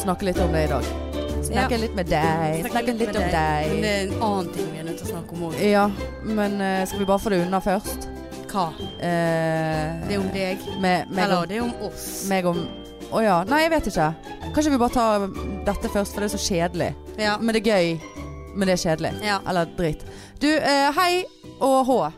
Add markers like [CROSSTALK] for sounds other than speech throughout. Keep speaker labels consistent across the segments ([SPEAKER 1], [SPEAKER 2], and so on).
[SPEAKER 1] snakke litt om det i dag. Snakke
[SPEAKER 2] Ja.
[SPEAKER 1] litt med deg, snakke litt om
[SPEAKER 2] Men det
[SPEAKER 1] deg.
[SPEAKER 2] er en annen ting vi er nødt til å snakke om òg.
[SPEAKER 1] Ja, men eh, skal vi bare få det unna først?
[SPEAKER 2] Hva?
[SPEAKER 1] Eh,
[SPEAKER 2] Det er om deg.
[SPEAKER 1] Med, meg,
[SPEAKER 2] Eller
[SPEAKER 1] om,
[SPEAKER 2] det er om oss.
[SPEAKER 1] meg om Å ja. Nei, jeg vet ikke. Kanskje vi bare tar dette først, for det er så kjedelig.
[SPEAKER 2] Ja.
[SPEAKER 1] Men det er gøy. Men det er kjedelig.
[SPEAKER 2] ja.
[SPEAKER 1] Eller dritt. Du, eh, hei og hå.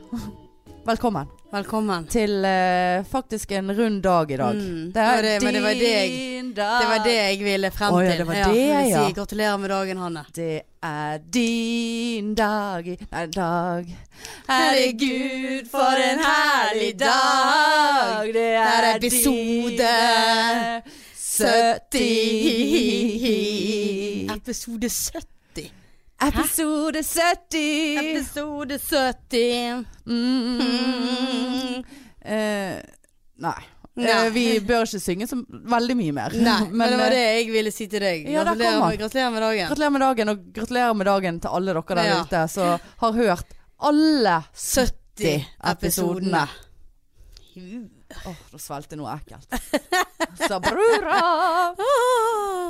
[SPEAKER 1] Velkommen
[SPEAKER 2] Velkommen.
[SPEAKER 1] til eh, faktisk en rund dag i dag.
[SPEAKER 2] Mm. Ja, det- men det var det jeg-
[SPEAKER 1] din dag.
[SPEAKER 2] Det var det jeg ville frem
[SPEAKER 1] Å,
[SPEAKER 2] til.
[SPEAKER 1] ja, det var det,
[SPEAKER 2] jeg vil
[SPEAKER 1] ja.
[SPEAKER 2] Si, gratulerer med dagen, Hanne.
[SPEAKER 1] Det er din dag i Nei, dag.
[SPEAKER 2] Herregud, for en herlig dag.
[SPEAKER 1] Det
[SPEAKER 2] er episode
[SPEAKER 1] dine 70.
[SPEAKER 2] [LAUGHS] Episode
[SPEAKER 1] [LAUGHS]
[SPEAKER 2] 70.
[SPEAKER 1] Episode 70.
[SPEAKER 2] Episode 70.
[SPEAKER 1] Mm.
[SPEAKER 2] Mm.
[SPEAKER 1] Eh, nei.
[SPEAKER 2] Nei.
[SPEAKER 1] Eh, vi bør ikke synge så veldig mye mer.
[SPEAKER 2] Nei,
[SPEAKER 1] [LAUGHS] Men,
[SPEAKER 2] men, det var
[SPEAKER 1] eh,
[SPEAKER 2] det jeg ville si til deg.
[SPEAKER 1] ja, der
[SPEAKER 2] gratulerer,
[SPEAKER 1] kom han.
[SPEAKER 2] med, gratulerer med dagen.
[SPEAKER 1] Gratulerer med dagen, og gratulerer med dagen til alle dere der
[SPEAKER 2] Ja.
[SPEAKER 1] ute som har hørt alle
[SPEAKER 2] 70 episodene.
[SPEAKER 1] Åh, da svelgte jeg noe [LAUGHS] ekkelt. Sabrura!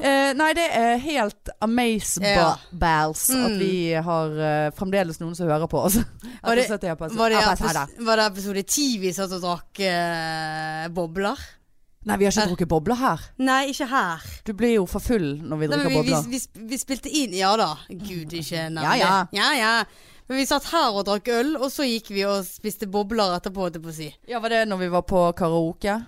[SPEAKER 1] Eh, nei, det er helt
[SPEAKER 2] Ja.
[SPEAKER 1] amazeballs at
[SPEAKER 2] Mm.
[SPEAKER 1] vi har eh, fremdeles noen som hører på oss.
[SPEAKER 2] Var det-
[SPEAKER 1] Etter 70 episoder-
[SPEAKER 2] Var det,
[SPEAKER 1] episoder.
[SPEAKER 2] epis- var det episode 10 vi satt og drakk eh, bobler?
[SPEAKER 1] Nei, vi har ikke drukket bobler her.
[SPEAKER 2] Nei, ikke her.
[SPEAKER 1] Du blir jo for full når vi
[SPEAKER 2] Nei, men
[SPEAKER 1] drikker
[SPEAKER 2] vi, vi,
[SPEAKER 1] bobler.
[SPEAKER 2] vi, sp- vi spilte inn Ja da. Gud, ikke nevn
[SPEAKER 1] Ja, ja.
[SPEAKER 2] det. Ja, ja. Men vi satt her og drakk øl, og så gikk vi og spiste bobler etterpå, holdt jeg på å si.
[SPEAKER 1] Ja, var det når vi var på karaoke?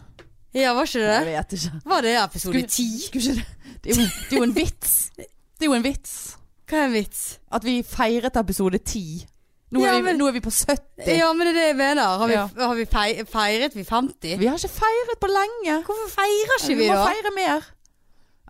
[SPEAKER 2] Ja, var ikke
[SPEAKER 1] Jeg
[SPEAKER 2] det?
[SPEAKER 1] vet ikke.
[SPEAKER 2] Var det episode 10?
[SPEAKER 1] Skulle ikke det. Det er jo, det er jo en vits. Det er jo en vits.
[SPEAKER 2] Hva er en vits?
[SPEAKER 1] At vi feiret episode 10. Nå er,
[SPEAKER 2] Ja,
[SPEAKER 1] vi,
[SPEAKER 2] men-
[SPEAKER 1] nå er vi på 70.
[SPEAKER 2] Ja, men det er det jeg mener. Har vi,
[SPEAKER 1] Ja.
[SPEAKER 2] har vi fei- feiret vi 50?
[SPEAKER 1] Vi har ikke feiret på lenge.
[SPEAKER 2] Hvorfor feirer ikke
[SPEAKER 1] vi
[SPEAKER 2] vi
[SPEAKER 1] må
[SPEAKER 2] da?
[SPEAKER 1] feire mer.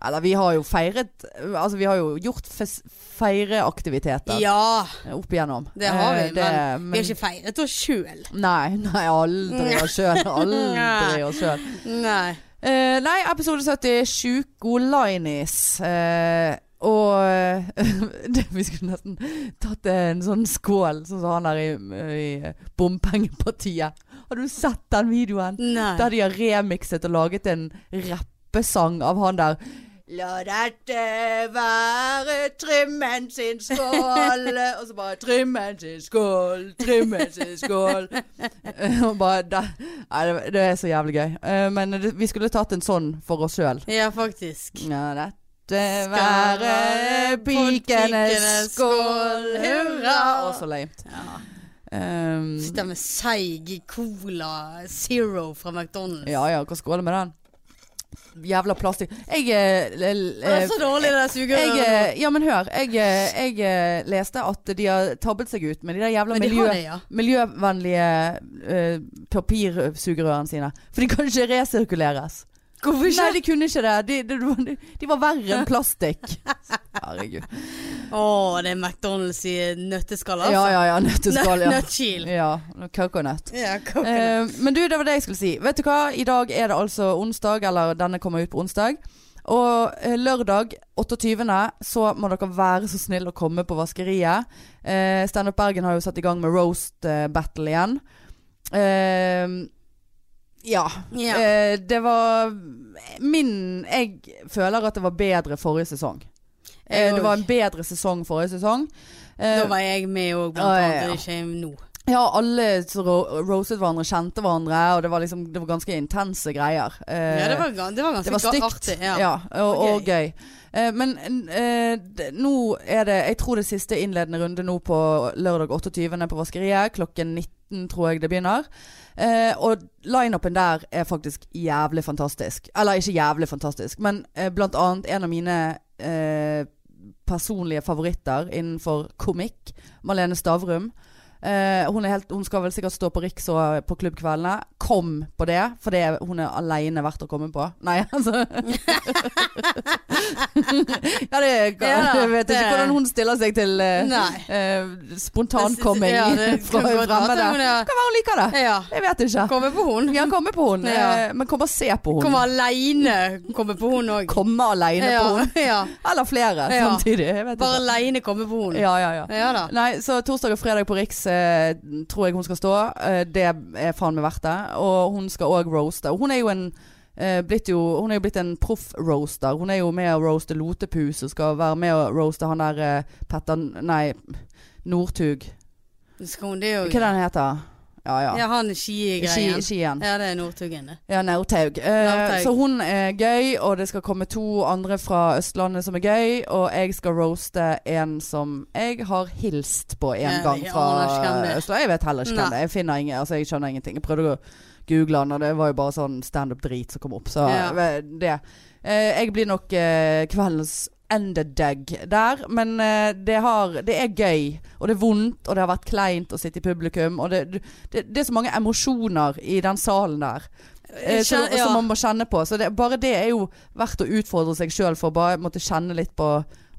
[SPEAKER 1] Eller vi har jo feiret Altså vi har jo gjort fes- feireaktiviteter
[SPEAKER 2] Ja,
[SPEAKER 1] opp igjennom.
[SPEAKER 2] det har vi,
[SPEAKER 1] men,
[SPEAKER 2] vi har ikke feiret oss sjøl.
[SPEAKER 1] Nei, nei, aldri oss sjøl. Aldri oss sjøl.
[SPEAKER 2] Nei.
[SPEAKER 1] Eh, nei, episode 70, Sjuko Linis. Eh, og [LAUGHS] eh, det, vi skulle nesten tatt en sånn skål, sånn som han der i, i Bompengepartiet. Har du sett den videoen?
[SPEAKER 2] Nei.
[SPEAKER 1] Der de har remikset og laget en rappesang av han der La dette være Trymmen sin skål [LAUGHS] Og så bare Trymmen sin skål, Trymmen sin skål [LAUGHS] Og bare da, Nei, det, det er så jævlig gøy Eh, Men det, vi skulle tatt en sånn for oss selv
[SPEAKER 2] Ja, faktisk.
[SPEAKER 1] La dette være pikenes skål Hurra Og så lame
[SPEAKER 2] Ja.
[SPEAKER 1] um,
[SPEAKER 2] Sitter med seig cola zero fra McDonald's.
[SPEAKER 1] Ja ja, hva skåler med den? Jævla plastikk. Jeg eh, l-
[SPEAKER 2] Å, Det
[SPEAKER 1] eh,
[SPEAKER 2] er så dårlig det der
[SPEAKER 1] jeg,
[SPEAKER 2] sugerøret.
[SPEAKER 1] eh, ja, men hør. Jeg, eh, jeg eh, leste at de har tabbet seg ut med de der jævla
[SPEAKER 2] Men de
[SPEAKER 1] miljø,
[SPEAKER 2] har det, ja.
[SPEAKER 1] miljøvennlige eh, papirsugerørene sine. For de kan ikke resirkuleres.
[SPEAKER 2] Hvorfor
[SPEAKER 1] Nei, de kunne ikke det. De, de, de, de var verre enn
[SPEAKER 2] [LAUGHS]
[SPEAKER 1] plastikk. Herregud.
[SPEAKER 2] Å, det er McDonald's i nøtteskall,
[SPEAKER 1] Ja ja ja, nøtteskall.
[SPEAKER 2] [LAUGHS]
[SPEAKER 1] Ja.
[SPEAKER 2] Nøttskil.
[SPEAKER 1] ja coconut.
[SPEAKER 2] Ja, coconut.
[SPEAKER 1] Eh, men du, det var det jeg skulle si. Vet du hva? I dag er det altså onsdag, eller denne kommer ut på onsdag. Og eh, lørdag 28. så må dere være så snill å komme på vaskeriet. Eh, Standup Bergen har jo satt i gang med roast eh, battle igjen. Eh, ja.
[SPEAKER 2] ja.
[SPEAKER 1] Eh, det var min Jeg føler at det var bedre forrige sesong. Eh,
[SPEAKER 2] Jeg
[SPEAKER 1] det var
[SPEAKER 2] òg.
[SPEAKER 1] en bedre sesong forrige sesong. Eh,
[SPEAKER 2] Da var jeg med òg,
[SPEAKER 1] Å,
[SPEAKER 2] blant
[SPEAKER 1] ja,
[SPEAKER 2] annet.
[SPEAKER 1] ja.
[SPEAKER 2] og Ikke nå.
[SPEAKER 1] ja, alle som ro roastet hverandre, kjente hverandre, og det var, liksom, det var ganske intense greier. Eh,
[SPEAKER 2] Ja, det var, ga- det var ganske
[SPEAKER 1] det var stygt
[SPEAKER 2] artig. Ja.
[SPEAKER 1] og,
[SPEAKER 2] Og
[SPEAKER 1] og gøy. Eh, men eh, d- nå er det Jeg tror det siste innledende runde nå på lørdag 28. på Vaskeriet. Klokken 19 tror jeg det begynner. Eh, og lineupen der er faktisk jævlig fantastisk. Eller ikke jævlig fantastisk, men eh, blant annet en av mine eh, personlige favoritter innenfor komikk, Malene Stavrum. Eh, hun, er helt, hun skal vel sikkert stå på Riks og eh, på klubbkveldene. Kom på det, for det er, hun er aleine verdt å komme på. Nei, [LAUGHS] altså Ja, det, er- [LAUGHS]
[SPEAKER 2] Ja,
[SPEAKER 1] jeg vet
[SPEAKER 2] det
[SPEAKER 1] ikke
[SPEAKER 2] er-
[SPEAKER 1] hvordan hun stiller seg til eh,
[SPEAKER 2] Nei.
[SPEAKER 1] eh, spontankomming [LAUGHS]
[SPEAKER 2] Ja, det
[SPEAKER 1] fra
[SPEAKER 2] kan godt være at
[SPEAKER 1] fremmede.
[SPEAKER 2] hun er-
[SPEAKER 1] Kan være hun liker det.
[SPEAKER 2] Ja.
[SPEAKER 1] Jeg vet ikke.
[SPEAKER 2] Komme på hun.
[SPEAKER 1] Ja, komme på hun,
[SPEAKER 2] Ja.
[SPEAKER 1] eh, men kom og se på hun.
[SPEAKER 2] Komme aleine. Komme på hun òg.
[SPEAKER 1] Komme aleine
[SPEAKER 2] Ja,
[SPEAKER 1] på hun.
[SPEAKER 2] ja. [LAUGHS]
[SPEAKER 1] Eller flere
[SPEAKER 2] Ja.
[SPEAKER 1] samtidig. Jeg vet
[SPEAKER 2] Bare
[SPEAKER 1] ikke.
[SPEAKER 2] aleine komme på hun.
[SPEAKER 1] Ja, ja, ja.
[SPEAKER 2] Ja da.
[SPEAKER 1] Nei, så torsdag og fredag på Riks eh, tror jeg hun skal stå. Eh, det er faen meg verdt det. Og hun skal òg roaste. Og hun er jo en eh, blitt jo, hun er jo blitt en proff-roaster. Hun er jo med å roaste Lotepus og skal være med å roaste han der eh, Petter Nei, Northug.
[SPEAKER 2] Skal hun det
[SPEAKER 1] Hva
[SPEAKER 2] jo
[SPEAKER 1] er det han heter? Ja ja.
[SPEAKER 2] Ja, han
[SPEAKER 1] Ski-
[SPEAKER 2] skigreien.
[SPEAKER 1] Skien.
[SPEAKER 2] Ja, det er Northugen, det.
[SPEAKER 1] Ja, Nautaug. Eh,
[SPEAKER 2] Nautaug.
[SPEAKER 1] så hun er gøy, og det skal komme to andre fra Østlandet som er gøy. Og jeg skal roaste en som jeg har hilst på en
[SPEAKER 2] Ja, jeg
[SPEAKER 1] gang
[SPEAKER 2] aner ikke hvem det
[SPEAKER 1] fra
[SPEAKER 2] er.
[SPEAKER 1] Østlandet. Jeg vet heller ikke hvem
[SPEAKER 2] Nei.
[SPEAKER 1] det er. Jeg, finner ingen, altså, jeg skjønner ingenting. Jeg prøvde å google han, og det var jo bare sånn standup-drit som kom opp. Så
[SPEAKER 2] Ja.
[SPEAKER 1] eh, det. Eh, jeg blir nok eh, kveldens endedegg der, men eh, det, har, det er gøy. Og det er vondt, og det har vært kleint å sitte i publikum. Og det, det, det er så mange emosjoner i den salen der eh,
[SPEAKER 2] Jeg
[SPEAKER 1] så,
[SPEAKER 2] kjen- ja.
[SPEAKER 1] som man må kjenne på. Så det, bare det er jo verdt å utfordre seg sjøl for. Bare måtte kjenne litt på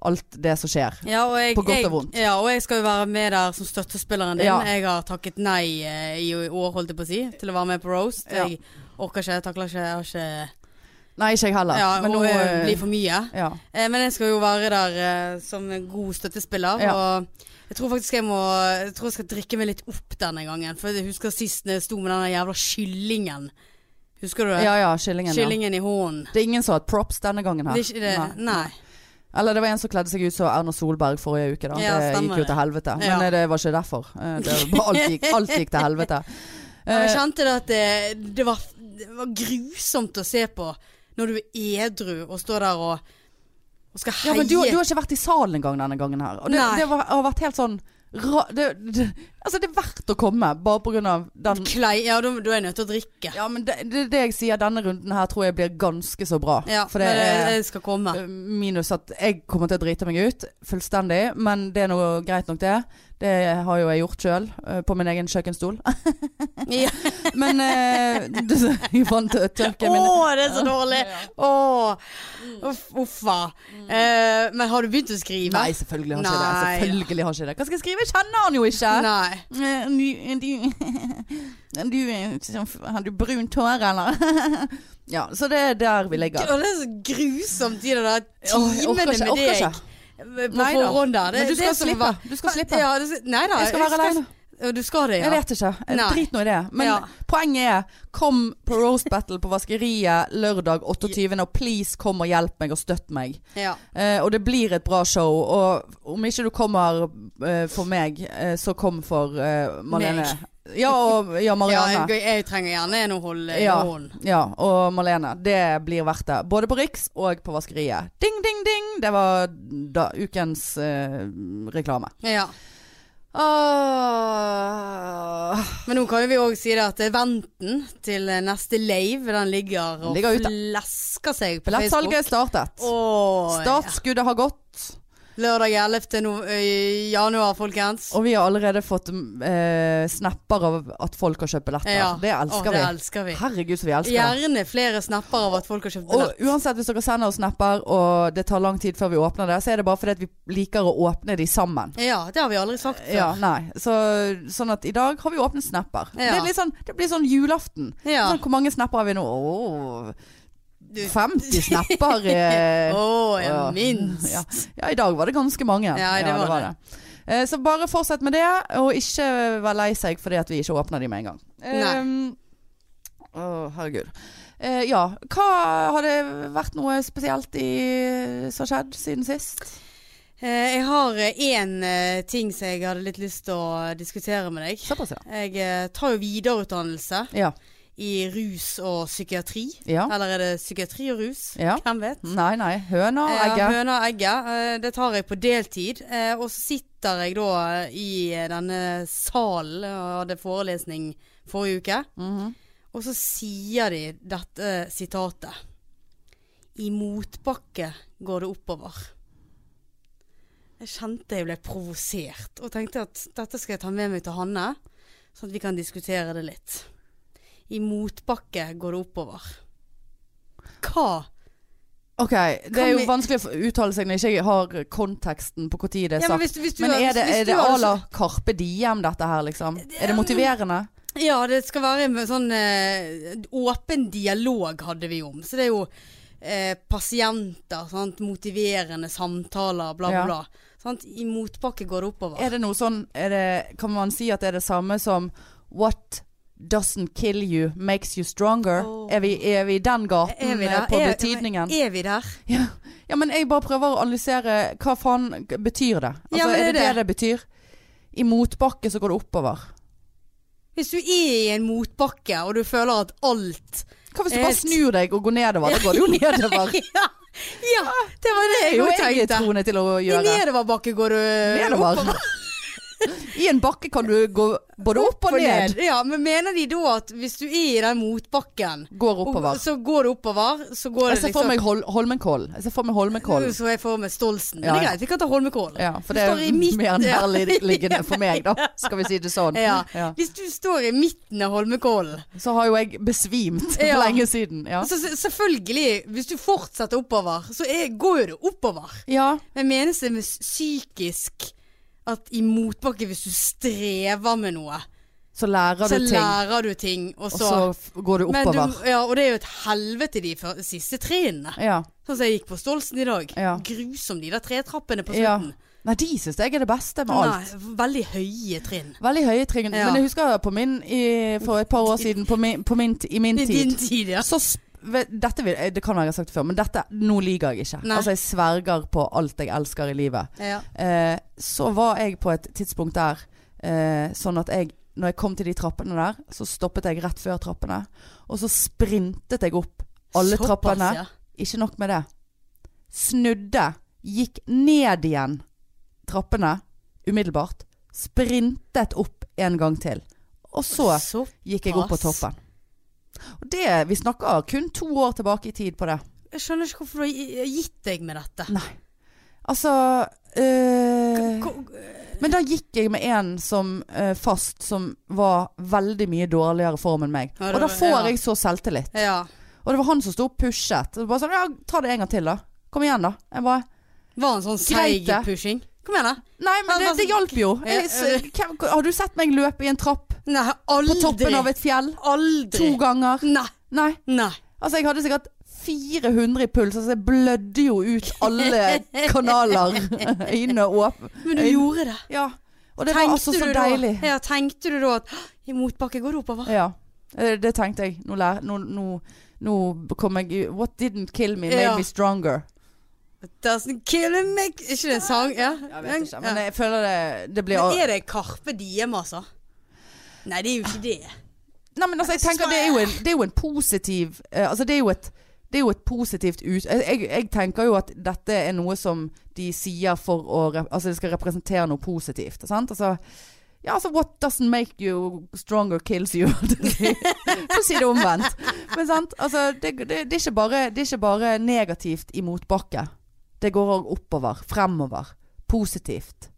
[SPEAKER 1] alt det som skjer.
[SPEAKER 2] Ja, og jeg,
[SPEAKER 1] På godt og
[SPEAKER 2] jeg,
[SPEAKER 1] vondt.
[SPEAKER 2] Ja, og jeg skal jo være med der som støttespilleren din.
[SPEAKER 1] Ja.
[SPEAKER 2] Jeg har takket nei eh, i år, holdt jeg på å si, til å være med på Roast.
[SPEAKER 1] Ja.
[SPEAKER 2] Jeg orker ikke, jeg takler ikke, jeg har ikke
[SPEAKER 1] Nei, ikke jeg heller.
[SPEAKER 2] Ja,
[SPEAKER 1] Men
[SPEAKER 2] og
[SPEAKER 1] nå
[SPEAKER 2] det
[SPEAKER 1] eh,
[SPEAKER 2] blir for mye.
[SPEAKER 1] ja.
[SPEAKER 2] Eh, Men jeg skal jo være der eh, som en god støttespiller,
[SPEAKER 1] Ja.
[SPEAKER 2] og jeg tror faktisk jeg må Jeg tror jeg skal drikke meg litt opp denne gangen, for jeg husker sist jeg sto med denne jævla kyllingen. Husker du det?
[SPEAKER 1] ja ja, kyllingen. Ja.
[SPEAKER 2] kyllingen i hånden.
[SPEAKER 1] Det er ingen som har hatt props denne gangen her.
[SPEAKER 2] Det er ikke det. Nei.
[SPEAKER 1] Eller det var en som kledde seg ut som Erna Solberg forrige uke. Da.
[SPEAKER 2] Ja,
[SPEAKER 1] det
[SPEAKER 2] stemmer
[SPEAKER 1] gikk jo
[SPEAKER 2] det.
[SPEAKER 1] til helvete. Men
[SPEAKER 2] Ja.
[SPEAKER 1] eh, det var ikke derfor. Eh, Det var bare alt, gikk, alt gikk til helvete.
[SPEAKER 2] [LAUGHS] Ja, Jeg
[SPEAKER 1] Eh,
[SPEAKER 2] kjente det at det, det, var, det var grusomt å se på når du er edru og står der og, og skal
[SPEAKER 1] ja,
[SPEAKER 2] heie.
[SPEAKER 1] men du, du har ikke vært i salen engang denne gangen her. Og det,
[SPEAKER 2] Nei.
[SPEAKER 1] det var, har vært helt sånn ra, det, det, Altså, det er verdt å komme, bare på grunn av den
[SPEAKER 2] Klei, ja, da da er jeg nødt til å drikke.
[SPEAKER 1] Ja, men det, det, er det jeg sier, denne runden her tror jeg blir ganske så bra.
[SPEAKER 2] Ja,
[SPEAKER 1] for det
[SPEAKER 2] men jeg,
[SPEAKER 1] er
[SPEAKER 2] jeg skal komme.
[SPEAKER 1] eh, minus at jeg kommer til å drite meg ut fullstendig, men det er noe greit nok det. Det har jo jeg gjort sjøl, på min egen kjøkkenstol. [LAUGHS]
[SPEAKER 2] Ja.
[SPEAKER 1] men eh, [LAUGHS] du, jeg fant tørken
[SPEAKER 2] Å,
[SPEAKER 1] min.
[SPEAKER 2] det er så dårlig! Å, uff, uffa. Eh, men har du begynt å skrive?
[SPEAKER 1] Nei, selvfølgelig har ikke det.
[SPEAKER 2] Nei.
[SPEAKER 1] Selvfølgelig har ikke det. Hva skal jeg skrive? Jeg kjenner han jo ikke!
[SPEAKER 2] Nei.
[SPEAKER 1] Eh, Du, [LAUGHS] du, du er sånn- Har du brunt hår, eller? [LAUGHS] ja, så det er der vi ligger.
[SPEAKER 2] Å, det er så grusomt, de
[SPEAKER 1] Åh,
[SPEAKER 2] der
[SPEAKER 1] jeg orker
[SPEAKER 2] timene
[SPEAKER 1] ikke, jeg
[SPEAKER 2] med
[SPEAKER 1] orker ikke.
[SPEAKER 2] deg på
[SPEAKER 1] Nei da.
[SPEAKER 2] forhånd der. Det-
[SPEAKER 1] Men du
[SPEAKER 2] det er
[SPEAKER 1] skal
[SPEAKER 2] som å
[SPEAKER 1] slippe.
[SPEAKER 2] være-
[SPEAKER 1] Du skal slippe.
[SPEAKER 2] Ja, det, nei da.
[SPEAKER 1] jeg skal være alene.
[SPEAKER 2] alene. Du skal det, ja.
[SPEAKER 1] Jeg vet ikke.
[SPEAKER 2] Nei.
[SPEAKER 1] Drit nå i det. Men
[SPEAKER 2] Ja.
[SPEAKER 1] poenget er, kom på Roast Battle på Vaskeriet lørdag 28. Og please kom og hjelp meg og støtt meg.
[SPEAKER 2] Ja.
[SPEAKER 1] Eh, og det blir et bra show. Og om ikke du kommer eh, for meg, eh, så kom for eh, Malene. Ja, og ja,
[SPEAKER 2] Ja,
[SPEAKER 1] Marianne.
[SPEAKER 2] jeg, jeg trenger gjerne en å holde i
[SPEAKER 1] Ja.
[SPEAKER 2] hånden.
[SPEAKER 1] Ja, og Malene. Det blir verdt det. Både på Riks og på Vaskeriet. Ding, ding, ding! Det var da, ukens eh, reklame.
[SPEAKER 2] Ja.
[SPEAKER 1] Åh.
[SPEAKER 2] Men nå kan jo vi òg si det at eh, venten til eh, neste lave, den ligger og
[SPEAKER 1] Ligger ute.
[SPEAKER 2] flasker seg på
[SPEAKER 1] Billettsalget
[SPEAKER 2] Facebook.
[SPEAKER 1] er startet.
[SPEAKER 2] Åh,
[SPEAKER 1] Startskuddet har gått.
[SPEAKER 2] ja. Lørdag 11. No ø, januar, folkens.
[SPEAKER 1] Og vi har allerede fått eh, snapper av at folk har kjøpt billetter.
[SPEAKER 2] Ja.
[SPEAKER 1] Det elsker
[SPEAKER 2] Åh, det
[SPEAKER 1] vi.
[SPEAKER 2] elsker vi.
[SPEAKER 1] Herregud, så vi elsker det.
[SPEAKER 2] Gjerne flere snapper av at folk har kjøpt billett.
[SPEAKER 1] Og uansett hvis dere sender oss snapper og det tar lang tid før vi åpner det, så er det bare fordi at vi liker å åpne de sammen.
[SPEAKER 2] Ja, det har vi aldri sagt før.
[SPEAKER 1] Ja, nei. Så, sånn at i dag har vi åpnet snapper.
[SPEAKER 2] Ja.
[SPEAKER 1] Det, er litt sånn, det blir sånn julaften.
[SPEAKER 2] Ja.
[SPEAKER 1] Sånn, hvor mange snapper har vi nå? Åh,
[SPEAKER 2] Du- [LAUGHS]
[SPEAKER 1] 50 snapper. eh.
[SPEAKER 2] Åh, ja,
[SPEAKER 1] Ja.
[SPEAKER 2] minst.
[SPEAKER 1] Ja. ja, i dag var det ganske mange.
[SPEAKER 2] Ja, det var det.
[SPEAKER 1] Eh, Så bare fortsett med det, og ikke vær lei seg fordi at vi ikke åpner de med en gang.
[SPEAKER 2] Nei.
[SPEAKER 1] Ehm, Å, herregud. Eh, ja, hva har det vært noe spesielt i, som har skjedd siden sist?
[SPEAKER 2] Eh, Jeg har én ting som jeg hadde litt lyst til å diskutere med deg.
[SPEAKER 1] Såpass, ja.
[SPEAKER 2] Jeg eh, tar jo videreutdannelse
[SPEAKER 1] Ja.
[SPEAKER 2] i rus og psykiatri.
[SPEAKER 1] ja.
[SPEAKER 2] Eller er det psykiatri og rus?
[SPEAKER 1] Ja.
[SPEAKER 2] Hvem vet?
[SPEAKER 1] Nei, nei. Høna og
[SPEAKER 2] Eh,
[SPEAKER 1] egget.
[SPEAKER 2] Høna og egget. Eh, Det tar jeg på deltid. Eh, Og så sitter jeg da i denne salen og hadde forelesning forrige uke.
[SPEAKER 1] Mhm.
[SPEAKER 2] Og så sier de dette sitatet. I motbakke går det oppover. Jeg kjente jeg ble provosert, og tenkte at dette skal jeg ta med meg til Hanne, sånn at vi kan diskutere det litt. I motbakke går det oppover. Hva?
[SPEAKER 1] Ok, det er
[SPEAKER 2] Kan
[SPEAKER 1] jo
[SPEAKER 2] vi-
[SPEAKER 1] vanskelig å f- uttale seg når jeg ikke har konteksten på når det er sagt.
[SPEAKER 2] hvis, hvis
[SPEAKER 1] men er det,
[SPEAKER 2] hvis
[SPEAKER 1] er
[SPEAKER 2] du
[SPEAKER 1] det
[SPEAKER 2] hadde-
[SPEAKER 1] à la Carpe Diem dette her, liksom? Er det motiverende?
[SPEAKER 2] Ja, det skal være en sånn eh, åpen dialog hadde vi om. Så det er jo eh, pasienter, sant? motiverende samtaler, bla, bla,
[SPEAKER 1] Ja.
[SPEAKER 2] bla. Sant? I motbakke går det oppover.
[SPEAKER 1] Er det noe sånn er det, Kan man si at det er det samme som What Doesn't kill you, makes you stronger.
[SPEAKER 2] Åh.
[SPEAKER 1] Er, vi, er vi i den gaten
[SPEAKER 2] Er vi
[SPEAKER 1] eh,
[SPEAKER 2] der?
[SPEAKER 1] på
[SPEAKER 2] Er-
[SPEAKER 1] betydningen?
[SPEAKER 2] Er vi der?
[SPEAKER 1] Ja. ja, men jeg bare prøver å analysere hva faen g- betyr det? Altså,
[SPEAKER 2] Ja, men
[SPEAKER 1] er
[SPEAKER 2] det
[SPEAKER 1] det det
[SPEAKER 2] er
[SPEAKER 1] det betyr? I motbakke så går det oppover.
[SPEAKER 2] Hvis du er i en motbakke, og du føler at alt
[SPEAKER 1] Hva hvis du
[SPEAKER 2] Eh,
[SPEAKER 1] bare snur deg og går nedover? Da går det jo [LAUGHS] nedover.
[SPEAKER 2] [LAUGHS] ja, ja, det var det
[SPEAKER 1] Det er
[SPEAKER 2] jeg
[SPEAKER 1] jo
[SPEAKER 2] òg
[SPEAKER 1] jeg
[SPEAKER 2] tenkte.
[SPEAKER 1] troende til å
[SPEAKER 2] I
[SPEAKER 1] gjøre.
[SPEAKER 2] nedoverbakke går du
[SPEAKER 1] Nedover.
[SPEAKER 2] oppover.
[SPEAKER 1] [LAUGHS] I en bakke kan du gå både opp og ned.
[SPEAKER 2] Ja, men mener de da at hvis du er i den motbakken,
[SPEAKER 1] Går oppover.
[SPEAKER 2] så går du oppover, så går
[SPEAKER 1] Jeg
[SPEAKER 2] det
[SPEAKER 1] ser for
[SPEAKER 2] liksom
[SPEAKER 1] meg Hol Holmenkollen. Jeg ser for meg Holmenkollen.
[SPEAKER 2] Så jeg får med Stolsen. Men
[SPEAKER 1] Ja,
[SPEAKER 2] det er
[SPEAKER 1] ja.
[SPEAKER 2] greit, vi kan ta Holmenkollen.
[SPEAKER 1] Ja, for
[SPEAKER 2] Du
[SPEAKER 1] det er
[SPEAKER 2] står i midten,
[SPEAKER 1] mer
[SPEAKER 2] [LAUGHS] ja.
[SPEAKER 1] nærliggende for meg, da. Skal vi si det sånn.
[SPEAKER 2] Ja.
[SPEAKER 1] Ja.
[SPEAKER 2] Hvis du står i midten av Holmenkollen,
[SPEAKER 1] Så har jo jeg besvimt for
[SPEAKER 2] Ja.
[SPEAKER 1] lenge siden. Ja.
[SPEAKER 2] så se- selvfølgelig, hvis du fortsetter oppover, så er, går jo det oppover.
[SPEAKER 1] ja.
[SPEAKER 2] Men menes det med s- psykisk at i motbakke, hvis du strever med noe,
[SPEAKER 1] Så lærer
[SPEAKER 2] så
[SPEAKER 1] du ting,
[SPEAKER 2] lærer du ting, og
[SPEAKER 1] og
[SPEAKER 2] så,
[SPEAKER 1] så f- går du
[SPEAKER 2] Men
[SPEAKER 1] oppover.
[SPEAKER 2] Du, ja, og det er jo et helvete de fyr- siste trinnene.
[SPEAKER 1] Ja.
[SPEAKER 2] Sånn som jeg gikk på Stolsen i dag.
[SPEAKER 1] Ja.
[SPEAKER 2] Grusom de der tretrappene på
[SPEAKER 1] ja.
[SPEAKER 2] slutten.
[SPEAKER 1] Nei, de syns jeg er det beste med alt.
[SPEAKER 2] Nei, veldig høye trinn.
[SPEAKER 1] Veldig høye trinn.
[SPEAKER 2] Ja.
[SPEAKER 1] Men jeg husker på min i, for et par år siden, på min, på min, t- i min
[SPEAKER 2] I
[SPEAKER 1] tid
[SPEAKER 2] din tid, ja.
[SPEAKER 1] så sp- vet- dette vil, eh, Det kan være jeg har sagt det før, men dette, nå lyver jeg ikke.
[SPEAKER 2] Nei.
[SPEAKER 1] Altså, jeg sverger på alt jeg elsker i livet.
[SPEAKER 2] ja.
[SPEAKER 1] Eh, så var jeg på et tidspunkt der eh, sånn at jeg Når jeg kom til de trappene der, så stoppet jeg rett før trappene. Og så sprintet jeg opp alle
[SPEAKER 2] Såpass,
[SPEAKER 1] trappene.
[SPEAKER 2] ja.
[SPEAKER 1] Ikke nok med det. Snudde, gikk ned igjen trappene umiddelbart. Sprintet opp en gang til. Og så
[SPEAKER 2] Så-
[SPEAKER 1] gikk jeg opp på
[SPEAKER 2] Såpass.
[SPEAKER 1] toppen. Og det, vi snakker kun to år tilbake i tid på det.
[SPEAKER 2] Jeg skjønner ikke hvorfor du har gi- gitt deg med dette.
[SPEAKER 1] Nei. Altså eh,
[SPEAKER 2] Ko-
[SPEAKER 1] Men da gikk jeg med en som eh, fast som var veldig mye dårligere form enn meg.
[SPEAKER 2] Ja, det
[SPEAKER 1] og da
[SPEAKER 2] var-
[SPEAKER 1] får
[SPEAKER 2] ja.
[SPEAKER 1] jeg så selvtillit.
[SPEAKER 2] Ja.
[SPEAKER 1] Og det var han som sto og pushet. Og bare sånn, ja, ta det en gang til da. Kom igjen da. Jeg bare,
[SPEAKER 2] Var en sånn seig
[SPEAKER 1] Greit, det.
[SPEAKER 2] pushing? Kom igjen, da.
[SPEAKER 1] nei,
[SPEAKER 2] Han
[SPEAKER 1] men det,
[SPEAKER 2] var
[SPEAKER 1] det
[SPEAKER 2] sånn-
[SPEAKER 1] hjelper jo. Jeg,
[SPEAKER 2] Ja, ja.
[SPEAKER 1] s- hvem, har du sett meg løpe i en trapp
[SPEAKER 2] Nei,
[SPEAKER 1] på
[SPEAKER 2] aldri.
[SPEAKER 1] toppen av et fjell? To
[SPEAKER 2] Aldri.
[SPEAKER 1] ganger?
[SPEAKER 2] Nei.
[SPEAKER 1] Nei.
[SPEAKER 2] Nei.
[SPEAKER 1] Altså, jeg hadde sikkert 400 i puls, altså jeg blødde jo ut
[SPEAKER 2] [LAUGHS]
[SPEAKER 1] alle kanaler. Øynene åpne.
[SPEAKER 2] Men du
[SPEAKER 1] Øyn-
[SPEAKER 2] gjorde det.
[SPEAKER 1] Ja, og det var altså så
[SPEAKER 2] du [LAUGHS]
[SPEAKER 1] deilig.
[SPEAKER 2] Da, ja, tenkte du da at «Hå, i motbakke går det oppover?
[SPEAKER 1] Ja, eh, det tenkte jeg. Nå, lær, nå, nå, nå kom jeg i- What didn't kill me made
[SPEAKER 2] Ja.
[SPEAKER 1] me stronger.
[SPEAKER 2] Doesn't kill a make Ikke det en sang? Ja.
[SPEAKER 1] Jeg vet ikke, men
[SPEAKER 2] Ja.
[SPEAKER 1] jeg føler det, det blir
[SPEAKER 2] Men er det Karpe Diem, altså? Nei, det er jo ikke det.
[SPEAKER 1] Nei, men altså, jeg tenker det er jo en, det er jo en positiv eh, Altså, det er jo et det er jo et positivt ut... Jeg, jeg, jeg tenker jo at dette er noe som de sier for å rep- Altså, det skal representere noe positivt. Sant? Altså, ja, altså What doesn't make you stronger kills you. [LAUGHS] For å si det omvendt. Men sant? Altså, det, det, det, er ikke bare, det er ikke bare negativt i motbakke. Det går òg oppover. Fremover. Positivt.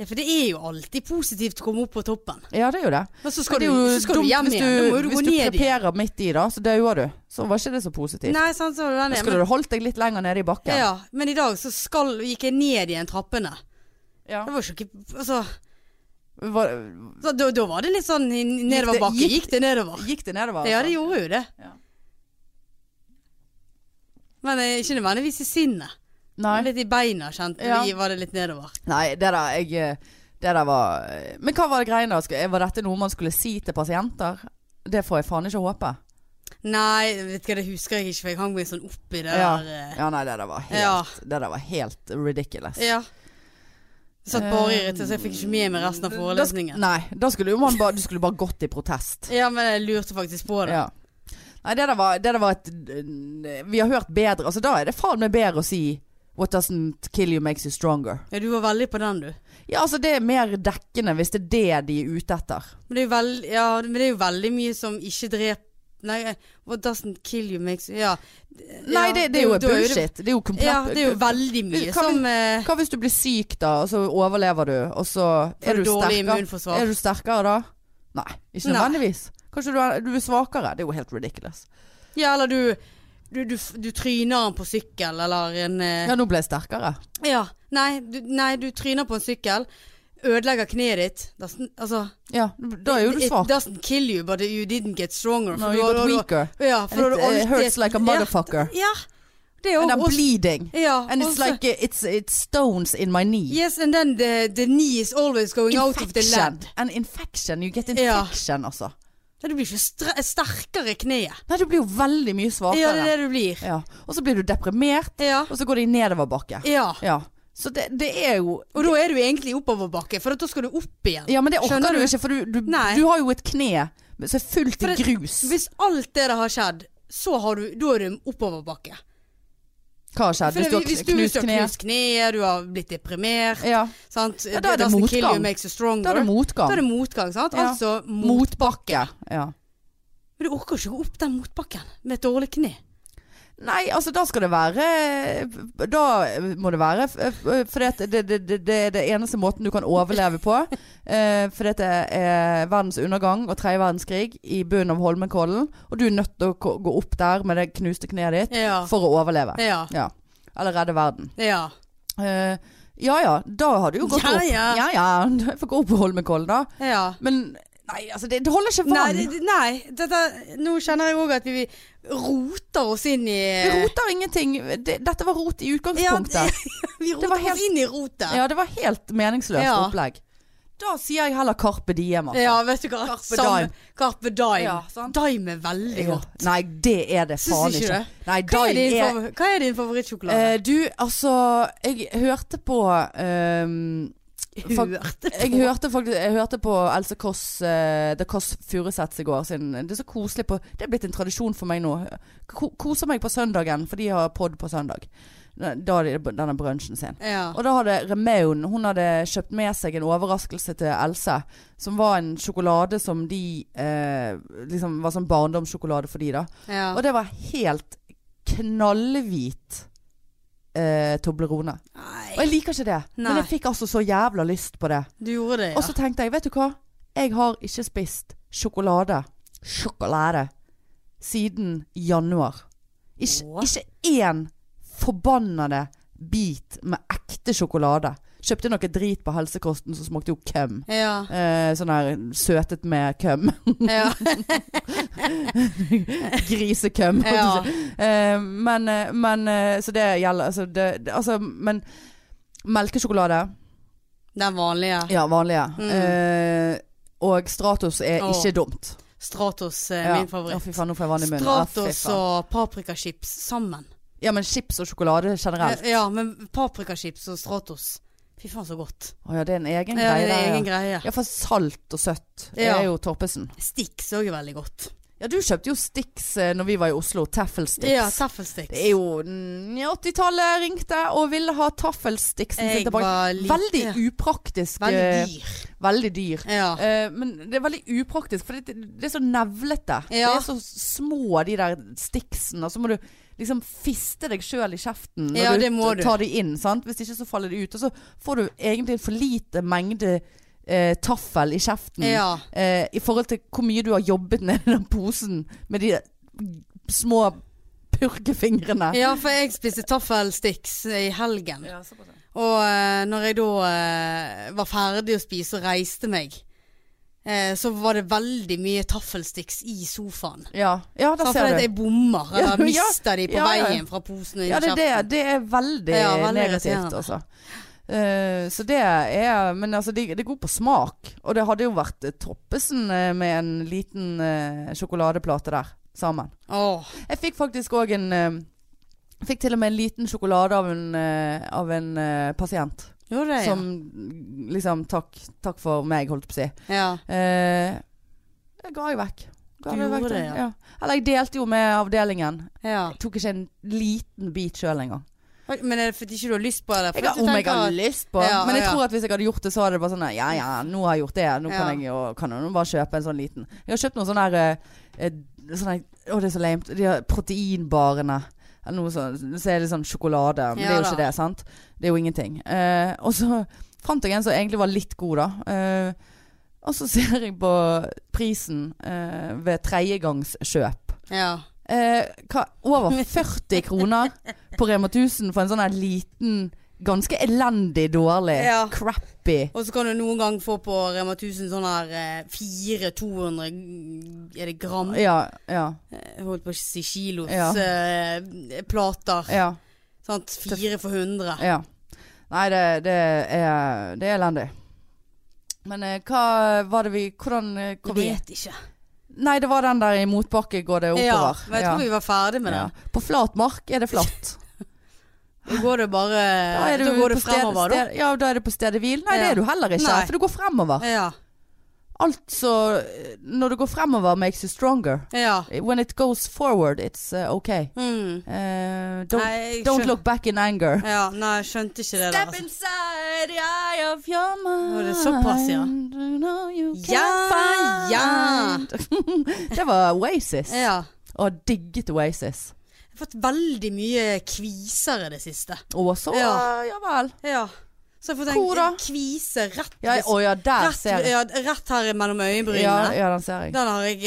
[SPEAKER 2] Ja, For det er jo alltid positivt å komme opp på toppen.
[SPEAKER 1] Ja, det er jo det.
[SPEAKER 2] Men så
[SPEAKER 1] Men
[SPEAKER 2] skal,
[SPEAKER 1] det
[SPEAKER 2] du,
[SPEAKER 1] er jo
[SPEAKER 2] så skal du
[SPEAKER 1] dumt
[SPEAKER 2] hjem
[SPEAKER 1] hvis
[SPEAKER 2] igjen. Da må
[SPEAKER 1] du,
[SPEAKER 2] du
[SPEAKER 1] hvis
[SPEAKER 2] gå
[SPEAKER 1] du
[SPEAKER 2] ned igjen.
[SPEAKER 1] kreperer midt i da, så dauer du. Så var ikke det så positivt.
[SPEAKER 2] Nei, sant, så var det den
[SPEAKER 1] Da
[SPEAKER 2] igjen.
[SPEAKER 1] skulle du holdt deg litt lenger nede i
[SPEAKER 2] Men,
[SPEAKER 1] bakken.
[SPEAKER 2] ja, men i dag så skal, gikk jeg ned igjen trappene.
[SPEAKER 1] Ja.
[SPEAKER 2] Det var jo ikke Altså,
[SPEAKER 1] Var,
[SPEAKER 2] så, da, da var det litt sånn i- nedoverbakke.
[SPEAKER 1] Gikk det-
[SPEAKER 2] Gikk, gikk det nedover?
[SPEAKER 1] gikk det nedover? altså?
[SPEAKER 2] Ja, det gjorde jo det.
[SPEAKER 1] Ja.
[SPEAKER 2] Men eh, ikke nødvendigvis i sinnet.
[SPEAKER 1] Nei.
[SPEAKER 2] Litt i beina kjente
[SPEAKER 1] Ja.
[SPEAKER 2] vi var det litt nedover.
[SPEAKER 1] Nei, det der jeg eh, Det der var eh, Men hva var det greiene da? Skulle- Var dette noe man skulle si til pasienter? Det får jeg faen ikke håpe.
[SPEAKER 2] Nei, vet ikke, det husker jeg ikke, for jeg hang meg sånn oppi det
[SPEAKER 1] Ja.
[SPEAKER 2] der. eh,
[SPEAKER 1] Ja, nei, det der var helt,
[SPEAKER 2] Ja.
[SPEAKER 1] det der var helt ridiculous.
[SPEAKER 2] Ja. Jeg satt bare i rett, så jeg fikk ikke med meg resten av forelesningen.
[SPEAKER 1] Eh, Da, sk- nei, da skulle jo man bare Du skulle bare gått i protest.
[SPEAKER 2] Ja, men jeg lurte faktisk på det.
[SPEAKER 1] Ja. Nei, det der var, det der var et Vi har hørt bedre. Altså, da er det faen meg bedre å si What doesn't kill you makes you stronger.
[SPEAKER 2] Ja, du var veldig på den, du.
[SPEAKER 1] Ja, altså det er mer dekkende hvis det er det de er ute etter.
[SPEAKER 2] Men det er jo, veld, ja, men det er jo veldig mye som ikke drep... Nei, eh, what doesn't kill you makes ja.
[SPEAKER 1] Nei,
[SPEAKER 2] Ja,
[SPEAKER 1] det, det er jo
[SPEAKER 2] da er det-
[SPEAKER 1] bullshit. Det er jo komplett
[SPEAKER 2] Ja, det er jo veldig
[SPEAKER 1] Kan vi-
[SPEAKER 2] mye som eh,
[SPEAKER 1] Hva hvis du blir syk da, og så overlever du, og så
[SPEAKER 2] Får
[SPEAKER 1] er du
[SPEAKER 2] du dårlig
[SPEAKER 1] sterkere?
[SPEAKER 2] immunforsvar.
[SPEAKER 1] Er du sterkere da? Nei, ikke
[SPEAKER 2] Nei.
[SPEAKER 1] nødvendigvis. Kanskje du er, du er svakere? Det er jo helt ridiculous.
[SPEAKER 2] Ja, eller du du, du, f- du tryner den på sykkel, eller en eh,
[SPEAKER 1] Ja, nå ble jeg sterkere.
[SPEAKER 2] Ja. Nei, du, nei, du tryner på en sykkel, ødelegger kneet ditt. Doesn't, altså
[SPEAKER 1] Ja, da er jo du
[SPEAKER 2] It
[SPEAKER 1] svak.
[SPEAKER 2] doesn't kill you, but you didn't get stronger.
[SPEAKER 1] Nå
[SPEAKER 2] for
[SPEAKER 1] er
[SPEAKER 2] du
[SPEAKER 1] you
[SPEAKER 2] har-
[SPEAKER 1] got
[SPEAKER 2] du har-
[SPEAKER 1] weaker.
[SPEAKER 2] Ja, for da
[SPEAKER 1] And
[SPEAKER 2] har
[SPEAKER 1] it,
[SPEAKER 2] du
[SPEAKER 1] uh,
[SPEAKER 2] alltid
[SPEAKER 1] hurts like a
[SPEAKER 2] Ja,
[SPEAKER 1] motherfucker.
[SPEAKER 2] Ja. Det er
[SPEAKER 1] And I'm
[SPEAKER 2] også-
[SPEAKER 1] bleeding.
[SPEAKER 2] Ja,
[SPEAKER 1] And it's
[SPEAKER 2] også-
[SPEAKER 1] like uh, it's, it's stones in my knee.
[SPEAKER 2] Yes, and then the, the knee is always going out of the
[SPEAKER 1] Infection.
[SPEAKER 2] land.
[SPEAKER 1] An infection. You get
[SPEAKER 2] Ja.
[SPEAKER 1] infection, altså.
[SPEAKER 2] Nei, Du blir ikke stre- sterkere i kneet.
[SPEAKER 1] Nei, du blir jo veldig mye svakere.
[SPEAKER 2] Ja, det er det du blir.
[SPEAKER 1] Ja. Og så blir du deprimert,
[SPEAKER 2] Ja.
[SPEAKER 1] og så går de nedoverbakke.
[SPEAKER 2] ja.
[SPEAKER 1] Ja. Så det, det er jo
[SPEAKER 2] Og da er du egentlig i oppoverbakke, for da skal du opp igjen.
[SPEAKER 1] Ja, men det orker
[SPEAKER 2] Skjønner
[SPEAKER 1] du
[SPEAKER 2] du?
[SPEAKER 1] ikke, for du, du,
[SPEAKER 2] Nei.
[SPEAKER 1] du har jo et kne som er fullt
[SPEAKER 2] For
[SPEAKER 1] i
[SPEAKER 2] det-
[SPEAKER 1] grus.
[SPEAKER 2] Hvis alt det der har skjedd, så har du, da er du oppoverbakke.
[SPEAKER 1] Hva har skjedd?
[SPEAKER 2] For
[SPEAKER 1] Hvis du har
[SPEAKER 2] hvis
[SPEAKER 1] kn- knust
[SPEAKER 2] har
[SPEAKER 1] kneet?
[SPEAKER 2] knust kneet, du har blitt deprimert,
[SPEAKER 1] Ja.
[SPEAKER 2] sant?
[SPEAKER 1] Ja, da er det
[SPEAKER 2] Doesn't kill
[SPEAKER 1] motgang.
[SPEAKER 2] you makes you
[SPEAKER 1] Da
[SPEAKER 2] stronger.
[SPEAKER 1] er det motgang.
[SPEAKER 2] Da er det motgang, sant?
[SPEAKER 1] Ja.
[SPEAKER 2] Altså mot...
[SPEAKER 1] Motbakke. Ja.
[SPEAKER 2] Men du orker ikke gå opp den motbakken med et dårlig kne.
[SPEAKER 1] Nei, altså da skal det være Da må det være For det, det, det, det, det er det eneste måten du kan overleve
[SPEAKER 2] [LAUGHS]
[SPEAKER 1] på. Eh, for dette er verdens undergang og tredje verdenskrig i bunnen av Holmenkollen. Og du er nødt til å ko- gå opp der med det knuste kneet ditt
[SPEAKER 2] Ja.
[SPEAKER 1] for å overleve.
[SPEAKER 2] Ja.
[SPEAKER 1] Ja. Eller redde verden.
[SPEAKER 2] Ja.
[SPEAKER 1] Eh, ja ja, da har du jo gått
[SPEAKER 2] Ja,
[SPEAKER 1] opp.
[SPEAKER 2] ja.
[SPEAKER 1] ja ja. Du får gå opp på Holmenkollen, da.
[SPEAKER 2] ja.
[SPEAKER 1] Men nei, altså det, det holder ikke vann.
[SPEAKER 2] Nei, det- nei dette, nå kjenner jeg òg at vi roter oss inn i
[SPEAKER 1] Vi roter ingenting. Det, dette var rot i utgangspunktet.
[SPEAKER 2] Ja, Vi roter
[SPEAKER 1] var
[SPEAKER 2] oss
[SPEAKER 1] helt-
[SPEAKER 2] inn i rotet.
[SPEAKER 1] Ja, det var helt meningsløst
[SPEAKER 2] Ja.
[SPEAKER 1] opplegg. Da sier jeg heller Carpe Diem. altså.
[SPEAKER 2] Ja, vet du hva.
[SPEAKER 1] Carpe
[SPEAKER 2] Samme- Carpe Dime.
[SPEAKER 1] Ja, sant.
[SPEAKER 2] Dime er veldig
[SPEAKER 1] Ja.
[SPEAKER 2] godt.
[SPEAKER 1] Nei, det er det
[SPEAKER 2] Syns
[SPEAKER 1] faen
[SPEAKER 2] ikke
[SPEAKER 1] ikke.
[SPEAKER 2] det?
[SPEAKER 1] Nei,
[SPEAKER 2] Hva er,
[SPEAKER 1] Dime
[SPEAKER 2] din
[SPEAKER 1] er
[SPEAKER 2] favor- hva er din favorittsjokolade?
[SPEAKER 1] Eh, Du, altså Jeg hørte på ehm, fak-
[SPEAKER 2] Hørte
[SPEAKER 1] jeg hørte, faktisk, jeg hørte på Else Kåss eh, The Kåss Furuseths i går. Sin, det er så koselig på Det er blitt en tradisjon for meg nå. Ko, koser meg på søndagen, for de har pod på søndag. Da har de denne brunsjen sin.
[SPEAKER 2] Ja.
[SPEAKER 1] Og da hadde Remaun Hun hadde kjøpt med seg en overraskelse til Else. Som var en sjokolade som de eh, Liksom var sånn barndomssjokolade for de da.
[SPEAKER 2] ja.
[SPEAKER 1] Og det var helt knallhvit eh, Toblerone. Og
[SPEAKER 2] Nei,
[SPEAKER 1] jeg liker ikke det.
[SPEAKER 2] Nei.
[SPEAKER 1] Men jeg fikk altså så jævla lyst på det.
[SPEAKER 2] du gjorde det, ja.
[SPEAKER 1] Og så tenkte jeg, vet du hva? Jeg har ikke spist sjokolade. Sjokolade. Siden januar. Ikke,
[SPEAKER 2] Åh.
[SPEAKER 1] ikke én forbannede bit med ekte sjokolade. Kjøpte noe drit på helsekosten som smakte jo køm.
[SPEAKER 2] ja.
[SPEAKER 1] Eh, sånn her søtet med køm. [LAUGHS]
[SPEAKER 2] ja.
[SPEAKER 1] Grisekøm. holdt jeg
[SPEAKER 2] ja.
[SPEAKER 1] på å si. Eh, men, eh, men eh, Så det gjelder altså, det, det, altså Men melkesjokolade
[SPEAKER 2] Den vanlige
[SPEAKER 1] Ja, vanlige.
[SPEAKER 2] Mm.
[SPEAKER 1] Eh, og Stratos er
[SPEAKER 2] Åh.
[SPEAKER 1] ikke dumt.
[SPEAKER 2] Stratos, eh,
[SPEAKER 1] Ja.
[SPEAKER 2] min
[SPEAKER 1] Å,
[SPEAKER 2] favoritt.
[SPEAKER 1] fy faen, nå får jeg vann i munnen. Ja, fy
[SPEAKER 2] Stratos
[SPEAKER 1] faen.
[SPEAKER 2] og paprikachips sammen.
[SPEAKER 1] Ja, men chips og sjokolade generelt.
[SPEAKER 2] Ja, men paprikachips og Stratos. Fy faen, så godt.
[SPEAKER 1] Å ja, det er en egen
[SPEAKER 2] Ja,
[SPEAKER 1] greie
[SPEAKER 2] det er
[SPEAKER 1] der.
[SPEAKER 2] egen
[SPEAKER 1] ja.
[SPEAKER 2] greie.
[SPEAKER 1] Ja, for salt og søtt
[SPEAKER 2] Ja.
[SPEAKER 1] er jo Torpesen.
[SPEAKER 2] Stix òg er veldig godt.
[SPEAKER 1] Ja, du kjøpte jo Stix eh, når vi var i Oslo. Taffelsticks.
[SPEAKER 2] Ja, taffelsticks.
[SPEAKER 1] det er jo mm, 80-tallet ringte og ville ha taffelsticsen sin
[SPEAKER 2] Jeg
[SPEAKER 1] tilbake.
[SPEAKER 2] var lite
[SPEAKER 1] Veldig upraktisk. eh,
[SPEAKER 2] Veldig dyr.
[SPEAKER 1] Veldig dyr.
[SPEAKER 2] Ja.
[SPEAKER 1] Eh, men det er veldig upraktisk, for det, det er så nevlete.
[SPEAKER 2] Ja.
[SPEAKER 1] Det er så små, de der stiksene. Og så må du liksom fiste deg sjøl i kjeften når
[SPEAKER 2] Ja,
[SPEAKER 1] du,
[SPEAKER 2] det må du.
[SPEAKER 1] tar de inn. Sant? Hvis ikke så faller det ut. Og så får du egentlig en for lite mengde eh, taffel i kjeften
[SPEAKER 2] ja.
[SPEAKER 1] eh, i forhold til hvor mye du har jobbet ned i den posen med de små purkefingrene.
[SPEAKER 2] ja, for jeg spiste taffelsticks i helgen. Og eh, når jeg da eh, var ferdig å spise og reiste meg, eh, så var det veldig mye taffelsticks i sofaen.
[SPEAKER 1] Ja, ja der
[SPEAKER 2] Sånn,
[SPEAKER 1] ser
[SPEAKER 2] fordi at
[SPEAKER 1] du.
[SPEAKER 2] jeg bommer,
[SPEAKER 1] Ja, [LAUGHS]
[SPEAKER 2] eller
[SPEAKER 1] ja,
[SPEAKER 2] mister de på
[SPEAKER 1] ja, ja.
[SPEAKER 2] veien fra posen og inn
[SPEAKER 1] Ja, det, er
[SPEAKER 2] i
[SPEAKER 1] det,
[SPEAKER 2] kjeften.
[SPEAKER 1] det er veldig,
[SPEAKER 2] Ja, veldig
[SPEAKER 1] negativt,
[SPEAKER 2] irriterende.
[SPEAKER 1] altså. Eh, så det er Men altså, det, det er god på smak. Og det hadde jo vært eh, Toppesen eh, med en liten eh, sjokoladeplate der sammen.
[SPEAKER 2] Åh,
[SPEAKER 1] Jeg fikk faktisk òg en eh, Fikk til og med en liten sjokolade av en, eh, av en eh, pasient.
[SPEAKER 2] gjorde det,
[SPEAKER 1] Som liksom Takk, takk for meg, holdt jeg på å si.
[SPEAKER 2] ja. ja.
[SPEAKER 1] Eh, jeg ga jo vekk. Ga
[SPEAKER 2] Du
[SPEAKER 1] det
[SPEAKER 2] gjorde
[SPEAKER 1] vekk
[SPEAKER 2] det,
[SPEAKER 1] til-
[SPEAKER 2] ja.
[SPEAKER 1] Eller jeg delte jo med avdelingen.
[SPEAKER 2] Ja.
[SPEAKER 1] Jeg tok ikke en liten bit sjøl engang.
[SPEAKER 2] Oi, Men er det fordi ikke du har lyst på det? For
[SPEAKER 1] Jeg har,
[SPEAKER 2] du
[SPEAKER 1] om jeg
[SPEAKER 2] tenker
[SPEAKER 1] har
[SPEAKER 2] at-
[SPEAKER 1] lyst på
[SPEAKER 2] Ja,
[SPEAKER 1] Men jeg
[SPEAKER 2] ja.
[SPEAKER 1] tror at hvis jeg hadde gjort det, så hadde det bare sånn Ja ja, nå har jeg gjort det. Nå
[SPEAKER 2] Ja.
[SPEAKER 1] kan jeg jo kan jeg nå bare kjøpe en sånn liten. Jeg har kjøpt noen sånne her eh, eh, sånne, Å, det er så lame. De her proteinbarene. Eller noe sånn. Så er det sånn sjokolade. Men det er
[SPEAKER 2] Ja
[SPEAKER 1] jo
[SPEAKER 2] da.
[SPEAKER 1] ikke det, sant? Det er jo ingenting. Eh, og så fant jeg en som egentlig var litt god, da. Eh, og så [LAUGHS] ser jeg på prisen eh, ved tredjegangskjøp.
[SPEAKER 2] Ja.
[SPEAKER 1] Eh, hva, over 40 kroner på Rema 1000 for en sånn her liten, ganske elendig, dårlig,
[SPEAKER 2] Ja.
[SPEAKER 1] crappy
[SPEAKER 2] Og så kan du noen gang få på Rema 1000 sånn her eh, 400-200 mm, Er det gram?
[SPEAKER 1] Ja, ja,
[SPEAKER 2] Jeg holdt på å si kilos
[SPEAKER 1] Ja.
[SPEAKER 2] eh, plater.
[SPEAKER 1] ja.
[SPEAKER 2] Sant? Fire for 100.
[SPEAKER 1] ja. Nei, det, det, er, det er elendig. Men eh, hva var det vi Hvordan eh,
[SPEAKER 2] Jeg
[SPEAKER 1] kom vi
[SPEAKER 2] vet ikke.
[SPEAKER 1] Nei, det var den der i motbakke går det
[SPEAKER 2] Ja,
[SPEAKER 1] oppover.
[SPEAKER 2] men jeg tror vi var ferdig med
[SPEAKER 1] Ja.
[SPEAKER 2] den.
[SPEAKER 1] På flat mark er det
[SPEAKER 2] [LAUGHS]
[SPEAKER 1] flatt.
[SPEAKER 2] Da går det bare
[SPEAKER 1] Da er
[SPEAKER 2] Eh, Da
[SPEAKER 1] du
[SPEAKER 2] går det
[SPEAKER 1] på stedet-
[SPEAKER 2] fremover, da.
[SPEAKER 1] sted- Ja, da er du på stedet hvil. Nei,
[SPEAKER 2] Ja.
[SPEAKER 1] det er du heller ikke,
[SPEAKER 2] Nei.
[SPEAKER 1] for du går fremover.
[SPEAKER 2] Ja.
[SPEAKER 1] Altså, når du går fremover makes you stronger.
[SPEAKER 2] ja.
[SPEAKER 1] When it goes forward, it's uh, okay.
[SPEAKER 2] Mm.
[SPEAKER 1] Eh, don't,
[SPEAKER 2] Nei, jeg
[SPEAKER 1] don't
[SPEAKER 2] skjøn-
[SPEAKER 1] look back in anger.
[SPEAKER 2] Ja, nei, jeg skjønte ikke det der.
[SPEAKER 1] Step
[SPEAKER 2] altså.
[SPEAKER 1] inside the eye of your mind.
[SPEAKER 2] Nå er det såpass, ja.
[SPEAKER 1] You know you can
[SPEAKER 2] Ja,
[SPEAKER 1] find. [LAUGHS] det var Oasis.
[SPEAKER 2] Ja.
[SPEAKER 1] Og digget Oasis.
[SPEAKER 2] Jeg har fått veldig mye kviser i det siste.
[SPEAKER 1] Og så
[SPEAKER 2] Ja.
[SPEAKER 1] Ja, vel.
[SPEAKER 2] Ja. Så jeg har fått
[SPEAKER 1] Hvor da?
[SPEAKER 2] en kvise rett,
[SPEAKER 1] Ja,
[SPEAKER 2] ved-
[SPEAKER 1] å ja, der
[SPEAKER 2] rett,
[SPEAKER 1] ser jeg.
[SPEAKER 2] ja, rett her mellom øyebrynene.
[SPEAKER 1] Ja, ja, den ser jeg.
[SPEAKER 2] Den har jeg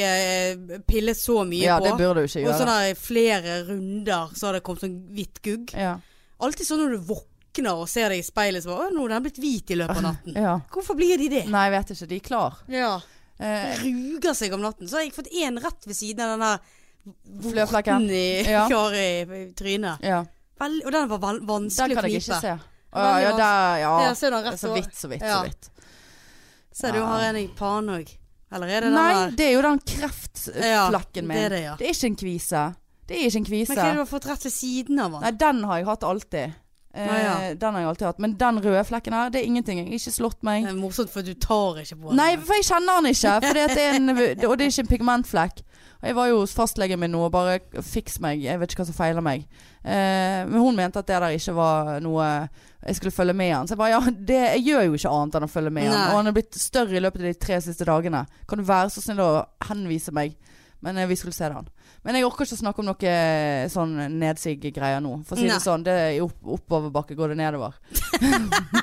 [SPEAKER 2] eh, pillet så mye
[SPEAKER 1] Ja,
[SPEAKER 2] på.
[SPEAKER 1] det burde du ikke
[SPEAKER 2] Og
[SPEAKER 1] gjøre.
[SPEAKER 2] sånn der i flere runder så har det kommet sånn hvitt gugg.
[SPEAKER 1] Ja.
[SPEAKER 2] Alltid sånn når du våkner og ser deg i speilet så bare Å, nå er den blitt hvit i løpet av natten.
[SPEAKER 1] ja.
[SPEAKER 2] Hvorfor blir de det?
[SPEAKER 1] Nei, jeg vet ikke. De er klar.
[SPEAKER 2] Ja.
[SPEAKER 1] Eh,
[SPEAKER 2] Ruger seg om natten. Så har jeg fått én rett ved siden av den der vorten
[SPEAKER 1] Fløflekken.
[SPEAKER 2] i
[SPEAKER 1] Ja.
[SPEAKER 2] kar i trynet.
[SPEAKER 1] ja.
[SPEAKER 2] Vel, og den var vel,
[SPEAKER 1] Den
[SPEAKER 2] vanskelig å
[SPEAKER 1] kan jeg ikke
[SPEAKER 2] knipe.
[SPEAKER 1] se. Å, ja, ja, der,
[SPEAKER 2] Ja,
[SPEAKER 1] ja.
[SPEAKER 2] ser du den
[SPEAKER 1] Det er
[SPEAKER 2] rett
[SPEAKER 1] så
[SPEAKER 2] over?
[SPEAKER 1] vidt, så vidt, så
[SPEAKER 2] Ja.
[SPEAKER 1] vidt.
[SPEAKER 2] Ser du
[SPEAKER 1] Ja.
[SPEAKER 2] har en i panen òg. Eller er det den
[SPEAKER 1] Nei,
[SPEAKER 2] der?
[SPEAKER 1] det er jo den kreftflekken min.
[SPEAKER 2] Ja, det er det, ja.
[SPEAKER 1] Det er ikke en kvise. Det er ikke en
[SPEAKER 2] Men hva
[SPEAKER 1] kvise.
[SPEAKER 2] er det du har fått rett ved siden av? den?
[SPEAKER 1] Nei, den har jeg hatt alltid. Eh,
[SPEAKER 2] Nei,
[SPEAKER 1] Den har jeg alltid hatt. Men den røde flekken her, det er ingenting. Jeg har ikke slått meg.
[SPEAKER 2] Det er morsomt, for du tar ikke på den.
[SPEAKER 1] Nei, for jeg kjenner den ikke. For det er
[SPEAKER 2] [LAUGHS]
[SPEAKER 1] en, og det er ikke en pigmentflekk. Og jeg var jo hos fastlegen min nå og bare fiks meg, jeg vet ikke hva som feiler meg. Eh, men hun mente at det der ikke var noe jeg skulle følge med han. Så jeg bare ja, det, jeg gjør jo ikke annet enn å følge med
[SPEAKER 2] Nei.
[SPEAKER 1] han. Og han er blitt større i løpet av de tre siste dagene. Kan du være så snill å henvise meg? Men eh, vi skulle se det han. Men jeg orker ikke å snakke om noe sånn nedsig-greier nå. For å si
[SPEAKER 2] Nei.
[SPEAKER 1] det sånn, det er i opp, oppoverbakke går det
[SPEAKER 2] [LAUGHS]
[SPEAKER 1] nedover.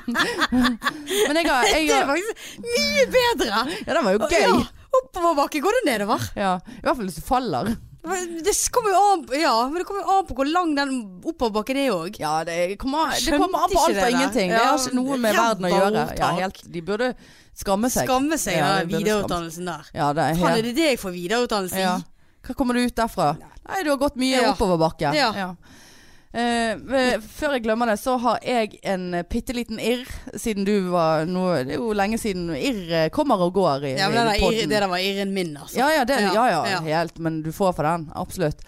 [SPEAKER 1] [LAUGHS] men jeg har, jeg
[SPEAKER 2] Det er
[SPEAKER 1] har
[SPEAKER 2] faktisk mye bedre!
[SPEAKER 1] Ja, den var jo gøy.
[SPEAKER 2] Ja, Oppoverbakke går det nedover.
[SPEAKER 1] Ja, I hvert fall hvis du faller.
[SPEAKER 2] Det kommer jo an på, ja, men det kommer jo an på hvor lang den oppoverbakken er òg.
[SPEAKER 1] Ja, det kommer, det
[SPEAKER 2] Skjønte
[SPEAKER 1] kommer an på
[SPEAKER 2] ikke
[SPEAKER 1] alt
[SPEAKER 2] det
[SPEAKER 1] og
[SPEAKER 2] der.
[SPEAKER 1] ingenting. Det har ikke noe med
[SPEAKER 2] Ja,
[SPEAKER 1] verden å gjøre.
[SPEAKER 2] voldtak.
[SPEAKER 1] Ja, helt, de burde skamme seg.
[SPEAKER 2] Skamme seg
[SPEAKER 1] Ja, det
[SPEAKER 2] av den
[SPEAKER 1] burde skamme.
[SPEAKER 2] videreutdannelsen der.
[SPEAKER 1] Ja, det er
[SPEAKER 2] Faen, er
[SPEAKER 1] helt
[SPEAKER 2] det det jeg får videreutdannelse i?
[SPEAKER 1] ja. Hva kommer du ut derfra? Nei, du har gått mye
[SPEAKER 2] Ja.
[SPEAKER 1] oppoverbakke.
[SPEAKER 2] Ja.
[SPEAKER 1] Eh, eh, før jeg glemmer det, så har jeg en bitte liten irr, siden du var nå Det er jo lenge siden irr eh, kommer og går i,
[SPEAKER 2] Ja, men den
[SPEAKER 1] i
[SPEAKER 2] der,
[SPEAKER 1] podden.
[SPEAKER 2] irr- det der var irren min, altså.
[SPEAKER 1] Ja ja, det,
[SPEAKER 2] Ja,
[SPEAKER 1] ja, ja,
[SPEAKER 2] ja.
[SPEAKER 1] helt, men du får for den. Absolutt.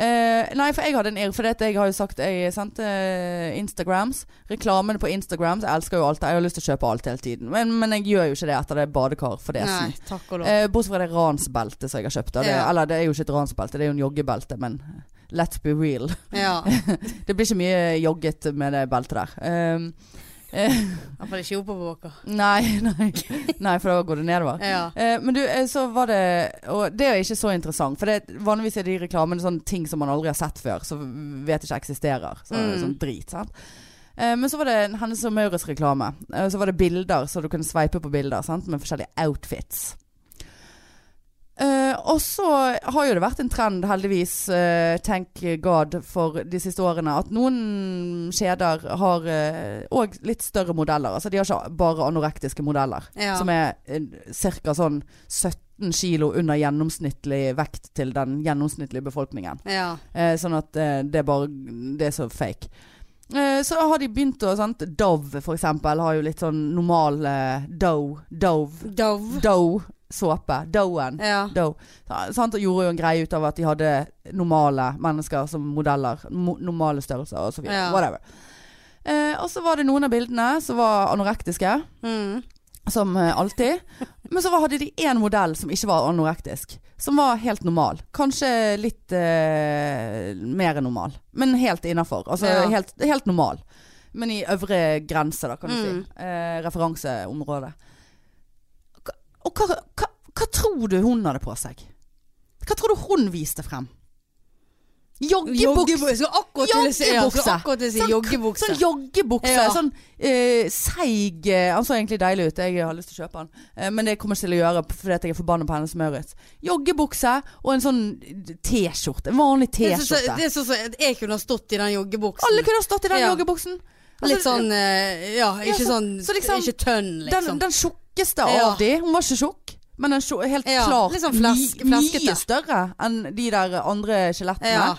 [SPEAKER 1] Eh, nei, for jeg hadde en irr, for jeg har jo sagt Jeg sendte eh, Instagrams. Reklamene på Instagrams. Jeg elsker jo alt. Jeg har lyst til å kjøpe alt hele tiden. Men, men jeg gjør jo ikke det etter det badekar-fordesen.
[SPEAKER 2] Nei, takk og lov.
[SPEAKER 1] Eh, bortsett fra det ransbeltet som jeg har kjøpt. Og det,
[SPEAKER 2] Ja.
[SPEAKER 1] Eller det er jo ikke et ransbelte, det er jo en joggebelte, men let's be real.
[SPEAKER 2] Ja, I
[SPEAKER 1] Det blir ikke mye jogget med det beltet der. Ehm,
[SPEAKER 2] hvert fall ikke oppoverbakker.
[SPEAKER 1] nei, [LAUGHS] nei, nei, for da går det nedover.
[SPEAKER 2] Ja.
[SPEAKER 1] Eh, men du, eh, så var det Og det er ikke så interessant. For det, vanligvis er de reklamene sånne ting som man aldri har sett før. Som vet ikke eksisterer. Så,
[SPEAKER 2] Mm.
[SPEAKER 1] Sånn drit. Sant? Eh, men så var det en Hennes og Maurits reklame. Eh, så var det bilder, så du kunne sveipe på bilder sant? med forskjellige outfits. Eh, og så har jo det vært en trend, heldigvis, eh, thank god, for de siste årene, at noen kjeder har òg litt større modeller. Altså de har ikke bare anorektiske modeller
[SPEAKER 2] Ja.
[SPEAKER 1] som er ca. sånn 17 kilo under gjennomsnittlig vekt til den gjennomsnittlige befolkningen.
[SPEAKER 2] ja.
[SPEAKER 1] [LAUGHS] Eh, sånn at eh, det er bare Det er så fake. Eh, så har de begynt å sant? Dove, for eksempel, har jo litt sånn normal eh, Dove. Dove.
[SPEAKER 2] Dove.
[SPEAKER 1] Dove. Såpe. Dowen.
[SPEAKER 2] Ja.
[SPEAKER 1] Doe. Så- Sant? Og gjorde jo en greie ut av at de hadde normale mennesker som modeller. Mo normale størrelser og så videre.
[SPEAKER 2] Ja.
[SPEAKER 1] Whatever. Eh, og så var det noen av bildene som var anorektiske.
[SPEAKER 2] Mm.
[SPEAKER 1] Som eh, alltid. Men så var- hadde de én modell som ikke var anorektisk. Som var helt normal. Kanskje litt eh, mer enn normal, men helt innafor. Altså
[SPEAKER 2] Ja.
[SPEAKER 1] helt, helt normal. Men i øvre grense, da, kan du
[SPEAKER 2] Mm.
[SPEAKER 1] si. Eh, referanseområdet. Hva- Og hva, hva, hva tror du hun hadde på seg? Hva tror du hun viste frem? Joggebukse!
[SPEAKER 2] Joggebukse. Jeg skulle akkurat til å si- ja, jeg skulle
[SPEAKER 1] Joggebukse.
[SPEAKER 2] akkurat til å si
[SPEAKER 1] Sånn-
[SPEAKER 2] Altså, joggebukse.
[SPEAKER 1] Sånn joggebukse.
[SPEAKER 2] Ja.
[SPEAKER 1] Sånn eh, seig eh, Han så egentlig deilig ut. Jeg har lyst til å kjøpe den. Eh, men det kommer jeg ikke til å gjøre fordi at jeg er forbanna på Hennes Maurits. Joggebukse og en sånn T-skjorte. En vanlig
[SPEAKER 2] Det er sånn som-
[SPEAKER 1] T-skjorte.
[SPEAKER 2] det er sånn som at jeg kunne ha stått i den joggebuksen.
[SPEAKER 1] Alle kunne ha stått i den
[SPEAKER 2] Ja.
[SPEAKER 1] joggebuksen. Altså,
[SPEAKER 2] Litt sånn eh, Ja,
[SPEAKER 1] Ja,
[SPEAKER 2] ikke
[SPEAKER 1] så-
[SPEAKER 2] sånn
[SPEAKER 1] så liksom-
[SPEAKER 2] Ikke tønn,
[SPEAKER 1] den,
[SPEAKER 2] liksom.
[SPEAKER 1] den tjukkeste
[SPEAKER 2] Ja.
[SPEAKER 1] av de. Hun var ikke tjukk. Men den tjo- helt
[SPEAKER 2] Ja,
[SPEAKER 1] klart
[SPEAKER 2] litt sånn flesk-
[SPEAKER 1] my- mye
[SPEAKER 2] fleskete.
[SPEAKER 1] større enn de der andre skjelettene.
[SPEAKER 2] ja.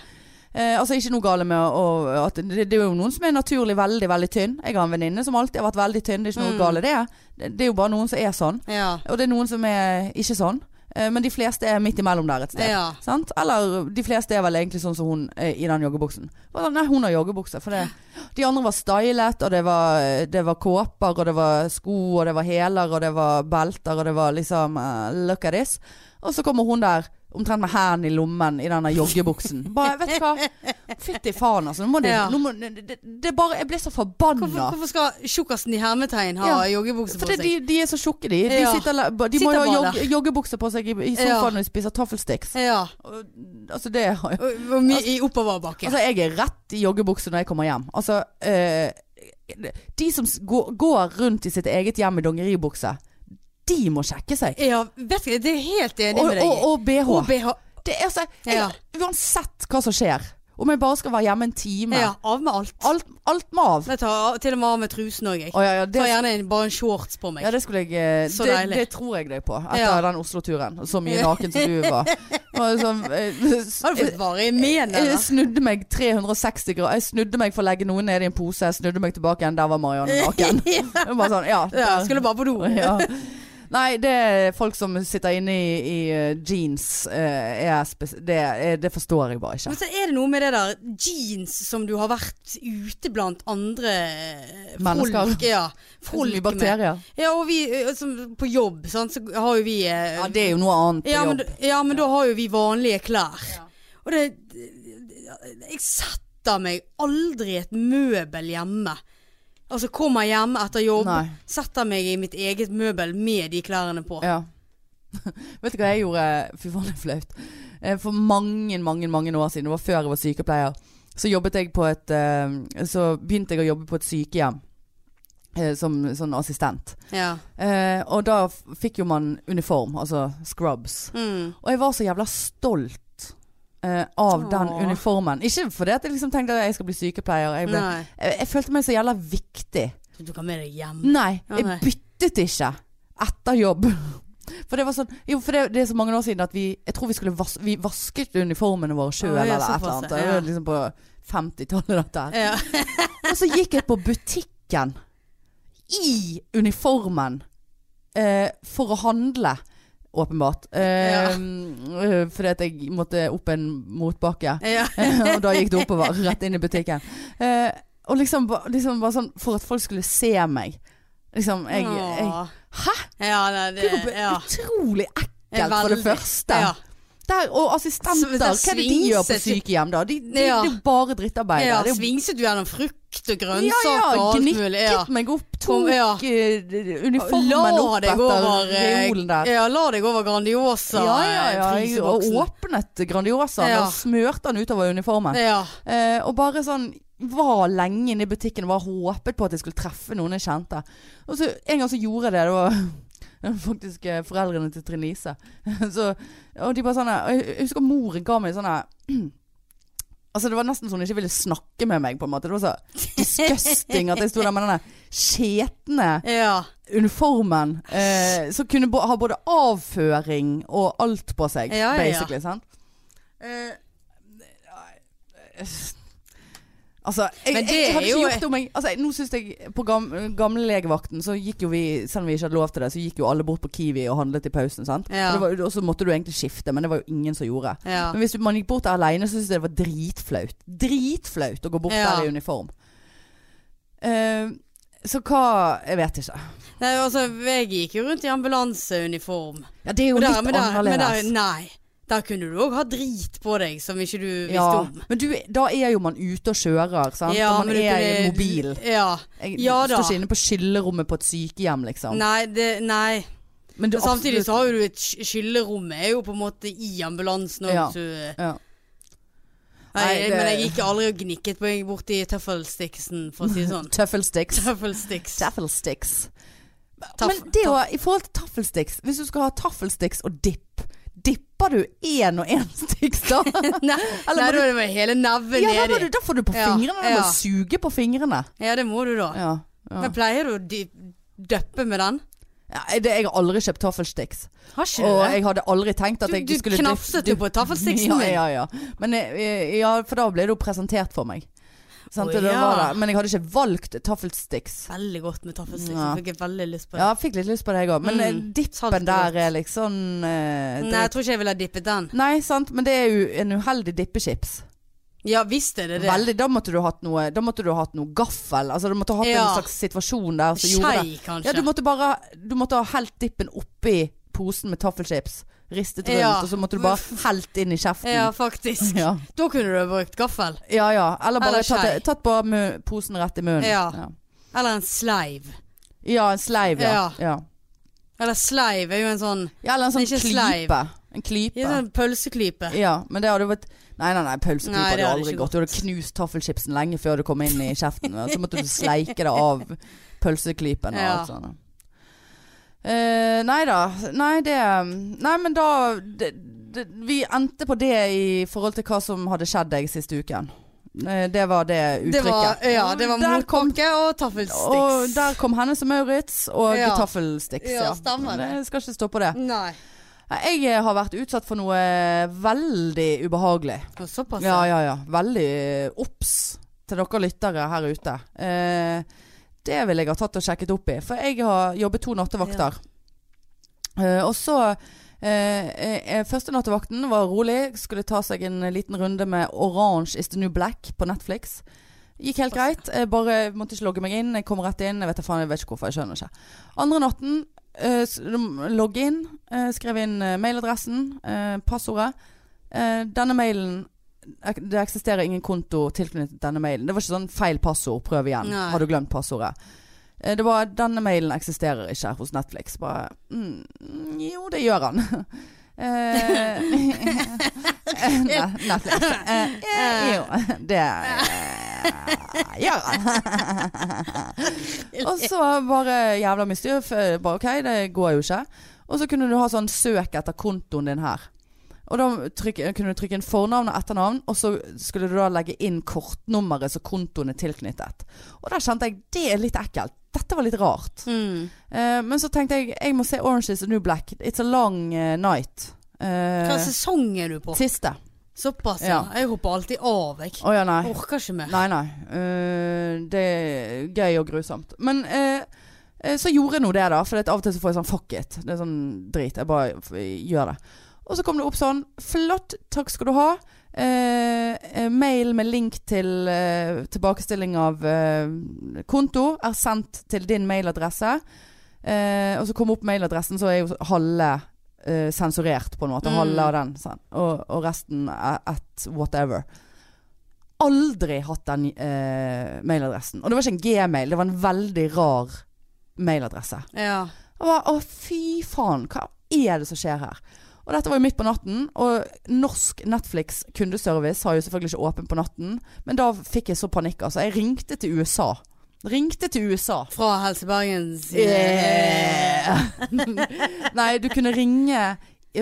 [SPEAKER 1] Eh, altså Ikke noe gale med å, å, at det, det er jo noen som er naturlig veldig, veldig tynn. Jeg har en venninne som alltid har vært veldig tynn. Det er ikke noe
[SPEAKER 2] Mm.
[SPEAKER 1] gale i det. det. Det er jo bare noen som er sånn.
[SPEAKER 2] ja.
[SPEAKER 1] Og det er noen som er ikke sånn. Eh, Men de fleste er midt imellom der et sted.
[SPEAKER 2] Ja.
[SPEAKER 1] Sant? Eller de fleste er vel egentlig sånn som hun eh, i den joggebuksen. Bare, Nei, hun har joggebukse. For det, de andre var stylet, og det var, det var kåper, og det var sko, og det var hæler, og det var belter, og det var liksom eh, Look at this. Og så kommer hun der omtrent med hælen i lommen i denne joggebuksen. Bare, vet du hva. Fytti faen, altså. Nå må de,
[SPEAKER 2] Ja.
[SPEAKER 1] nå må, det, det er bare Jeg ble så
[SPEAKER 2] Hvorfor,
[SPEAKER 1] forbanna.
[SPEAKER 2] hvorfor skal tjukkasen i hermetegn ha
[SPEAKER 1] Ja,
[SPEAKER 2] joggebukse på
[SPEAKER 1] Fordi
[SPEAKER 2] seg?
[SPEAKER 1] de, de er så tjukke, de. De,
[SPEAKER 2] Ja.
[SPEAKER 1] sitter, la- de må
[SPEAKER 2] Sitter
[SPEAKER 1] jo ha
[SPEAKER 2] bare
[SPEAKER 1] jogg, joggebukse på seg i, i sofaen
[SPEAKER 2] Ja.
[SPEAKER 1] når de spiser taffelsticks.
[SPEAKER 2] Ja.
[SPEAKER 1] Og, Altså, det har jo
[SPEAKER 2] Og, og mye I oppoverbakke.
[SPEAKER 1] Altså, jeg er rett i joggebukse når jeg kommer hjem. Altså, eh, de som s- går, går rundt i sitt eget hjem i dongeribukse, de må sjekke seg.
[SPEAKER 2] ja, vet du, det er jeg helt enig
[SPEAKER 1] Og,
[SPEAKER 2] med deg
[SPEAKER 1] og,
[SPEAKER 2] i.
[SPEAKER 1] og BH.
[SPEAKER 2] Og BH.
[SPEAKER 1] Det er altså, jeg,
[SPEAKER 2] Ja.
[SPEAKER 1] Uansett hva som skjer, om jeg bare skal være hjemme en time,
[SPEAKER 2] Ja, av med alt.
[SPEAKER 1] alt, alt må av.
[SPEAKER 2] Jeg tar til og med av med trusen òg, jeg.
[SPEAKER 1] Å, ja, ja,
[SPEAKER 2] Tar
[SPEAKER 1] det,
[SPEAKER 2] gjerne en, bare en shorts på meg.
[SPEAKER 1] ja, det skulle jeg eh,
[SPEAKER 2] Så
[SPEAKER 1] det,
[SPEAKER 2] deilig.
[SPEAKER 1] det tror jeg deg på, etter
[SPEAKER 2] Ja.
[SPEAKER 1] den Oslo-turen. Så mye naken som du
[SPEAKER 2] [LAUGHS]
[SPEAKER 1] var. var sånn,
[SPEAKER 2] Har du
[SPEAKER 1] eh,
[SPEAKER 2] fått vare i men,
[SPEAKER 1] Jeg
[SPEAKER 2] eller?
[SPEAKER 1] snudde meg 360 grader. Jeg snudde meg for å legge noe ned i en pose. Jeg snudde meg tilbake igjen. Der var Marianne naken. Det var Bare sånn, ja,
[SPEAKER 2] [LAUGHS] Ja,
[SPEAKER 1] der.
[SPEAKER 2] skulle bare på do.
[SPEAKER 1] [LAUGHS] ja. Nei, det er folk som sitter inne i, i eh, jeans. eh, er spes det, er- det forstår jeg bare ikke.
[SPEAKER 2] Men så er det noe med det der jeans som du har vært ute blant andre eh,
[SPEAKER 1] Mennesker.
[SPEAKER 2] Folk, ja,
[SPEAKER 1] [LAUGHS] Det er så mye
[SPEAKER 2] folk med.
[SPEAKER 1] bakterier.
[SPEAKER 2] Ja, og vi eh, som på jobb, sant, så har jo vi eh,
[SPEAKER 1] Ja, det er jo noe annet på
[SPEAKER 2] ja, men,
[SPEAKER 1] jobb.
[SPEAKER 2] da- ja, men da har jo vi vanlige klær. Og det Jeg setter meg aldri i et møbel hjemme. Altså kommer hjem etter jobb,
[SPEAKER 1] Nei.
[SPEAKER 2] setter meg i mitt eget møbel med de klærne på.
[SPEAKER 1] Ja. [LAUGHS] Vet du hva jeg gjorde? Fy faen, det er flaut. Eh, For mange, mange mange år siden, det var før jeg var sykepleier, så jobbet jeg på et eh, Så begynte jeg å jobbe på et sykehjem eh, som sånn assistent.
[SPEAKER 2] Ja.
[SPEAKER 1] Eh, og da f- fikk jo man uniform, altså scrubs.
[SPEAKER 2] Mm.
[SPEAKER 1] Og jeg var så jævla stolt eh, av den
[SPEAKER 2] Åh.
[SPEAKER 1] uniformen. Ikke fordi at jeg liksom tenkte at jeg skal bli sykepleier. Jeg, ble,
[SPEAKER 2] Nei.
[SPEAKER 1] jeg, jeg følte meg så jævla viktig.
[SPEAKER 2] Du tok den med deg hjem.
[SPEAKER 1] Nei,
[SPEAKER 2] Ja,
[SPEAKER 1] jeg
[SPEAKER 2] nei.
[SPEAKER 1] byttet ikke etter jobb. [LAUGHS] For det var sånn Jo, for det, det er så mange år siden at vi Jeg tror vi skulle vas vi vasket uniformene våre sjøl,
[SPEAKER 2] Å, ja,
[SPEAKER 1] eller et eller
[SPEAKER 2] såpass,
[SPEAKER 1] annet. Det var
[SPEAKER 2] ja.
[SPEAKER 1] liksom på 50-tallet, dette her.
[SPEAKER 2] Ja.
[SPEAKER 1] Og så gikk jeg på butikken i uniformen eh, for å handle, åpenbart. Eh,
[SPEAKER 2] Ja.
[SPEAKER 1] eh, Fordi at jeg måtte opp en motbakke.
[SPEAKER 2] ja.
[SPEAKER 1] [LAUGHS] og da gikk det oppover, rett inn i butikken. Eh, og liksom, ba- liksom bare sånn for at folk skulle se meg. Liksom, jeg, jeg
[SPEAKER 2] Åh.
[SPEAKER 1] Hæ?
[SPEAKER 2] Ja, nei, det
[SPEAKER 1] Det var
[SPEAKER 2] ja.
[SPEAKER 1] utrolig ekkelt, for det
[SPEAKER 2] Veldig.
[SPEAKER 1] første.
[SPEAKER 2] Ja.
[SPEAKER 1] Der, og assistenter,
[SPEAKER 2] Så
[SPEAKER 1] hva
[SPEAKER 2] der
[SPEAKER 1] er det de gjør på
[SPEAKER 2] svingset-
[SPEAKER 1] sykehjem da? De, de,
[SPEAKER 2] Ja.
[SPEAKER 1] Det er jo bare drittarbeid.
[SPEAKER 2] ja,
[SPEAKER 1] der. Det er jo
[SPEAKER 2] svingset du gjennom frukt og
[SPEAKER 1] ja,
[SPEAKER 2] grønnsaker
[SPEAKER 1] ja,
[SPEAKER 2] og alt
[SPEAKER 1] gnikket
[SPEAKER 2] mulig. Ja.
[SPEAKER 1] meg opp, tok
[SPEAKER 2] Kom, ja.
[SPEAKER 1] eh, uniformen
[SPEAKER 2] La
[SPEAKER 1] opp
[SPEAKER 2] deg
[SPEAKER 1] etter
[SPEAKER 2] over, eh,
[SPEAKER 1] reolen der.
[SPEAKER 2] Ja, la deg over Grandiosa.
[SPEAKER 1] ja, ja, ja.
[SPEAKER 2] eh,
[SPEAKER 1] Jeg, og
[SPEAKER 2] fryseboksen.
[SPEAKER 1] åpnet Grandiosa
[SPEAKER 2] Ja.
[SPEAKER 1] og smørte den utover uniformen.
[SPEAKER 2] Ja.
[SPEAKER 1] Eh, og bare sånn var lenge inne i butikken og bare håpet på at jeg skulle treffe noen jeg kjente. Og så en gang så gjorde jeg det. Det var [LAUGHS] faktisk eh, foreldrene til Trine Lise. [LAUGHS] så, og de bare sånn eh, Jeg jeg husker moren ga meg sånn eh, [CLEARS THROAT] Altså Det var nesten sånn hun ikke ville snakke med meg. på en måte Det var så disgusting at jeg sto der med denne skjetne
[SPEAKER 2] ja.
[SPEAKER 1] uniformen. Eh, som kunne bo- ha både avføring og alt på seg,
[SPEAKER 2] Ja, ja, ja.
[SPEAKER 1] basically. Sant? Eh, nei, eh, Altså, jeg,
[SPEAKER 2] Men det
[SPEAKER 1] jeg, jeg hadde
[SPEAKER 2] er jo-
[SPEAKER 1] ikke gjort om jeg altså, jeg- Nå syns jeg På gam, gamle legevakten så gikk jo vi, selv om vi ikke hadde lov til det, så gikk jo alle bort på Kiwi og handlet i pausen, sant.
[SPEAKER 2] Ja.
[SPEAKER 1] Og, det var, jo- og så måtte du egentlig skifte, men det var jo ingen som gjorde.
[SPEAKER 2] ja.
[SPEAKER 1] Men hvis du- man gikk bort der alene, så syntes jeg det var dritflaut. Dritflaut å gå bort
[SPEAKER 2] Ja.
[SPEAKER 1] der i uniform. Eh, så hva Jeg vet ikke.
[SPEAKER 2] Nei, altså, jeg gikk jo rundt i ambulanseuniform.
[SPEAKER 1] Ja, det er jo
[SPEAKER 2] Og der-
[SPEAKER 1] litt
[SPEAKER 2] men der- men der-
[SPEAKER 1] annerledes.
[SPEAKER 2] Nei. Der kunne du òg ha drit på deg som ikke du visste
[SPEAKER 1] ja,
[SPEAKER 2] om.
[SPEAKER 1] men du, da er jo man ute og kjører, sant?
[SPEAKER 2] Ja,
[SPEAKER 1] og man
[SPEAKER 2] men du
[SPEAKER 1] er i
[SPEAKER 2] kunne-
[SPEAKER 1] mobil.
[SPEAKER 2] Ja.
[SPEAKER 1] Jeg
[SPEAKER 2] Ja da.
[SPEAKER 1] står ikke inne på skyllerommet på et sykehjem, liksom.
[SPEAKER 2] Nei, det, nei.
[SPEAKER 1] Men du
[SPEAKER 2] Men samtidig
[SPEAKER 1] absolutt-
[SPEAKER 2] så har jo du et sky- skyllerom er jo på en måte i ambulansen òg,
[SPEAKER 1] Ja.
[SPEAKER 2] så Nei,
[SPEAKER 1] ja. Nei,
[SPEAKER 2] jeg-
[SPEAKER 1] det-
[SPEAKER 2] men jeg gikk aldri og gnikket på jeg borti tøffelsticksen, for å si
[SPEAKER 1] [LAUGHS]
[SPEAKER 2] det sånn.
[SPEAKER 1] Tøffelsticks.
[SPEAKER 2] Tøffelsticks.
[SPEAKER 1] Taffelsticks.
[SPEAKER 2] Taff-
[SPEAKER 1] Men det å, i forhold til taffelsticks, hvis du skal ha taffelsticks og dipp, dipper du én og én sticks
[SPEAKER 2] [LAUGHS]
[SPEAKER 1] da?
[SPEAKER 2] Nei,
[SPEAKER 1] Eller må
[SPEAKER 2] nei da er det med hele neven
[SPEAKER 1] ja, da, må du,
[SPEAKER 2] nedi.
[SPEAKER 1] da får du på
[SPEAKER 2] Ja,
[SPEAKER 1] fingrene, du
[SPEAKER 2] ja.
[SPEAKER 1] må suge på fingrene.
[SPEAKER 2] Ja, det må du da.
[SPEAKER 1] Ja, ja.
[SPEAKER 2] Men pleier du å dy- døppe med den?
[SPEAKER 1] ja det, jeg har aldri kjøpt taffelsticks.
[SPEAKER 2] Har ikke
[SPEAKER 1] Og
[SPEAKER 2] du det?
[SPEAKER 1] jeg hadde aldri tenkt at
[SPEAKER 2] Du,
[SPEAKER 1] jeg
[SPEAKER 2] du
[SPEAKER 1] skulle
[SPEAKER 2] knapset jo på
[SPEAKER 1] [LAUGHS]
[SPEAKER 2] taffelstiksen
[SPEAKER 1] Ja, eh,
[SPEAKER 2] din.
[SPEAKER 1] ja, ja. Men eh, ja, for da ble det jo presentert for meg. Sant?
[SPEAKER 2] Å,
[SPEAKER 1] det
[SPEAKER 2] ja.
[SPEAKER 1] var det. Men jeg hadde ikke valgt taffelsticks.
[SPEAKER 2] Veldig godt med taffelsticks.
[SPEAKER 1] Ja.
[SPEAKER 2] Jeg Fikk jeg veldig lyst på det.
[SPEAKER 1] Ja, jeg fikk litt lyst på det, jeg òg. Men
[SPEAKER 2] Mm.
[SPEAKER 1] eh,
[SPEAKER 2] Salt og
[SPEAKER 1] dippen
[SPEAKER 2] godt.
[SPEAKER 1] der er liksom eh,
[SPEAKER 2] Nei,
[SPEAKER 1] Nei.
[SPEAKER 2] jeg tror ikke jeg ville ha dippet den.
[SPEAKER 1] Nei, sant. Men det er jo en uheldig dippechips.
[SPEAKER 2] Ja visst er det det.
[SPEAKER 1] Veldig, da måtte du hatt noe Da måtte du hatt noe gaffel. Altså, du måtte hatt
[SPEAKER 2] Ja.
[SPEAKER 1] en slags situasjon der som gjorde det.
[SPEAKER 2] Skei, kanskje.
[SPEAKER 1] Ja, du måtte bare Du måtte ha helt dippen oppi posen med taffelchips. Ristet rundt,
[SPEAKER 2] Ja.
[SPEAKER 1] og så måtte du bare helt inn i kjeften.
[SPEAKER 2] ja,
[SPEAKER 1] [LAUGHS]
[SPEAKER 2] faktisk.
[SPEAKER 1] Ja.
[SPEAKER 2] Da kunne du ha brukt gaffel.
[SPEAKER 1] ja ja. Eller bare
[SPEAKER 2] Eller skei.
[SPEAKER 1] tatt, tatt bare mu posen rett i munnen.
[SPEAKER 2] Ja.
[SPEAKER 1] ja.
[SPEAKER 2] Eller en sleiv.
[SPEAKER 1] Ja, en sleiv, ja.
[SPEAKER 2] Ja.
[SPEAKER 1] ja.
[SPEAKER 2] Eller sleiv er jo en sånn,
[SPEAKER 1] ja eller en sånn
[SPEAKER 2] Ikke
[SPEAKER 1] klype.
[SPEAKER 2] sleiv.
[SPEAKER 1] En klype.
[SPEAKER 2] en
[SPEAKER 1] Ja, [LAUGHS]
[SPEAKER 2] sånn pølseklype.
[SPEAKER 1] men det hadde vært Nei, nei, nei, pølseklype
[SPEAKER 2] Nei, det
[SPEAKER 1] hadde
[SPEAKER 2] hadde
[SPEAKER 1] aldri
[SPEAKER 2] ikke
[SPEAKER 1] gått. Du hadde knust taffelchipsen lenge før du kom inn i kjeften. og Så måtte du sleike det av pølseklypen og
[SPEAKER 2] Ja.
[SPEAKER 1] alt sånt. Eh, nei da. Nei, det Nei, men da det, det, Vi endte på det i forhold til hva som hadde skjedd deg siste uken. Eh, det var det
[SPEAKER 2] Det var,
[SPEAKER 1] uttrykket. Mm,
[SPEAKER 2] ja, det var
[SPEAKER 1] Der kom
[SPEAKER 2] motbakke og taffelsticks.
[SPEAKER 1] Og der kom Hennes og Maurits og
[SPEAKER 2] Ja.
[SPEAKER 1] taffelsticks.
[SPEAKER 2] Ja, stemmer det.
[SPEAKER 1] Jeg skal ikke stå på det.
[SPEAKER 2] Nei.
[SPEAKER 1] Nei, Jeg har vært utsatt for noe veldig ubehagelig.
[SPEAKER 2] Og såpass.
[SPEAKER 1] Ja, ja, ja. Veldig eh, obs til dere lyttere her ute. Eh, det vil jeg ha tatt og sjekket opp i. For jeg har jobbet to nattevakter. Eh, og så eh, eh, Første nattevakten var rolig. Skulle ta seg en liten runde med Orange is the New Black på Netflix. Gikk helt greit. Jeg bare måtte ikke logge meg inn. Jeg kom rett inn. Jeg vet, da faen, jeg vet ikke hvorfor. Jeg skjønner ikke. Andre natten eh, s- logg inn. Eh, skrev inn eh, mailadressen. Eh, passordet. Eh, denne mailen ek- Det eksisterer ingen konto tilknyttet denne mailen. Det var ikke sånn feil passord, prøv igjen.
[SPEAKER 2] Nei.
[SPEAKER 1] Har du glemt passordet? Eh, Det var 'Denne mailen eksisterer ikke hos Netflix'. Bare mm, mm, Jo, det gjør han. [LAUGHS] Eh, ne- Netflix. Eh, eh, jo, det eh, gjør han. [LAUGHS] Og så bare jævla mye styr. for Bare OK, det går jo ikke. Og så kunne du ha sånn søk etter kontoen din her. Og da trykk, kunne du trykke inn fornavn og etternavn, og så skulle du da legge inn kortnummeret som kontoen er tilknyttet. Og der kjente jeg det er litt ekkelt. Dette var litt rart.
[SPEAKER 2] Mm.
[SPEAKER 1] Eh, men så tenkte jeg jeg må se Orange is the New Black. It's a long eh, night. Eh,
[SPEAKER 2] Hva sesong er du på?
[SPEAKER 1] siste.
[SPEAKER 2] Såpass, ja.
[SPEAKER 1] Ja.
[SPEAKER 2] Jeg hopper alltid av, jeg.
[SPEAKER 1] Å ja, nei.
[SPEAKER 2] Orker ikke mer.
[SPEAKER 1] Nei, nei. Eh, det er gøy og grusomt. Men eh, eh, så gjorde jeg nå det, da. For det at av og til så får jeg sånn fuck it. Det er sånn drit. Jeg bare f- gjør det. Og så kom det opp sånn Flott, takk skal du ha. Eh, eh, mail med link til eh, tilbakestilling av eh, konto er sendt til din mailadresse. Eh, og så kom opp mailadressen, så er jo halve eh, sensurert, på en måte.
[SPEAKER 2] Mm.
[SPEAKER 1] Halve av den. Sånn. Og, og resten er at whatever. Aldri hatt den eh, mailadressen. Og det var ikke en gmail, det var en veldig rar mailadresse.
[SPEAKER 2] Ja.
[SPEAKER 1] Jeg bare, å fy faen, hva er det som skjer her? Og dette var jo midt på natten, og norsk Netflix kundeservice har jo selvfølgelig ikke åpen på natten, men da fikk jeg så panikk, altså. Jeg ringte til USA. Ringte til USA.
[SPEAKER 2] Fra Helse Bergens
[SPEAKER 1] Yeah. [LAUGHS] Nei, du kunne ringe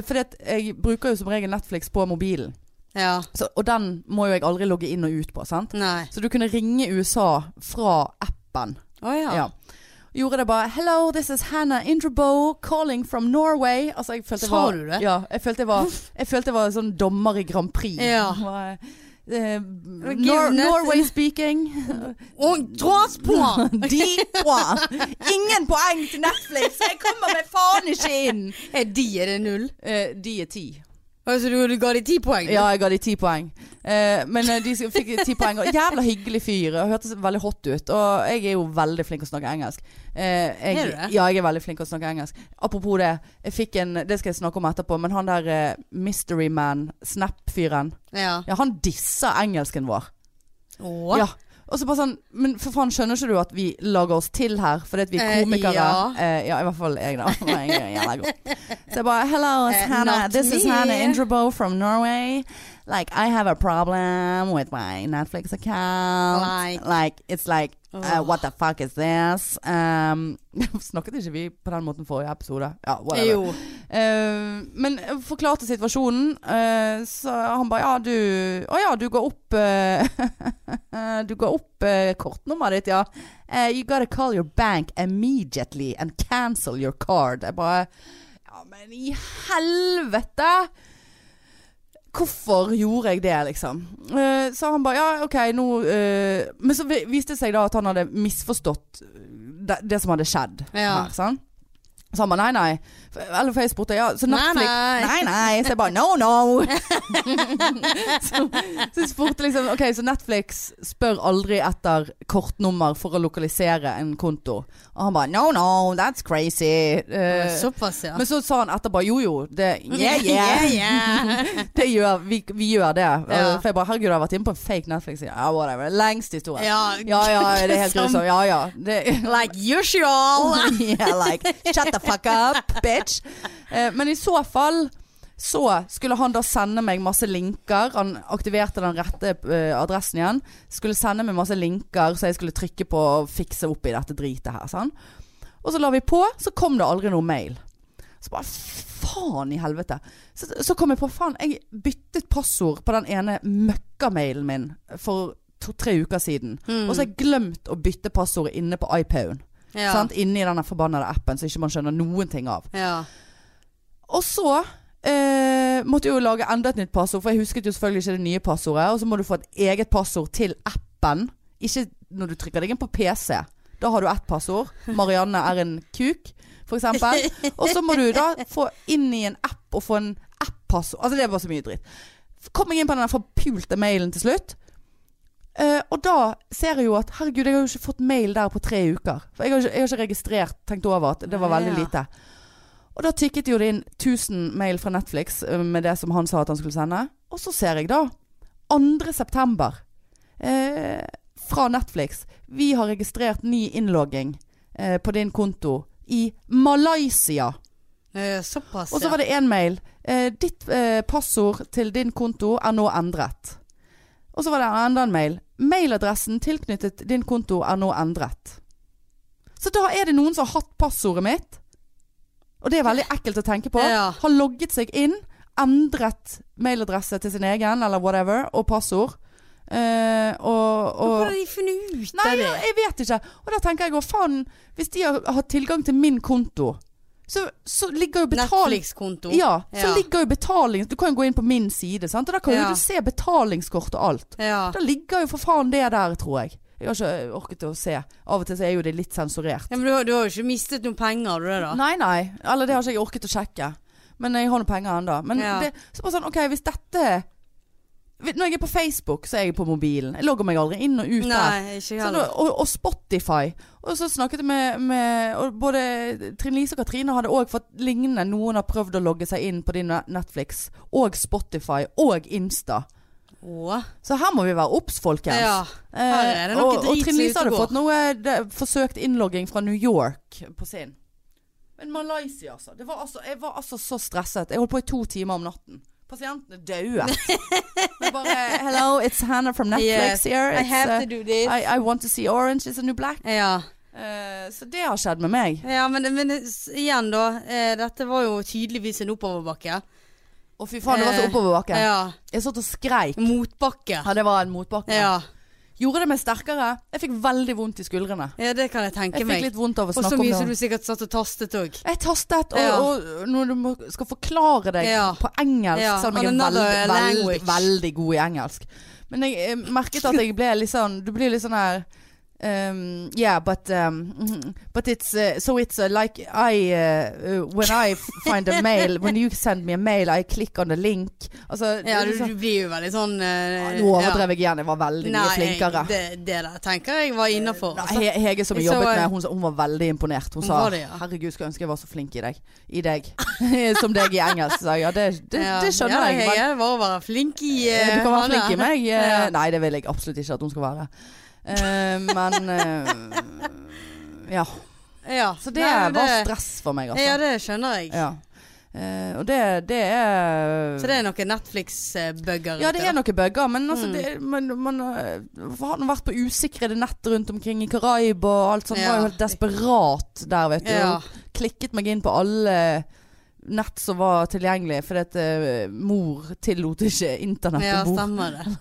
[SPEAKER 1] For jeg bruker jo som regel Netflix på mobilen.
[SPEAKER 2] Ja.
[SPEAKER 1] Så, og den må jo jeg aldri logge inn og ut på. Sant?
[SPEAKER 2] Nei.
[SPEAKER 1] Så du kunne ringe USA fra appen.
[SPEAKER 2] Å ja.
[SPEAKER 1] Ja. Gjorde det bare 'Hello, this is Hannah Introbo calling from Norway'. Altså, jeg følte jeg
[SPEAKER 2] Sa
[SPEAKER 1] var,
[SPEAKER 2] du det?
[SPEAKER 1] Ja, jeg følte jeg var, jeg følte jeg var sånn dommer i Grand Prix.
[SPEAKER 2] Ja. Oh,
[SPEAKER 1] Bare, eh,
[SPEAKER 2] give
[SPEAKER 1] Nor
[SPEAKER 2] nothing.
[SPEAKER 1] Norway speaking.
[SPEAKER 2] [LAUGHS] Og dras på!
[SPEAKER 1] De poeng. Ingen poeng til Netflix, så jeg kommer meg faen ikke inn!
[SPEAKER 2] Er de er det null?
[SPEAKER 1] de er ti.
[SPEAKER 2] Altså, du, du ga de ti poeng? du?
[SPEAKER 1] Ja, jeg ga de ti poeng. Eh, men eh, de fikk ti poeng. Og jævla hyggelig fyr. Og hørtes veldig hot ut. Og jeg er jo veldig flink å snakke engelsk. Eh, jeg,
[SPEAKER 2] Er du det?
[SPEAKER 1] Ja, jeg er veldig flink å snakke engelsk. Apropos det, jeg fikk en Det skal jeg snakke om etterpå, men han der eh, Mystery Man, Snap-fyren,
[SPEAKER 2] ja.
[SPEAKER 1] ja, han dissa engelsken vår.
[SPEAKER 2] Å.
[SPEAKER 1] Ja. Og så bare sånn, Men for faen, skjønner ikke du at vi lager oss til her fordi at vi er
[SPEAKER 2] Eh,
[SPEAKER 1] komikere?
[SPEAKER 2] ja.
[SPEAKER 1] Eh, ja, i hvert fall jeg, da. Jeg er jævla god. Så jeg bare Hello, it's
[SPEAKER 2] Eh,
[SPEAKER 1] Hannah.
[SPEAKER 2] not
[SPEAKER 1] This is
[SPEAKER 2] me."
[SPEAKER 1] Hannah Introbo from Norway. Like, I have a problem with my Netflix account.
[SPEAKER 2] Like.
[SPEAKER 1] it's like uh, What the fuck is this? Um, [LAUGHS] snakket ikke vi på den måten forrige episode? Ja, whatever.
[SPEAKER 2] Jo.
[SPEAKER 1] Eh, men forklarte situasjonen, eh, så han bare Ja, du Å ja, du går opp eh, [LAUGHS] Du går opp eh, kortnummeret ditt, ja. Eh, you gotta call your bank immediately and cancel your card. Jeg bare Ja, men i helvete! Hvorfor gjorde jeg det, liksom? Eh, så han bare ja, OK, nå eh, Men så vi- viste det seg da at han hadde misforstått det, det som hadde skjedd.
[SPEAKER 2] Ja.
[SPEAKER 1] Her, sant? Så han bare nei, nei. F- Eller for jeg spurte ja, så
[SPEAKER 2] Nei,
[SPEAKER 1] Netflix
[SPEAKER 2] nei.
[SPEAKER 1] Nei, nei. Så jeg bare no, no. [LAUGHS] så, så jeg spurte liksom OK, så Netflix spør aldri etter kortnummer for å lokalisere en konto. Og han bare no, no, that's crazy. Eh,
[SPEAKER 2] Såpass, ja.
[SPEAKER 1] men så sa han etterpå jo, jo, det
[SPEAKER 2] [LAUGHS]
[SPEAKER 1] Yeah,
[SPEAKER 2] Ja,
[SPEAKER 1] yeah.
[SPEAKER 2] ja. [LAUGHS]
[SPEAKER 1] Det gjør, vi, vi gjør det.
[SPEAKER 2] Ja.
[SPEAKER 1] For jeg bare herregud, jeg har vært inne på en fake Netflix. Ja, whatever. Lengst historie. Ja. Ja, det er helt
[SPEAKER 2] som-
[SPEAKER 1] grusomt. Ja, ja. Det,
[SPEAKER 2] Like [LAUGHS] usual.
[SPEAKER 1] [LAUGHS] yeah, like, shut the fuck up, bitch. Eh, men i så fall så skulle han da sende meg masse linker. Han aktiverte den rette eh, adressen igjen. Skulle sende meg masse linker så jeg skulle trykke på og fikse opp i dette dritet her. Sånn. Og så la vi på, så kom det aldri noe mail. Så bare faen i helvete. Så, så kom jeg på faen, jeg byttet passord på den ene møkkamailen min for to-tre uker siden.
[SPEAKER 2] Mm,
[SPEAKER 1] Og så har jeg glemt å bytte passordet inne på iPaden
[SPEAKER 2] Ja.
[SPEAKER 1] sant? Inni denne forbannede appen som ikke man skjønner noen ting av.
[SPEAKER 2] Ja.
[SPEAKER 1] Og så eh, måtte jeg jo lage enda et nytt passord, for jeg husket jo selvfølgelig ikke det nye passordet. Og så må du få et eget passord til appen, ikke når du trykker deg inn på PC. Da har du ett passord. Marianne er en kuk, for eksempel. Og så må du da få inn i en app og få en app-passord. Altså det var så mye dritt. Kom jeg inn på den der forpulte mailen til slutt. Eh, og da ser jeg jo at herregud, jeg har jo ikke fått mail der på tre uker. For jeg har ikke, jeg har ikke registrert, tenkt over at det var veldig
[SPEAKER 2] Ja.
[SPEAKER 1] lite. Og da tikket jo det inn 1000 mail fra Netflix eh, med det som han sa at han skulle sende. Og så ser jeg da 2. september eh, fra Netflix. Vi har registrert ny innlogging eh, på din konto i Malaysia.
[SPEAKER 2] Eh, Såpass,
[SPEAKER 1] Og så var det en mail. Eh, ditt eh, passord til din konto er nå endret. Og så var det enda en mail. Mailadressen tilknyttet din konto er nå endret. Så da er det noen som har hatt passordet mitt. Og det er veldig ekkelt å tenke på.
[SPEAKER 2] Ja.
[SPEAKER 1] Har logget seg inn, endret mailadresse til sin egen, eller whatever, og passord. Eh, og,
[SPEAKER 2] Hvordan
[SPEAKER 1] og
[SPEAKER 2] har de funnet ut
[SPEAKER 1] Nei,
[SPEAKER 2] av det?
[SPEAKER 1] ja, jeg vet ikke. Og da tenker jeg å faen, hvis de har, har tilgang til min konto, så, så ligger jo betaling
[SPEAKER 2] Netflix-konto.
[SPEAKER 1] ja, så
[SPEAKER 2] Ja.
[SPEAKER 1] ligger jo betaling Du kan jo gå inn på min side, sant? og da kan
[SPEAKER 2] Ja.
[SPEAKER 1] jo du se betalingskort og alt.
[SPEAKER 2] Ja.
[SPEAKER 1] Da ligger jo for faen det der, tror jeg. Jeg har ikke orket å se. Av og til så er jo det litt sensurert.
[SPEAKER 2] Ja, men du, har- du har jo ikke mistet noen penger, har du det da?
[SPEAKER 1] Nei, nei. Eller det har ikke jeg orket å sjekke. Men jeg har noen penger ennå. Men
[SPEAKER 2] Ja.
[SPEAKER 1] det, så bare sånn, OK, hvis dette Hvis- Når jeg er på Facebook, så er jeg på mobilen. Jeg logger meg aldri inn og ut der.
[SPEAKER 2] Nei, ikke
[SPEAKER 1] Så
[SPEAKER 2] heller.
[SPEAKER 1] da, og, og Spotify. Og så snakket jeg med, med og Både Trine Lise og Katrine hadde òg fått lignende. Noen har prøvd å logge seg inn på din Netflix og Spotify og Insta.
[SPEAKER 2] Åh.
[SPEAKER 1] Så her må vi være obs, folkens. Eh,
[SPEAKER 2] Ja. her er det noe
[SPEAKER 1] og,
[SPEAKER 2] drit
[SPEAKER 1] og
[SPEAKER 2] som
[SPEAKER 1] Trine Lise hadde
[SPEAKER 2] utegår.
[SPEAKER 1] fått noe det, forsøkt innlogging fra New York på sin. Men Malaysia, altså. Det var altså. Jeg var altså så stresset. Jeg holdt på i to timer om natten. Pasientene
[SPEAKER 2] [LAUGHS]
[SPEAKER 1] daua. Men bare Hello, it's Hannah from Netflix
[SPEAKER 2] Yes,
[SPEAKER 1] here.
[SPEAKER 2] I
[SPEAKER 1] It's,
[SPEAKER 2] have
[SPEAKER 1] uh,
[SPEAKER 2] to do this.
[SPEAKER 1] I, I want to see orange is a new black.
[SPEAKER 2] Ja.
[SPEAKER 1] Eh, så det har skjedd med meg.
[SPEAKER 2] Ja, men, men s- igjen da, eh, dette var jo tydeligvis en oppoverbakke.
[SPEAKER 1] Å, fy faen, det var så oppoverbakke.
[SPEAKER 2] Ja.
[SPEAKER 1] Jeg satt og skreik.
[SPEAKER 2] Motbakke.
[SPEAKER 1] Eh, Ja, det var en motbakke.
[SPEAKER 2] Ja.
[SPEAKER 1] Gjorde det meg sterkere. Jeg fikk veldig vondt i skuldrene.
[SPEAKER 2] ja, det kan jeg tenke
[SPEAKER 1] Jeg fikk
[SPEAKER 2] meg.
[SPEAKER 1] litt vondt av å
[SPEAKER 2] Og så
[SPEAKER 1] snakke om
[SPEAKER 2] mye
[SPEAKER 1] det.
[SPEAKER 2] som du sikkert satt og tastet òg.
[SPEAKER 1] Jeg tastet, og,
[SPEAKER 2] Ja.
[SPEAKER 1] og når du må, skal forklare deg
[SPEAKER 2] Ja.
[SPEAKER 1] på engelsk,
[SPEAKER 2] Ja,
[SPEAKER 1] selv om jeg
[SPEAKER 2] on
[SPEAKER 1] er
[SPEAKER 2] another
[SPEAKER 1] veldig, veldig,
[SPEAKER 2] language.
[SPEAKER 1] veldig god i engelsk. Men jeg eh, merket at jeg ble litt sånn Du blir litt sånn her Um, yeah, but um, mhm, but it's uh, so it's uh, like I uh, uh, when I f- find a mail when you send me a mail I click on the link. Altså,
[SPEAKER 2] Ja, du,
[SPEAKER 1] det er sånn-
[SPEAKER 2] du blir jo veldig sånn
[SPEAKER 1] Ja,
[SPEAKER 2] eh,
[SPEAKER 1] Nå overdrev jeg igjen. Jeg var veldig mye flinkere.
[SPEAKER 2] jeg- Det, det der tenker jeg var innafor.
[SPEAKER 1] Nei,
[SPEAKER 2] Altså.
[SPEAKER 1] He- Hege som jeg
[SPEAKER 2] Så-
[SPEAKER 1] jobbet med, hun, sa- hun var veldig imponert. Hun
[SPEAKER 2] Hun
[SPEAKER 1] sa
[SPEAKER 2] var det, ja.
[SPEAKER 1] 'herregud, skulle ønske jeg var så flink i deg'. I deg. [LAUGHS] Som deg i engelsk. Så jeg, ja, det, det,
[SPEAKER 2] Ja,
[SPEAKER 1] det skjønner
[SPEAKER 2] ja,
[SPEAKER 1] jeg. men-
[SPEAKER 2] Jeg var bare flink i
[SPEAKER 1] Eh, Du kan være
[SPEAKER 2] hane.
[SPEAKER 1] flink i meg. eh,
[SPEAKER 2] Ja.
[SPEAKER 1] Nei, det vil jeg absolutt ikke at hun skal være. Eh, men eh, Ja.
[SPEAKER 2] Ja.
[SPEAKER 1] Så det
[SPEAKER 2] Nei, men
[SPEAKER 1] var stress for meg, altså.
[SPEAKER 2] Ja, det skjønner jeg.
[SPEAKER 1] Ja. Eh, og det, det er
[SPEAKER 2] Så det er noen Netflix-bugger
[SPEAKER 1] ja, det er noen bugger, men altså,
[SPEAKER 2] Mm.
[SPEAKER 1] det, man, man øh, har nå vært på usikrede nett rundt omkring i Karaib og alt sånt.
[SPEAKER 2] Ja.
[SPEAKER 1] Var jo helt desperat der, vet du.
[SPEAKER 2] Ja.
[SPEAKER 1] Og Klikket meg inn på alle nett som var tilgjengelige, fordi at øh, mor tillot ikke internett
[SPEAKER 2] Ja,
[SPEAKER 1] å bo.
[SPEAKER 2] stemmer
[SPEAKER 1] [LAUGHS]
[SPEAKER 2] det.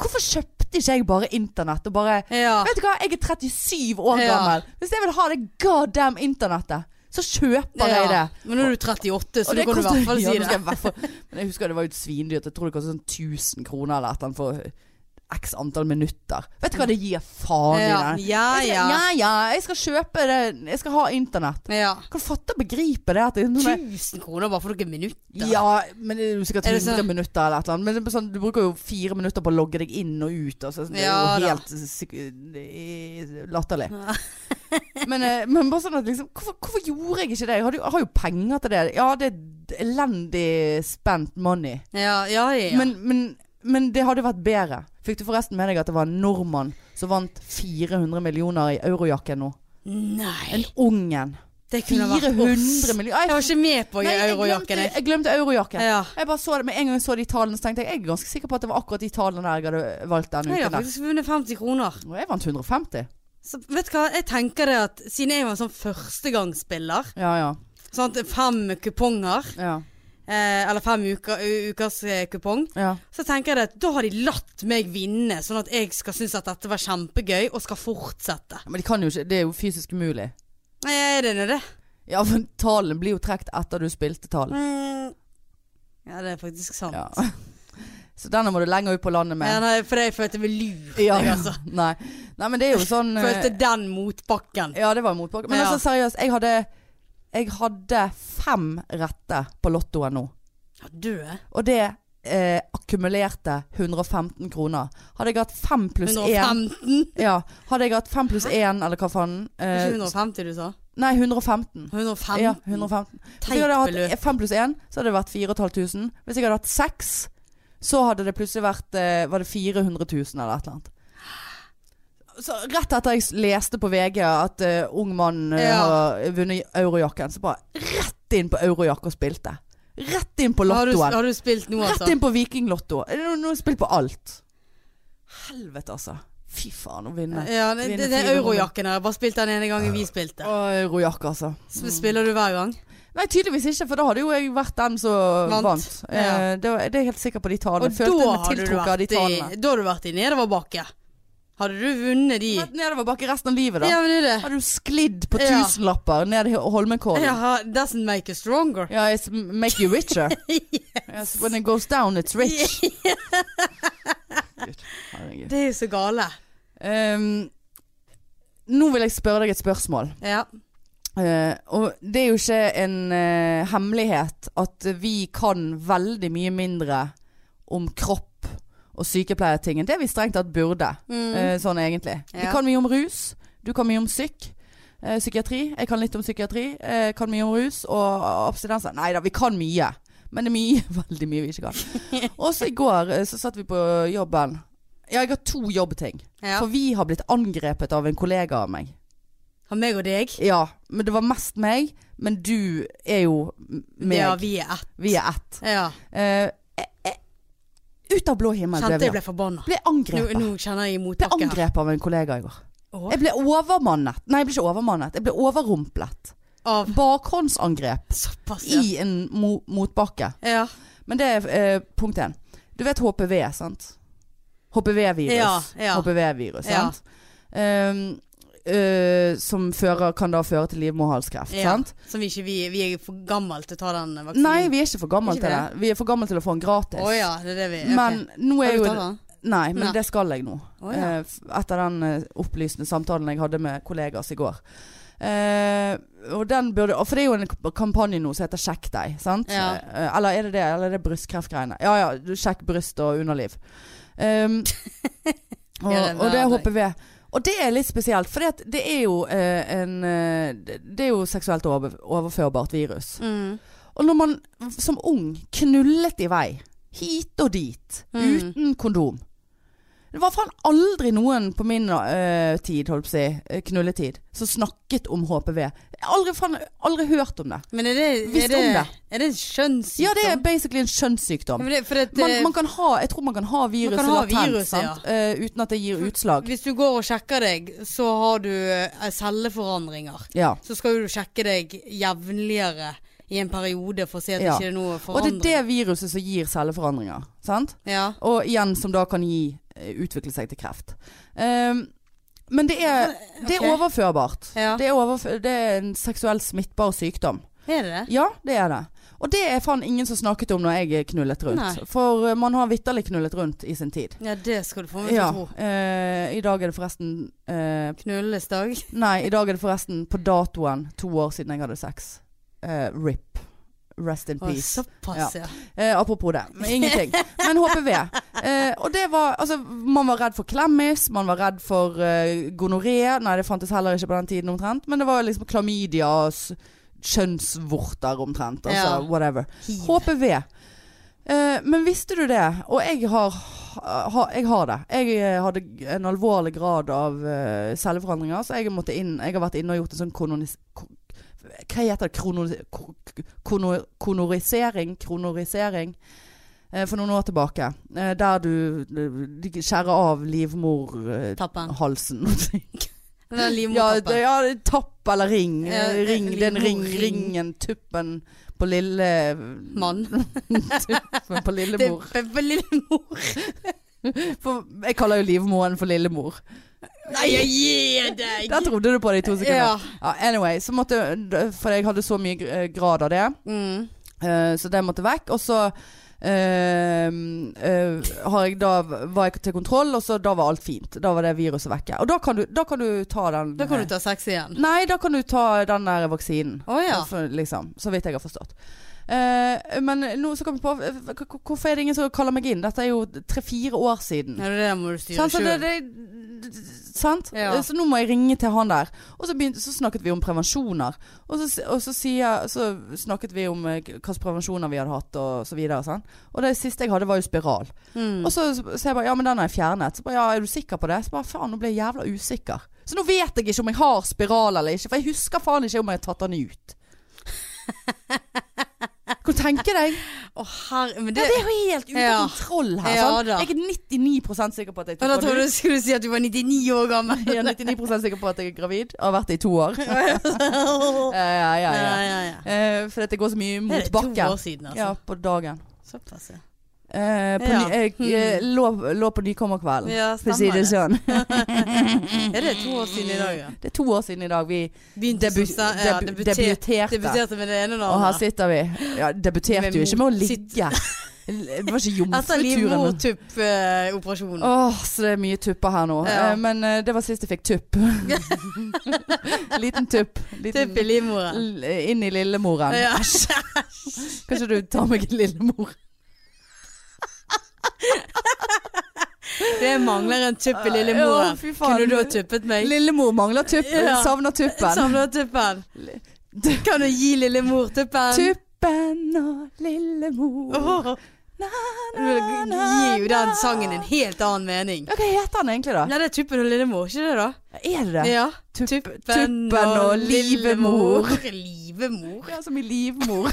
[SPEAKER 1] Hvorfor kjøpte ikke jeg bare internett og bare
[SPEAKER 2] Ja.
[SPEAKER 1] Vet du hva, jeg er 37 år
[SPEAKER 2] Ja.
[SPEAKER 1] gammel. Hvis jeg vil ha det goddamn internettet, så kjøper jeg det.
[SPEAKER 2] Men nå er du 38, så
[SPEAKER 1] Og
[SPEAKER 2] du
[SPEAKER 1] det
[SPEAKER 2] kan i
[SPEAKER 1] koster-
[SPEAKER 2] hvert
[SPEAKER 1] [LAUGHS]
[SPEAKER 2] fall
[SPEAKER 1] ja,
[SPEAKER 2] si
[SPEAKER 1] nå skal
[SPEAKER 2] det.
[SPEAKER 1] jeg i hvert fall- Men jeg husker det var jo et svindyrt. Jeg tror det kostet sånn 1000 kroner eller et eller annet for eh, x antall minutter. Vet du hva det gir faen i
[SPEAKER 2] Ja,
[SPEAKER 1] det?
[SPEAKER 2] ja,
[SPEAKER 1] Jeg skal,
[SPEAKER 2] ja.
[SPEAKER 1] ja ja, jeg skal kjøpe det. Jeg skal ha internett.
[SPEAKER 2] ja.
[SPEAKER 1] Kan du fatte og begripe det? At det er sånn der-
[SPEAKER 2] 1000 kroner bare for noen minutter.
[SPEAKER 1] ja, men det er jo sikkert
[SPEAKER 2] Er det sånn-
[SPEAKER 1] 100 minutter eller et eller annet. Men det er sånn, du bruker jo fire minutter på å logge deg inn og ut. Altså, det er
[SPEAKER 2] Ja
[SPEAKER 1] jo
[SPEAKER 2] da.
[SPEAKER 1] helt syk- eh, latterlig. [LAUGHS] men, eh, men bare sånn at liksom hvorfor, hvorfor gjorde jeg ikke det? Jeg, hadde, jo- jeg har jo penger til det. Ja, det er elendig spent money.
[SPEAKER 2] [LAUGHS] Ja, ja, ja.
[SPEAKER 1] Men, men, men det hadde vært bedre. Fikk du forresten med deg at det var en nordmann som vant 400 millioner i eurojakken nå?
[SPEAKER 2] Nei.
[SPEAKER 1] En ungen.
[SPEAKER 2] Det kunne vært
[SPEAKER 1] 400
[SPEAKER 2] oss.
[SPEAKER 1] millioner.
[SPEAKER 2] Jeg var ikke med på
[SPEAKER 1] Nei, jeg
[SPEAKER 2] eurojakken.
[SPEAKER 1] glemte,
[SPEAKER 2] jeg.
[SPEAKER 1] jeg glemte eurojakken.
[SPEAKER 2] Ja.
[SPEAKER 1] Jeg bare så det, Med en gang jeg så de tallene, så tenkte jeg jeg er ganske sikker på at det var akkurat de tallene der jeg hadde valgt denne
[SPEAKER 2] Jeg har
[SPEAKER 1] uken. der.
[SPEAKER 2] faktisk vunnet 50 kroner.
[SPEAKER 1] Og jeg vant 150.
[SPEAKER 2] Så vet du hva, jeg tenker det at siden jeg var en sånn førstegangsspiller,
[SPEAKER 1] Ja, ja.
[SPEAKER 2] sånn at fem kuponger,
[SPEAKER 1] ja,
[SPEAKER 2] eh, eller fem uker, u- ukers eh, kupong,
[SPEAKER 1] ja.
[SPEAKER 2] så tenker jeg det at da har de latt meg vinne, sånn at jeg skal synes at dette var kjempegøy, og skal fortsette.
[SPEAKER 1] Men de kan jo ikke, det er jo fysisk umulig.
[SPEAKER 2] Nei, er det nå det?
[SPEAKER 1] Ja, for tallene blir jo trukket etter du spilte tall.
[SPEAKER 2] Mm. Ja, det er faktisk sant.
[SPEAKER 1] Ja.
[SPEAKER 2] Ja.
[SPEAKER 1] Så denne må du lenger ut på landet med.
[SPEAKER 2] nei, for jeg følte meg lur.
[SPEAKER 1] Ja,
[SPEAKER 2] jeg,
[SPEAKER 1] ja.
[SPEAKER 2] altså.
[SPEAKER 1] [LAUGHS] Nei. Nei, men det er jo sånn eh,
[SPEAKER 2] Følte den motbakken.
[SPEAKER 1] Ja, det var motbakke. Men
[SPEAKER 2] Ja.
[SPEAKER 1] altså, seriøst, jeg hadde, jeg hadde fem rette på lottoen nå.
[SPEAKER 2] Ja, du er.
[SPEAKER 1] Og det eh, akkumulerte 115 kroner. Hadde jeg hatt fem pluss én
[SPEAKER 2] 115?
[SPEAKER 1] ja, Hadde jeg hatt fem pluss én, eller hva faen
[SPEAKER 2] Ikke
[SPEAKER 1] eh,
[SPEAKER 2] 150 du sa?
[SPEAKER 1] Nei, 115.
[SPEAKER 2] 115?
[SPEAKER 1] Ja, 115. Hvis jeg
[SPEAKER 2] Teit
[SPEAKER 1] hadde
[SPEAKER 2] beløp.
[SPEAKER 1] hatt fem pluss én, så hadde det vært 4500. Hvis jeg hadde hatt seks, så hadde det plutselig vært eh, Var det 400 000 eller et eller annet. Så rett etter jeg s- leste på VG at eh, ung mann eh,
[SPEAKER 2] Ja.
[SPEAKER 1] har vunnet eurojakken, så bare rett inn på eurojakke og spilte. Rett inn på
[SPEAKER 2] Har du,
[SPEAKER 1] lottoen.
[SPEAKER 2] har du spilt nå, altså?
[SPEAKER 1] Rett inn på Vikinglotto. Eh, Nå nå har jeg spilt på alt. Helvete, altså. Fy faen, å vinne.
[SPEAKER 2] Ja, det, det, det er eurojakken her. Jeg bare spilte den ene gangen vi spilte.
[SPEAKER 1] Og eurojakke, altså.
[SPEAKER 2] Så spiller du hver gang?
[SPEAKER 1] Nei, tydeligvis ikke, for da hadde jo jeg vært den som
[SPEAKER 2] Vant.
[SPEAKER 1] vant. Eh, det, var- det er jeg helt sikker på de
[SPEAKER 2] Og
[SPEAKER 1] tallene. Jeg
[SPEAKER 2] da
[SPEAKER 1] Følte meg
[SPEAKER 2] hadde, du
[SPEAKER 1] tiltrukket av de
[SPEAKER 2] vært i,
[SPEAKER 1] tallene.
[SPEAKER 2] da hadde du vært i nedoverbakke. Hadde du vunnet de?
[SPEAKER 1] Vært Nedover bakke resten av livet, da.
[SPEAKER 2] Ja, men det er det.
[SPEAKER 1] Hadde du sklidd på
[SPEAKER 2] Ja.
[SPEAKER 1] tusenlapper ned i Holmenkollen?
[SPEAKER 2] Ja,
[SPEAKER 1] Ja.
[SPEAKER 2] doesn't make you stronger.
[SPEAKER 1] it's make you
[SPEAKER 2] [LAUGHS]
[SPEAKER 1] richer. yes. When it goes down, it's rich. Gud, herregud.
[SPEAKER 2] Det er jo så gale.
[SPEAKER 1] Ehm, nå vil jeg spørre deg et spørsmål.
[SPEAKER 2] Ja.
[SPEAKER 1] Eh, og det er jo ikke en eh, hemmelighet at vi kan veldig mye mindre om kropp og sykepleierting enn det vi strengt tatt burde.
[SPEAKER 2] Mm,
[SPEAKER 1] eh, sånn egentlig. Vi
[SPEAKER 2] Ja.
[SPEAKER 1] kan mye om rus. Du kan mye om syk. eh, psykiatri. Jeg kan litt om psykiatri. Jeg kan mye om rus og abstinenser. Nei da, vi kan mye. Men det er mye, [LAUGHS] veldig mye vi ikke kan.
[SPEAKER 2] [LAUGHS]
[SPEAKER 1] Og så i går eh, så satt vi på jobben. Ja, jeg har to jobbting.
[SPEAKER 2] ja.
[SPEAKER 1] For vi har blitt angrepet av en kollega av meg.
[SPEAKER 2] Har meg og deg?
[SPEAKER 1] Ja, men det var mest meg. Men du er jo m- meg.
[SPEAKER 2] Ja, vi er ett.
[SPEAKER 1] vi er ett.
[SPEAKER 2] Ja.
[SPEAKER 1] Eh, eh, eh, ut av blå himmel
[SPEAKER 2] Kjente jeg
[SPEAKER 1] ble vi.
[SPEAKER 2] ble forbanna.
[SPEAKER 1] Ble
[SPEAKER 2] Nå,
[SPEAKER 1] angrepet.
[SPEAKER 2] nå kjenner jeg
[SPEAKER 1] Ble
[SPEAKER 2] motbakke. her.
[SPEAKER 1] angrepet av en kollega i går.
[SPEAKER 2] Å,
[SPEAKER 1] Jeg ble overmannet. Nei, jeg ble ikke overmannet. Jeg ble overrumplet.
[SPEAKER 2] Av
[SPEAKER 1] Bakhåndsangrep
[SPEAKER 2] såpass, ja.
[SPEAKER 1] i en mo motbakke.
[SPEAKER 2] ja.
[SPEAKER 1] Men det er eh, punkt én. Du vet HPV, sant? HPV-virus.
[SPEAKER 2] Ja, ja.
[SPEAKER 1] HPV-virus,
[SPEAKER 2] Ja.
[SPEAKER 1] sant? Ehm, eh, som fører, kan da føre til livmorhalskreft,
[SPEAKER 2] ja.
[SPEAKER 1] sant?
[SPEAKER 2] Som vi ikke vi, vi er for gamle til å ta den vaksinen.
[SPEAKER 1] Nei, vi er ikke for gamle
[SPEAKER 2] Altså, Ikke
[SPEAKER 1] til det.
[SPEAKER 2] det?
[SPEAKER 1] Vi er for gamle til å få den gratis.
[SPEAKER 2] Å ja, det er det vi ok.
[SPEAKER 1] Men nå
[SPEAKER 2] Har
[SPEAKER 1] er
[SPEAKER 2] du
[SPEAKER 1] jo
[SPEAKER 2] tatt den?
[SPEAKER 1] Nei, men
[SPEAKER 2] Nei.
[SPEAKER 1] det skal jeg nå.
[SPEAKER 2] Å ja.
[SPEAKER 1] Eh, f- Etter den eh, opplysende samtalen jeg hadde med kollegas i går. Eh, og den burde og For det er jo en k- kampanje nå som heter 'Sjekk deg'. Sant?
[SPEAKER 2] Ja.
[SPEAKER 1] Eh, eller er det det? Eller er det brystkreftgreiene? Ja ja, du sjekk bryst og underliv. Um, og,
[SPEAKER 2] [LAUGHS] Ja, det er
[SPEAKER 1] og det er
[SPEAKER 2] det.
[SPEAKER 1] HPV. Og det er litt spesielt, for det, det er jo eh, en eh, Det det er jo seksuelt over, overførbart virus.
[SPEAKER 2] Mm.
[SPEAKER 1] Og når man som ung knullet i vei, hit og dit,
[SPEAKER 2] Mm.
[SPEAKER 1] uten kondom Det var faen aldri noen på min eh, tid, holdt på å si, eh, knulletid, som snakket om HPV. Jeg har aldri, faen, aldri hørt om det.
[SPEAKER 2] Men er det, er
[SPEAKER 1] Visste
[SPEAKER 2] det,
[SPEAKER 1] om det.
[SPEAKER 2] er det en skjønnssykdom?
[SPEAKER 1] Ja, det er basically en kjønnssykdom.
[SPEAKER 2] Men det, for at,
[SPEAKER 1] Man,
[SPEAKER 2] eh,
[SPEAKER 1] man kan ha, jeg tror man kan ha viruset
[SPEAKER 2] kan ha
[SPEAKER 1] latent,
[SPEAKER 2] viruset,
[SPEAKER 1] sant? Eh, uten at det gir utslag.
[SPEAKER 2] Hvis du går og sjekker deg, så har du eh, celleforandringer.
[SPEAKER 1] Ja.
[SPEAKER 2] Så skal jo du sjekke deg jevnligere i en periode for å se at
[SPEAKER 1] Ja.
[SPEAKER 2] det ikke er noe
[SPEAKER 1] Og det er
[SPEAKER 2] forandring.
[SPEAKER 1] det viruset som gir celleforandringer. Sant?
[SPEAKER 2] Ja.
[SPEAKER 1] Og igjen som da kan gi, eh, utvikle seg til kreft. Ehm, Men det er, det er
[SPEAKER 2] Ok.
[SPEAKER 1] overførbart.
[SPEAKER 2] Ja.
[SPEAKER 1] Det, er overfø- det er en seksuell smittbar sykdom.
[SPEAKER 2] Er det det?
[SPEAKER 1] Ja, det er det. Og det er faen ingen som snakket om når jeg knullet rundt.
[SPEAKER 2] Nei.
[SPEAKER 1] For eh, man har vitterlig knullet rundt i sin tid.
[SPEAKER 2] Ja, det skal du få meg til
[SPEAKER 1] Ja.
[SPEAKER 2] å tro.
[SPEAKER 1] eh, I dag er det forresten eh,
[SPEAKER 2] Knulles dag.
[SPEAKER 1] Nei, i dag er det forresten på datoen to år siden jeg hadde sex. Eh, RIP. Rest in
[SPEAKER 2] Å,
[SPEAKER 1] peace.
[SPEAKER 2] Såpass, ja.
[SPEAKER 1] Eh, apropos det. men Ingenting. Men HPV. Eh, og det var Altså, man var redd for klemmis, man var redd for eh, gonoré. Nei, det fantes heller ikke på den tiden omtrent. Men det var liksom klamydia og s- kjønnsvorter omtrent. Altså
[SPEAKER 2] Ja.
[SPEAKER 1] whatever.
[SPEAKER 2] Hiv.
[SPEAKER 1] HPV. Eh, men visste du det? Og jeg har, ha, jeg har det. Jeg eh, hadde en alvorlig grad av eh, celleforandringer, så jeg, måtte inn, jeg har vært inne og gjort en sånn kolonis... ko- Hva heter det? Kronos, ko- kono- konorisering? Kronorisering. eh, For noen år tilbake. eh, Der du du skjærer av livmorhalsen.
[SPEAKER 2] Tappen.
[SPEAKER 1] [LAUGHS]
[SPEAKER 2] Den er
[SPEAKER 1] Ja,
[SPEAKER 2] livmortappen.
[SPEAKER 1] det, ja, det er tapp eller ring.
[SPEAKER 2] Ja,
[SPEAKER 1] Eh, ring det er en ring,
[SPEAKER 2] livmorring.
[SPEAKER 1] ringen, tuppen på lille
[SPEAKER 2] Mann.
[SPEAKER 1] Tuppen på
[SPEAKER 2] [LAUGHS] Det
[SPEAKER 1] lillemor.
[SPEAKER 2] er på lillemor.
[SPEAKER 1] For, jeg kaller jo livmoren for lillemor.
[SPEAKER 2] Nei, jeg gir deg!
[SPEAKER 1] Der trodde du på det i to sekunder.
[SPEAKER 2] Ja.
[SPEAKER 1] Ja. anyway, så måtte, for jeg hadde så mye gr- eh, grad av det,
[SPEAKER 2] Mm.
[SPEAKER 1] eh, så det måtte vekk. Og så eh, eh, har jeg da, var jeg til kontroll, og så da var alt fint. Da var det viruset vekke. Og da kan du, da kan du ta den eh,
[SPEAKER 2] Da kan du ta sex igjen.
[SPEAKER 1] Nei, da kan du ta den der vaksinen.
[SPEAKER 2] Å ja.
[SPEAKER 1] For, liksom, så vidt jeg har forstått. Eh, men nå så kom jeg på eh, h- h- Hvorfor er det ingen som kaller meg inn? Dette er jo tre-fire år siden.
[SPEAKER 2] Ja, det der må du styre
[SPEAKER 1] Sant, Sånn, så, det,
[SPEAKER 2] sjøl.
[SPEAKER 1] det, sant?
[SPEAKER 2] Ja.
[SPEAKER 1] så nå må jeg ringe til han der. Og så, begynte, så snakket vi om prevensjoner. Og så, s- og så, sier, så snakket vi om eh, hvilke prevensjoner vi hadde hatt og så videre. sant? Og det siste jeg hadde, var jo spiral.
[SPEAKER 2] Mm.
[SPEAKER 1] Og så sier jeg bare ja, men den har jeg fjernet. Så bare ja, er du sikker på det? Så bare faen, nå ble jeg jævla usikker. Så nå vet jeg ikke om jeg har spiral eller ikke, for jeg husker faen ikke om jeg har tatt den
[SPEAKER 2] [LAUGHS]
[SPEAKER 1] ut. Kan du tenke deg?
[SPEAKER 2] Å herre Men
[SPEAKER 1] Ja,
[SPEAKER 2] det
[SPEAKER 1] det er jo helt uten
[SPEAKER 2] Ja.
[SPEAKER 1] kontroll her.
[SPEAKER 2] Ja,
[SPEAKER 1] sant?
[SPEAKER 2] da.
[SPEAKER 1] Jeg er 99 sikker på at jeg
[SPEAKER 2] Og
[SPEAKER 1] tok den
[SPEAKER 2] da
[SPEAKER 1] ut.
[SPEAKER 2] trodde du skulle si at du var 99 år
[SPEAKER 1] [LAUGHS]
[SPEAKER 2] gammel.
[SPEAKER 1] Jeg er 99 sikker på at jeg er gravid. og Har vært det i to år. [LAUGHS] Ja, ja, ja, ja. Eh, for dette går så mye
[SPEAKER 2] Det er
[SPEAKER 1] mot
[SPEAKER 2] to år
[SPEAKER 1] bakken.
[SPEAKER 2] siden, altså.
[SPEAKER 1] Ja, på dagen.
[SPEAKER 2] Såpass, ja.
[SPEAKER 1] Eh, på
[SPEAKER 2] Ja. Hmm.
[SPEAKER 1] ny, jeg eh, lå, lå på nykommerkvelden,
[SPEAKER 2] Ja,
[SPEAKER 1] for å si det
[SPEAKER 2] stemmer det.
[SPEAKER 1] sånn. [LAUGHS]
[SPEAKER 2] Er det to år siden i dag, ja?
[SPEAKER 1] Det er to år siden i dag vi
[SPEAKER 2] Begynte
[SPEAKER 1] debu
[SPEAKER 2] som sa- ja,
[SPEAKER 1] debu
[SPEAKER 2] debuter-
[SPEAKER 1] debuterte.
[SPEAKER 2] Debuterte med det ene
[SPEAKER 1] Og her
[SPEAKER 2] navnet.
[SPEAKER 1] sitter vi. Ja, debuterte
[SPEAKER 2] Med
[SPEAKER 1] jo ikke med å
[SPEAKER 2] mot- [LAUGHS] Altså,
[SPEAKER 1] ligge. Det var ikke
[SPEAKER 2] Etter eh,
[SPEAKER 1] jomfruturen.
[SPEAKER 2] livmortupp-operasjonen.
[SPEAKER 1] Åh, så det er mye tupper her nå.
[SPEAKER 2] Ja.
[SPEAKER 1] Eh, men eh, det var sist jeg fikk
[SPEAKER 2] [LAUGHS]
[SPEAKER 1] tupp. [LAUGHS] Liten tupp. Liten,
[SPEAKER 2] Tupp i livmoren.
[SPEAKER 1] l- inn i lillemoren.
[SPEAKER 2] Ja.
[SPEAKER 1] Kanskje du tar meg en lillemor?
[SPEAKER 2] [LAUGHS] Det mangler en tupp i
[SPEAKER 1] Ja,
[SPEAKER 2] lillemoren.
[SPEAKER 1] fy faen.
[SPEAKER 2] Kunne du ha tuppet meg?
[SPEAKER 1] Lillemor mangler tuppen.
[SPEAKER 2] Ja.
[SPEAKER 1] Savner tuppen.
[SPEAKER 2] Savner tuppen. Kan du gi lillemor tuppen?
[SPEAKER 1] Tuppen og lillemor.
[SPEAKER 2] Åh, Du gir jo den sangen en helt annen mening.
[SPEAKER 1] Ja, hva heter han egentlig, da?
[SPEAKER 2] Nei, det er tuppen og lillemor, ikke det da?
[SPEAKER 1] Er det det?
[SPEAKER 2] Ja.
[SPEAKER 1] Tupp- tuppen og livemor.
[SPEAKER 2] [LAUGHS] Livemor?
[SPEAKER 1] Ja, som i altså livmor.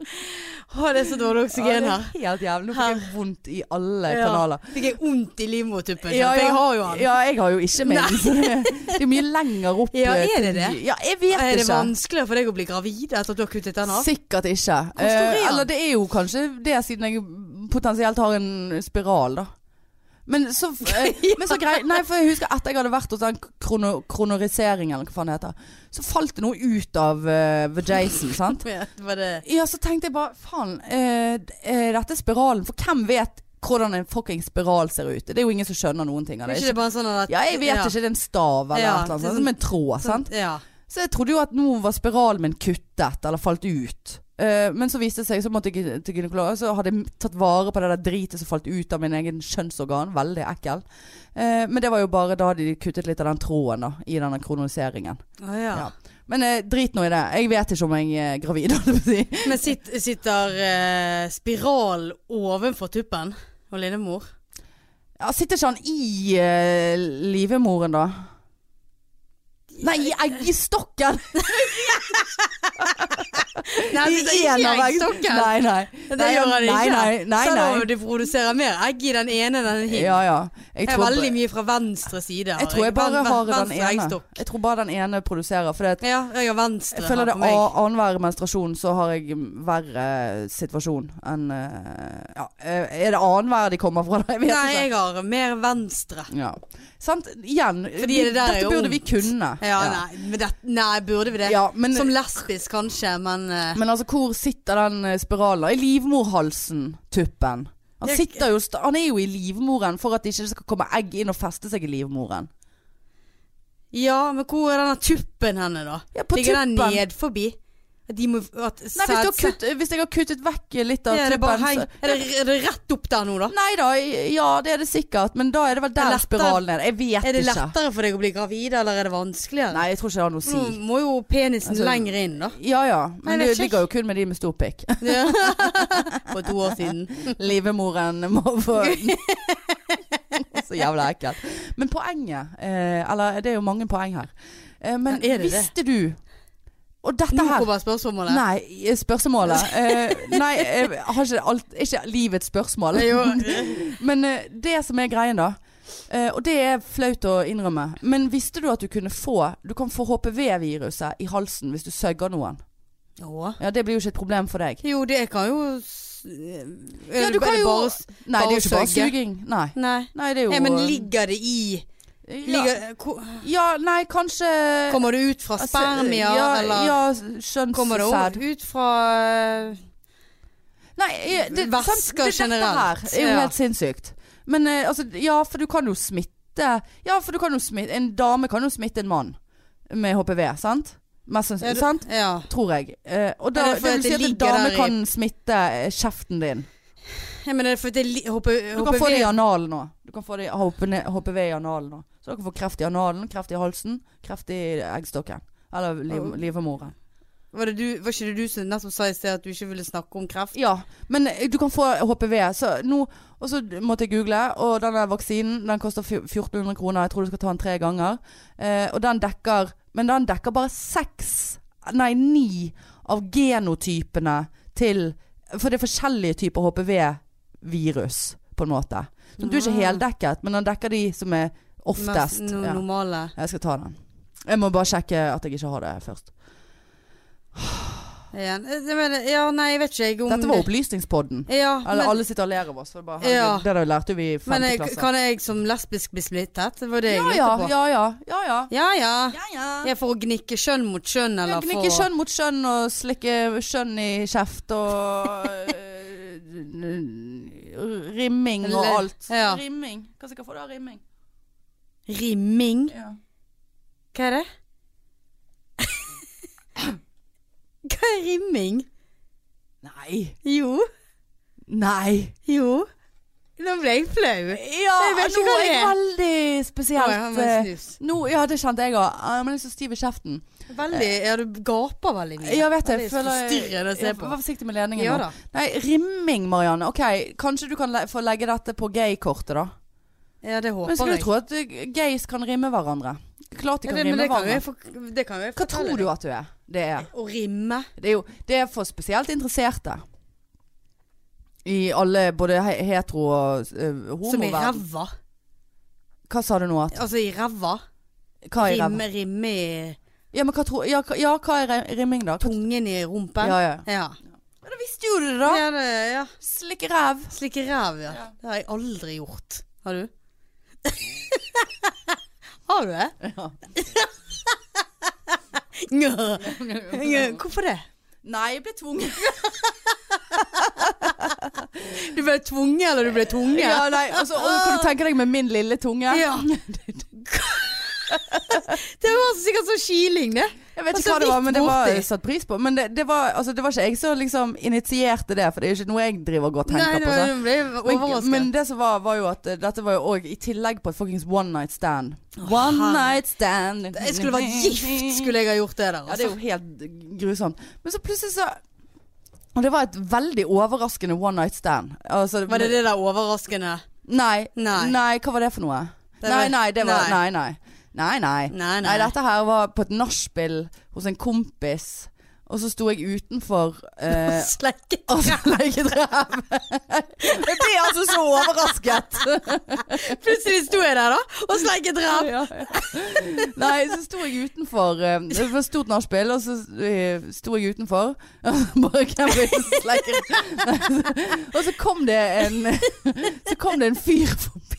[SPEAKER 2] Å, det er [LAUGHS] så dårlig oksygen
[SPEAKER 1] Ja,
[SPEAKER 2] her.
[SPEAKER 1] det er helt jævlig. Nå fikk jeg vondt i alle
[SPEAKER 2] Ja.
[SPEAKER 1] kanaler.
[SPEAKER 2] Fikk jeg vondt i livmortuppen?
[SPEAKER 1] Ja,
[SPEAKER 2] Ja, For
[SPEAKER 1] ja.
[SPEAKER 2] jeg har jo han.
[SPEAKER 1] Ja, jeg har jo ikke min. så Det [LAUGHS] det er mye lenger opp. eh,
[SPEAKER 2] Ja, er det
[SPEAKER 1] til-
[SPEAKER 2] det?
[SPEAKER 1] Ja, jeg vet
[SPEAKER 2] Er det
[SPEAKER 1] ikke.
[SPEAKER 2] vanskeligere for deg å bli gravid etter at du har kuttet den av?
[SPEAKER 1] Sikkert ikke.
[SPEAKER 2] Hvor stor er
[SPEAKER 1] Eh,
[SPEAKER 2] han?
[SPEAKER 1] eller det er jo kanskje det, siden jeg potensielt har en spiral, da. Men så,
[SPEAKER 2] [LAUGHS]
[SPEAKER 1] eh, men så grei, Nei, for jeg husker etter jeg hadde vært hos den krono, kronoriseringen, eller hva faen det heter, så falt det noe ut av uh,
[SPEAKER 2] [LAUGHS]
[SPEAKER 1] Jason, sant?
[SPEAKER 2] Ja, det var det.
[SPEAKER 1] Ja, så tenkte jeg bare faen, eh, er dette spiralen? For hvem vet hvordan en fucking spiral ser ut? Det er jo ingen som skjønner noen ting av
[SPEAKER 2] Er
[SPEAKER 1] det.
[SPEAKER 2] ikke det bare sånn at
[SPEAKER 1] Ja, jeg vet ikke. Det er en stav eller
[SPEAKER 2] Ja,
[SPEAKER 1] et eller annet
[SPEAKER 2] det er
[SPEAKER 1] sånt.
[SPEAKER 2] sånn-
[SPEAKER 1] Som en tråd, sant?
[SPEAKER 2] Ja.
[SPEAKER 1] Så jeg trodde jo at nå var spiralen min kuttet eller falt ut. Eh, men så viste det seg, så måtte jeg gy- til gynekolog, så hadde jeg tatt vare på det der dritet som falt ut av min egen kjønnsorgan. Veldig ekkel. Eh, men det var jo bare da hadde de kuttet litt av den tråden da, i denne kroniseringen.
[SPEAKER 2] Å, ja.
[SPEAKER 1] Ja. Men eh, drit nå i det. Jeg vet ikke om jeg er gravid, [LAUGHS] holdt jeg på å si.
[SPEAKER 2] Men sitt, sitter eh, spiral ovenfor tuppen og lillemor?
[SPEAKER 1] Ja, sitter ikke han i eh, livemoren, da? Nei, i eggstokken!
[SPEAKER 2] Nei,
[SPEAKER 1] I
[SPEAKER 2] sitter ikke
[SPEAKER 1] en
[SPEAKER 2] i
[SPEAKER 1] av egg-
[SPEAKER 2] eggstokken.
[SPEAKER 1] Nei, nei.
[SPEAKER 2] Det
[SPEAKER 1] Nei,
[SPEAKER 2] gjør han
[SPEAKER 1] nei,
[SPEAKER 2] ikke.
[SPEAKER 1] nei, nei,
[SPEAKER 2] Selv
[SPEAKER 1] nei.
[SPEAKER 2] om du produserer mer egg i den ene enn den hin.
[SPEAKER 1] Ja, ja.
[SPEAKER 2] Jeg er
[SPEAKER 1] tror-
[SPEAKER 2] veldig mye fra venstre side.
[SPEAKER 1] Jeg tror jeg bare
[SPEAKER 2] Ven- ven-
[SPEAKER 1] har den
[SPEAKER 2] venstre
[SPEAKER 1] ene.
[SPEAKER 2] eggstokk.
[SPEAKER 1] Jeg tror bare den ene produserer. For det,
[SPEAKER 2] Ja, jeg har venstre
[SPEAKER 1] jeg føler det
[SPEAKER 2] her på meg.
[SPEAKER 1] a- annenhver menstruasjon så har jeg verre situasjon enn eh, ja, eh, Er det annenhver de kommer fra, [LAUGHS] da? Jeg vet ikke.
[SPEAKER 2] Nei, jeg har mer venstre.
[SPEAKER 1] Ja. Sant? Igjen,
[SPEAKER 2] Fordi
[SPEAKER 1] vi-
[SPEAKER 2] det der er
[SPEAKER 1] dette
[SPEAKER 2] jo
[SPEAKER 1] burde vi
[SPEAKER 2] ungt.
[SPEAKER 1] kunne.
[SPEAKER 2] Ja, Nei, men det, nei, burde vi det?
[SPEAKER 1] Ja, men,
[SPEAKER 2] Som lesbisk kanskje, men eh,
[SPEAKER 1] men altså, hvor sitter den eh, spiralen? da? I livmorhalsen, tuppen. Han,
[SPEAKER 2] Jeg-
[SPEAKER 1] sitter jo, st- han er jo i livmoren for at det ikke skal komme egg inn og feste seg i livmoren.
[SPEAKER 2] Ja, men hvor er denne tuppen henne, da?
[SPEAKER 1] Ja, på
[SPEAKER 2] Ligger den
[SPEAKER 1] tuppen.
[SPEAKER 2] ned forbi? At de må at,
[SPEAKER 1] Nei, hvis, du har kutt, hvis jeg har kuttet vekk litt av
[SPEAKER 2] Er det bare
[SPEAKER 1] tuppen
[SPEAKER 2] heng...
[SPEAKER 1] så-
[SPEAKER 2] Er det, er det rett opp der nå, da?
[SPEAKER 1] Nei da, ja det er det sikkert. Men da er det vel
[SPEAKER 2] Er
[SPEAKER 1] der
[SPEAKER 2] det lettere?
[SPEAKER 1] spiralen er. Jeg vet
[SPEAKER 2] Er det
[SPEAKER 1] ikke.
[SPEAKER 2] lettere for deg å bli gravid, eller er det vanskeligere?
[SPEAKER 1] Nei, jeg tror ikke det har noe å
[SPEAKER 2] Nå
[SPEAKER 1] si.
[SPEAKER 2] må jo penisen
[SPEAKER 1] Altså-
[SPEAKER 2] lenger inn, da.
[SPEAKER 1] Ja ja,
[SPEAKER 2] Mm. Nei, jeg
[SPEAKER 1] men
[SPEAKER 2] vet
[SPEAKER 1] det ligger
[SPEAKER 2] ikke.
[SPEAKER 1] jo kun med de med stor
[SPEAKER 2] [LAUGHS]
[SPEAKER 1] pikk.
[SPEAKER 2] For to år siden.
[SPEAKER 1] Livemoren må få
[SPEAKER 2] [LAUGHS]
[SPEAKER 1] Så jævla ekkelt. Men poenget, eh, eller det er jo mange poeng her, eh, men
[SPEAKER 2] Ja, er det det?
[SPEAKER 1] visste du Og [LAUGHS] dette
[SPEAKER 2] Nå
[SPEAKER 1] her
[SPEAKER 2] kommer spørsmålet.
[SPEAKER 1] Nei, spørsmålet. Eh, nei, jeg har ikke alt Ikke livets spørsmål.
[SPEAKER 2] Det er
[SPEAKER 1] [LAUGHS]
[SPEAKER 2] jo,
[SPEAKER 1] Men eh, det som er greien da eh, Og det er flaut å innrømme Men visste du at du kunne få Du kan få HPV-viruset i halsen hvis du søgger noen
[SPEAKER 2] Åh.
[SPEAKER 1] Ja, det blir jo ikke et problem for deg
[SPEAKER 2] jo, det kan jo s- er
[SPEAKER 1] Ja,
[SPEAKER 2] det
[SPEAKER 1] du
[SPEAKER 2] bare-
[SPEAKER 1] kan jo
[SPEAKER 2] bare s-
[SPEAKER 1] Nei, det er jo ikke bare
[SPEAKER 2] søke.
[SPEAKER 1] suging Nei,
[SPEAKER 2] Nei.
[SPEAKER 1] nei det er jo eh,
[SPEAKER 2] Nei, men ligger det i
[SPEAKER 1] ja,
[SPEAKER 2] ligger, ko-
[SPEAKER 1] ja, nei, kanskje
[SPEAKER 2] Kommer det ut fra
[SPEAKER 1] altså,
[SPEAKER 2] spermia,
[SPEAKER 1] ja,
[SPEAKER 2] eller
[SPEAKER 1] Ja,
[SPEAKER 2] kommer det
[SPEAKER 1] skjønnssæd
[SPEAKER 2] også ut fra eh,
[SPEAKER 1] Nei, eh, det,
[SPEAKER 2] Væsker
[SPEAKER 1] sant, det, dette her
[SPEAKER 2] generelt,
[SPEAKER 1] er jo
[SPEAKER 2] ja.
[SPEAKER 1] helt sinnssykt Men eh, altså, ja, for du kan jo smitte Ja, for du kan jo smitte En dame kan jo smitte en mann Med HPV, sant? Mest sannsynlig,
[SPEAKER 2] Ja, du-
[SPEAKER 1] sant?
[SPEAKER 2] Ja.
[SPEAKER 1] Tror jeg. Eh, og da,
[SPEAKER 2] Er det
[SPEAKER 1] det,
[SPEAKER 2] fordi
[SPEAKER 1] vil si
[SPEAKER 2] det
[SPEAKER 1] at en
[SPEAKER 2] ligger
[SPEAKER 1] dame
[SPEAKER 2] der i-
[SPEAKER 1] kan smitte eh, kjeften din.
[SPEAKER 2] ja men er det fordi det li- hopper,
[SPEAKER 1] Du kan få det i analen òg. Du kan få det i HPV HPV i analen òg. Så dere får kreft i analen, kreft i halsen, kreft i eggstokken. Eller liv,
[SPEAKER 2] Oh.
[SPEAKER 1] livmoren.
[SPEAKER 2] var, det du, var ikke det du som nettopp sa i sted at du ikke ville snakke om kreft?
[SPEAKER 1] Ja, men eh, du kan få HPV. Så nå, og så måtte jeg google, og denne vaksinen den koster fj- 1400 kroner. Jeg tror du skal ta den tre ganger. Eh, og den dekker Men den dekker bare seks, nei ni, av genotypene til For det er forskjellige typer HPV-virus, på en måte. Så du er ikke
[SPEAKER 2] Ah.
[SPEAKER 1] heldekket, men den dekker de som er oftest.
[SPEAKER 2] Mest no
[SPEAKER 1] Ja.
[SPEAKER 2] normale.
[SPEAKER 1] Jeg skal ta den. Jeg må bare sjekke at jeg ikke har det først.
[SPEAKER 2] Ja, jeg mener- ja, nei, jeg vet ikke jeg om
[SPEAKER 1] Dette var opplysningspodden.
[SPEAKER 2] Ja,
[SPEAKER 1] [LAUGHS] Eller
[SPEAKER 2] men-
[SPEAKER 1] alle sitter og ler av oss. For det, er bare,
[SPEAKER 2] Ja.
[SPEAKER 1] herregud, det der lærte vi i
[SPEAKER 2] Men
[SPEAKER 1] femte
[SPEAKER 2] jeg,
[SPEAKER 1] klasse.
[SPEAKER 2] kan jeg som lesbisk bli splittet? Det var det jeg
[SPEAKER 1] ja,
[SPEAKER 2] lurte
[SPEAKER 1] ja,
[SPEAKER 2] på.
[SPEAKER 1] ja, ja, ja, ja.
[SPEAKER 2] Ja, ja.
[SPEAKER 1] Ja, ja.
[SPEAKER 2] Ja, for å gnikke kjønn mot kjønn,
[SPEAKER 1] Ja,
[SPEAKER 2] eller
[SPEAKER 1] Gnikke
[SPEAKER 2] for å
[SPEAKER 1] kjønn mot kjønn og slikke kjønn i kjeft og øh, [LAUGHS] Rimming og
[SPEAKER 2] Le-
[SPEAKER 1] alt.
[SPEAKER 2] ja.
[SPEAKER 1] Rimming. Hva skal jeg få da? Rimming.
[SPEAKER 2] Rimming?
[SPEAKER 1] Ja.
[SPEAKER 2] Hva er det? [LAUGHS] Hva er rimming?
[SPEAKER 1] Nei.
[SPEAKER 2] Jo,
[SPEAKER 1] Nei.
[SPEAKER 2] jo. Nå ble jeg flau.
[SPEAKER 1] Ja,
[SPEAKER 2] Jeg vet ikke
[SPEAKER 1] nå
[SPEAKER 2] hva
[SPEAKER 1] er
[SPEAKER 2] det
[SPEAKER 1] jeg
[SPEAKER 2] er.
[SPEAKER 1] veldig
[SPEAKER 2] Oi, jeg har
[SPEAKER 1] spesielt
[SPEAKER 2] meg
[SPEAKER 1] eh,
[SPEAKER 2] snus.
[SPEAKER 1] nå, Ja, det kjente jeg òg. Men jeg er så stiv i kjeften.
[SPEAKER 2] Veldig Ja, du gaper veldig mye.
[SPEAKER 1] Ja, vet jeg.
[SPEAKER 2] Veldig forstyrrende å se
[SPEAKER 1] jeg-
[SPEAKER 2] på.
[SPEAKER 1] Vær forsiktig med ledningen
[SPEAKER 2] Ja
[SPEAKER 1] nå.
[SPEAKER 2] da.
[SPEAKER 1] Nei, rimming, Marianne. Ok, Kanskje du kan le få legge dette på gay-kortet, da.
[SPEAKER 2] Ja, det
[SPEAKER 1] Men
[SPEAKER 2] håper
[SPEAKER 1] skulle du
[SPEAKER 2] jeg.
[SPEAKER 1] tro at eh, gays kan rimme hverandre? Klart de
[SPEAKER 2] Ja,
[SPEAKER 1] kan
[SPEAKER 2] det, men
[SPEAKER 1] rimme
[SPEAKER 2] det kan jo
[SPEAKER 1] hverandre.
[SPEAKER 2] jeg, for, det kan jo jeg
[SPEAKER 1] Hva tror du at du er? Det er,
[SPEAKER 2] Å rimme.
[SPEAKER 1] det er jo det er for spesielt interesserte. I alle, både he- hetero og uh,
[SPEAKER 2] Som i
[SPEAKER 1] homoverden.
[SPEAKER 2] ræva.
[SPEAKER 1] Hva sa du nå? At,
[SPEAKER 2] Altså i ræva.
[SPEAKER 1] hva er ræva?
[SPEAKER 2] Rimme, rimme i
[SPEAKER 1] Ja, men hva tror Ja, hva- ja, hva er re- rimming, da? Hva-
[SPEAKER 2] Tungen i rumpen.
[SPEAKER 1] Ja, ja.
[SPEAKER 2] Ja.
[SPEAKER 1] Men da visste jo du det, da!
[SPEAKER 2] ja, det, ja.
[SPEAKER 1] Slikke ræv.
[SPEAKER 2] Slikke ræv, ja.
[SPEAKER 1] Ja.
[SPEAKER 2] Det har jeg aldri gjort. Har du? [LAUGHS] har du det? [LAUGHS]
[SPEAKER 1] Ja.
[SPEAKER 2] Njø. Njø. Hvorfor det?
[SPEAKER 1] Nei, jeg ble tvunget.
[SPEAKER 2] Du ble tvunget, eller du ble tunge?
[SPEAKER 1] Ja, nei, altså, og kan du tenke deg med min lille tunge? [LAUGHS]
[SPEAKER 2] Ja. Det var sikkert sånn kiling, det.
[SPEAKER 1] Jeg vet
[SPEAKER 2] Altså,
[SPEAKER 1] ikke hva det var,
[SPEAKER 2] litt
[SPEAKER 1] men det var
[SPEAKER 2] borti.
[SPEAKER 1] satt pris på. Men det, det, var, altså, det var ikke jeg som liksom initierte det, for det er jo ikke noe jeg driver og går og tenker
[SPEAKER 2] Nei,
[SPEAKER 1] på.
[SPEAKER 2] nå
[SPEAKER 1] sant?
[SPEAKER 2] nå ble jeg
[SPEAKER 1] Men,
[SPEAKER 2] overrasket.
[SPEAKER 1] men det som var, var jo at eh, dette var jo òg i tillegg på et fuckings one night stand. One
[SPEAKER 2] herre.
[SPEAKER 1] night stand
[SPEAKER 2] jeg skulle vært gift, skulle jeg ha gjort det
[SPEAKER 1] Ja,
[SPEAKER 2] der.
[SPEAKER 1] det er
[SPEAKER 2] Altså.
[SPEAKER 1] jo helt grusomt. Men så plutselig så Og det var et veldig overraskende one night stand. Altså,
[SPEAKER 2] Var det det der overraskende?
[SPEAKER 1] Nei, nei.
[SPEAKER 2] Nei.
[SPEAKER 1] hva var det for noe?
[SPEAKER 2] Det
[SPEAKER 1] nei,
[SPEAKER 2] var-
[SPEAKER 1] nei, det var Nei,
[SPEAKER 2] Nei.
[SPEAKER 1] nei. Nei, nei.
[SPEAKER 2] Nei, nei.
[SPEAKER 1] Nei, dette her var på et nachspiel hos en kompis. Og så sto jeg utenfor
[SPEAKER 2] [LAUGHS]
[SPEAKER 1] eh,
[SPEAKER 2] Slekket.
[SPEAKER 1] og legget ræv. [LAUGHS] Jeg ble altså så overrasket.
[SPEAKER 2] [LAUGHS] Plutselig sto jeg der, da, og slekket ræv.
[SPEAKER 1] Nei, så sto jeg utenfor eh, Det var et stort nachspiel, og så eh, sto jeg utenfor. [LAUGHS] Bare hvem vil sleike [LAUGHS] Og så kom det en [LAUGHS] Så kom det en fyr forbi.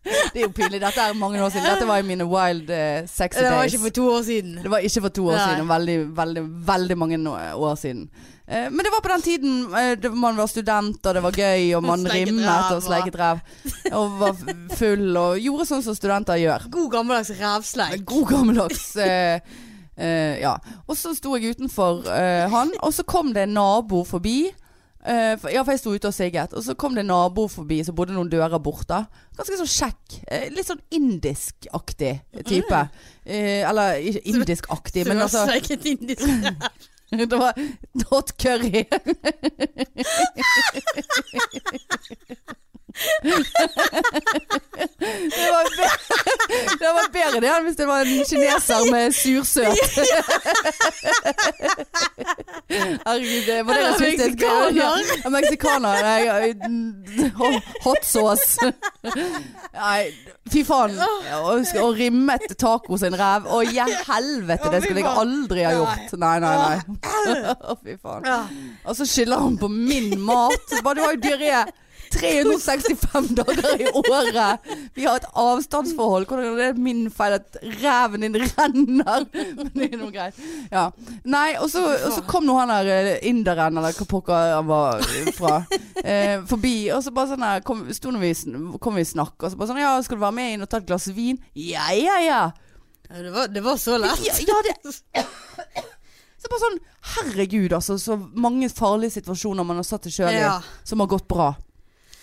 [SPEAKER 1] Det er jo pinlig. Dette er mange år siden. Dette var i mine wild eh, sexy
[SPEAKER 2] Det var
[SPEAKER 1] days.
[SPEAKER 2] ikke for to år siden.
[SPEAKER 1] Det var ikke for to år
[SPEAKER 2] Nei.
[SPEAKER 1] siden. Veldig, veldig, veldig mange nå- år siden. Eh, men det var på den tiden eh, det- man var student, og det var gøy, og man
[SPEAKER 2] Sleiket
[SPEAKER 1] rimmet
[SPEAKER 2] ræv,
[SPEAKER 1] og sleiket ræv. Og var f- full, og gjorde sånn som studenter gjør.
[SPEAKER 2] God gammeldags rævsleik.
[SPEAKER 1] God gammeldags. Eh, eh, ja. Og så sto jeg utenfor eh, han, og så kom det en nabo forbi. Eh, for, ja, for jeg sto ute og sigget. Og så kom det en nabo forbi som bodde noen dører borte. Ganske sånn kjekk. Eh, litt sånn indiskaktig type. Eh, eller ikke indiskaktig,
[SPEAKER 2] Som
[SPEAKER 1] men
[SPEAKER 2] har
[SPEAKER 1] altså
[SPEAKER 2] sleket
[SPEAKER 1] [LAUGHS]
[SPEAKER 2] inn i seg.
[SPEAKER 1] Det var hot curry. Det var, be det var bedre det enn hvis det var en kineser med sursøt. Herregud, det var det jeg syntes det
[SPEAKER 2] Eller meksikaner.
[SPEAKER 1] Ja, meksikaner. Nei, ho- hot sauce. Nei, fy faen. Og, og rimmet taco sin ræv. Å, ja, helvete, det skulle jeg aldri ha gjort. Nei, nei, nei. [LAUGHS] Å, fy faen.
[SPEAKER 2] Ja.
[SPEAKER 1] Og så skylder han på min mat. Bare, Du har jo diaré 365 dager i året. Vi har et avstandsforhold. Hvordan er det min feil at ræven din renner? Men det er noe greit. Ja. Nei, og så, og så kom nå han der eh, inderen, eller hva pokker han var fra, eh, forbi. Og så bare sånn her kom, sto når vi, sn- kom vi i snakk, og så bare sånn Ja, skal du være med inn og ta et glass vin? Ja, ja, ja.
[SPEAKER 2] Ja, Det var, det var så lett.
[SPEAKER 1] Ja, ja, det Så bare sånn Herregud, altså. Så mange farlige situasjoner man har satt seg sjøl i
[SPEAKER 2] [LAUGHS] Ja.
[SPEAKER 1] som har gått bra.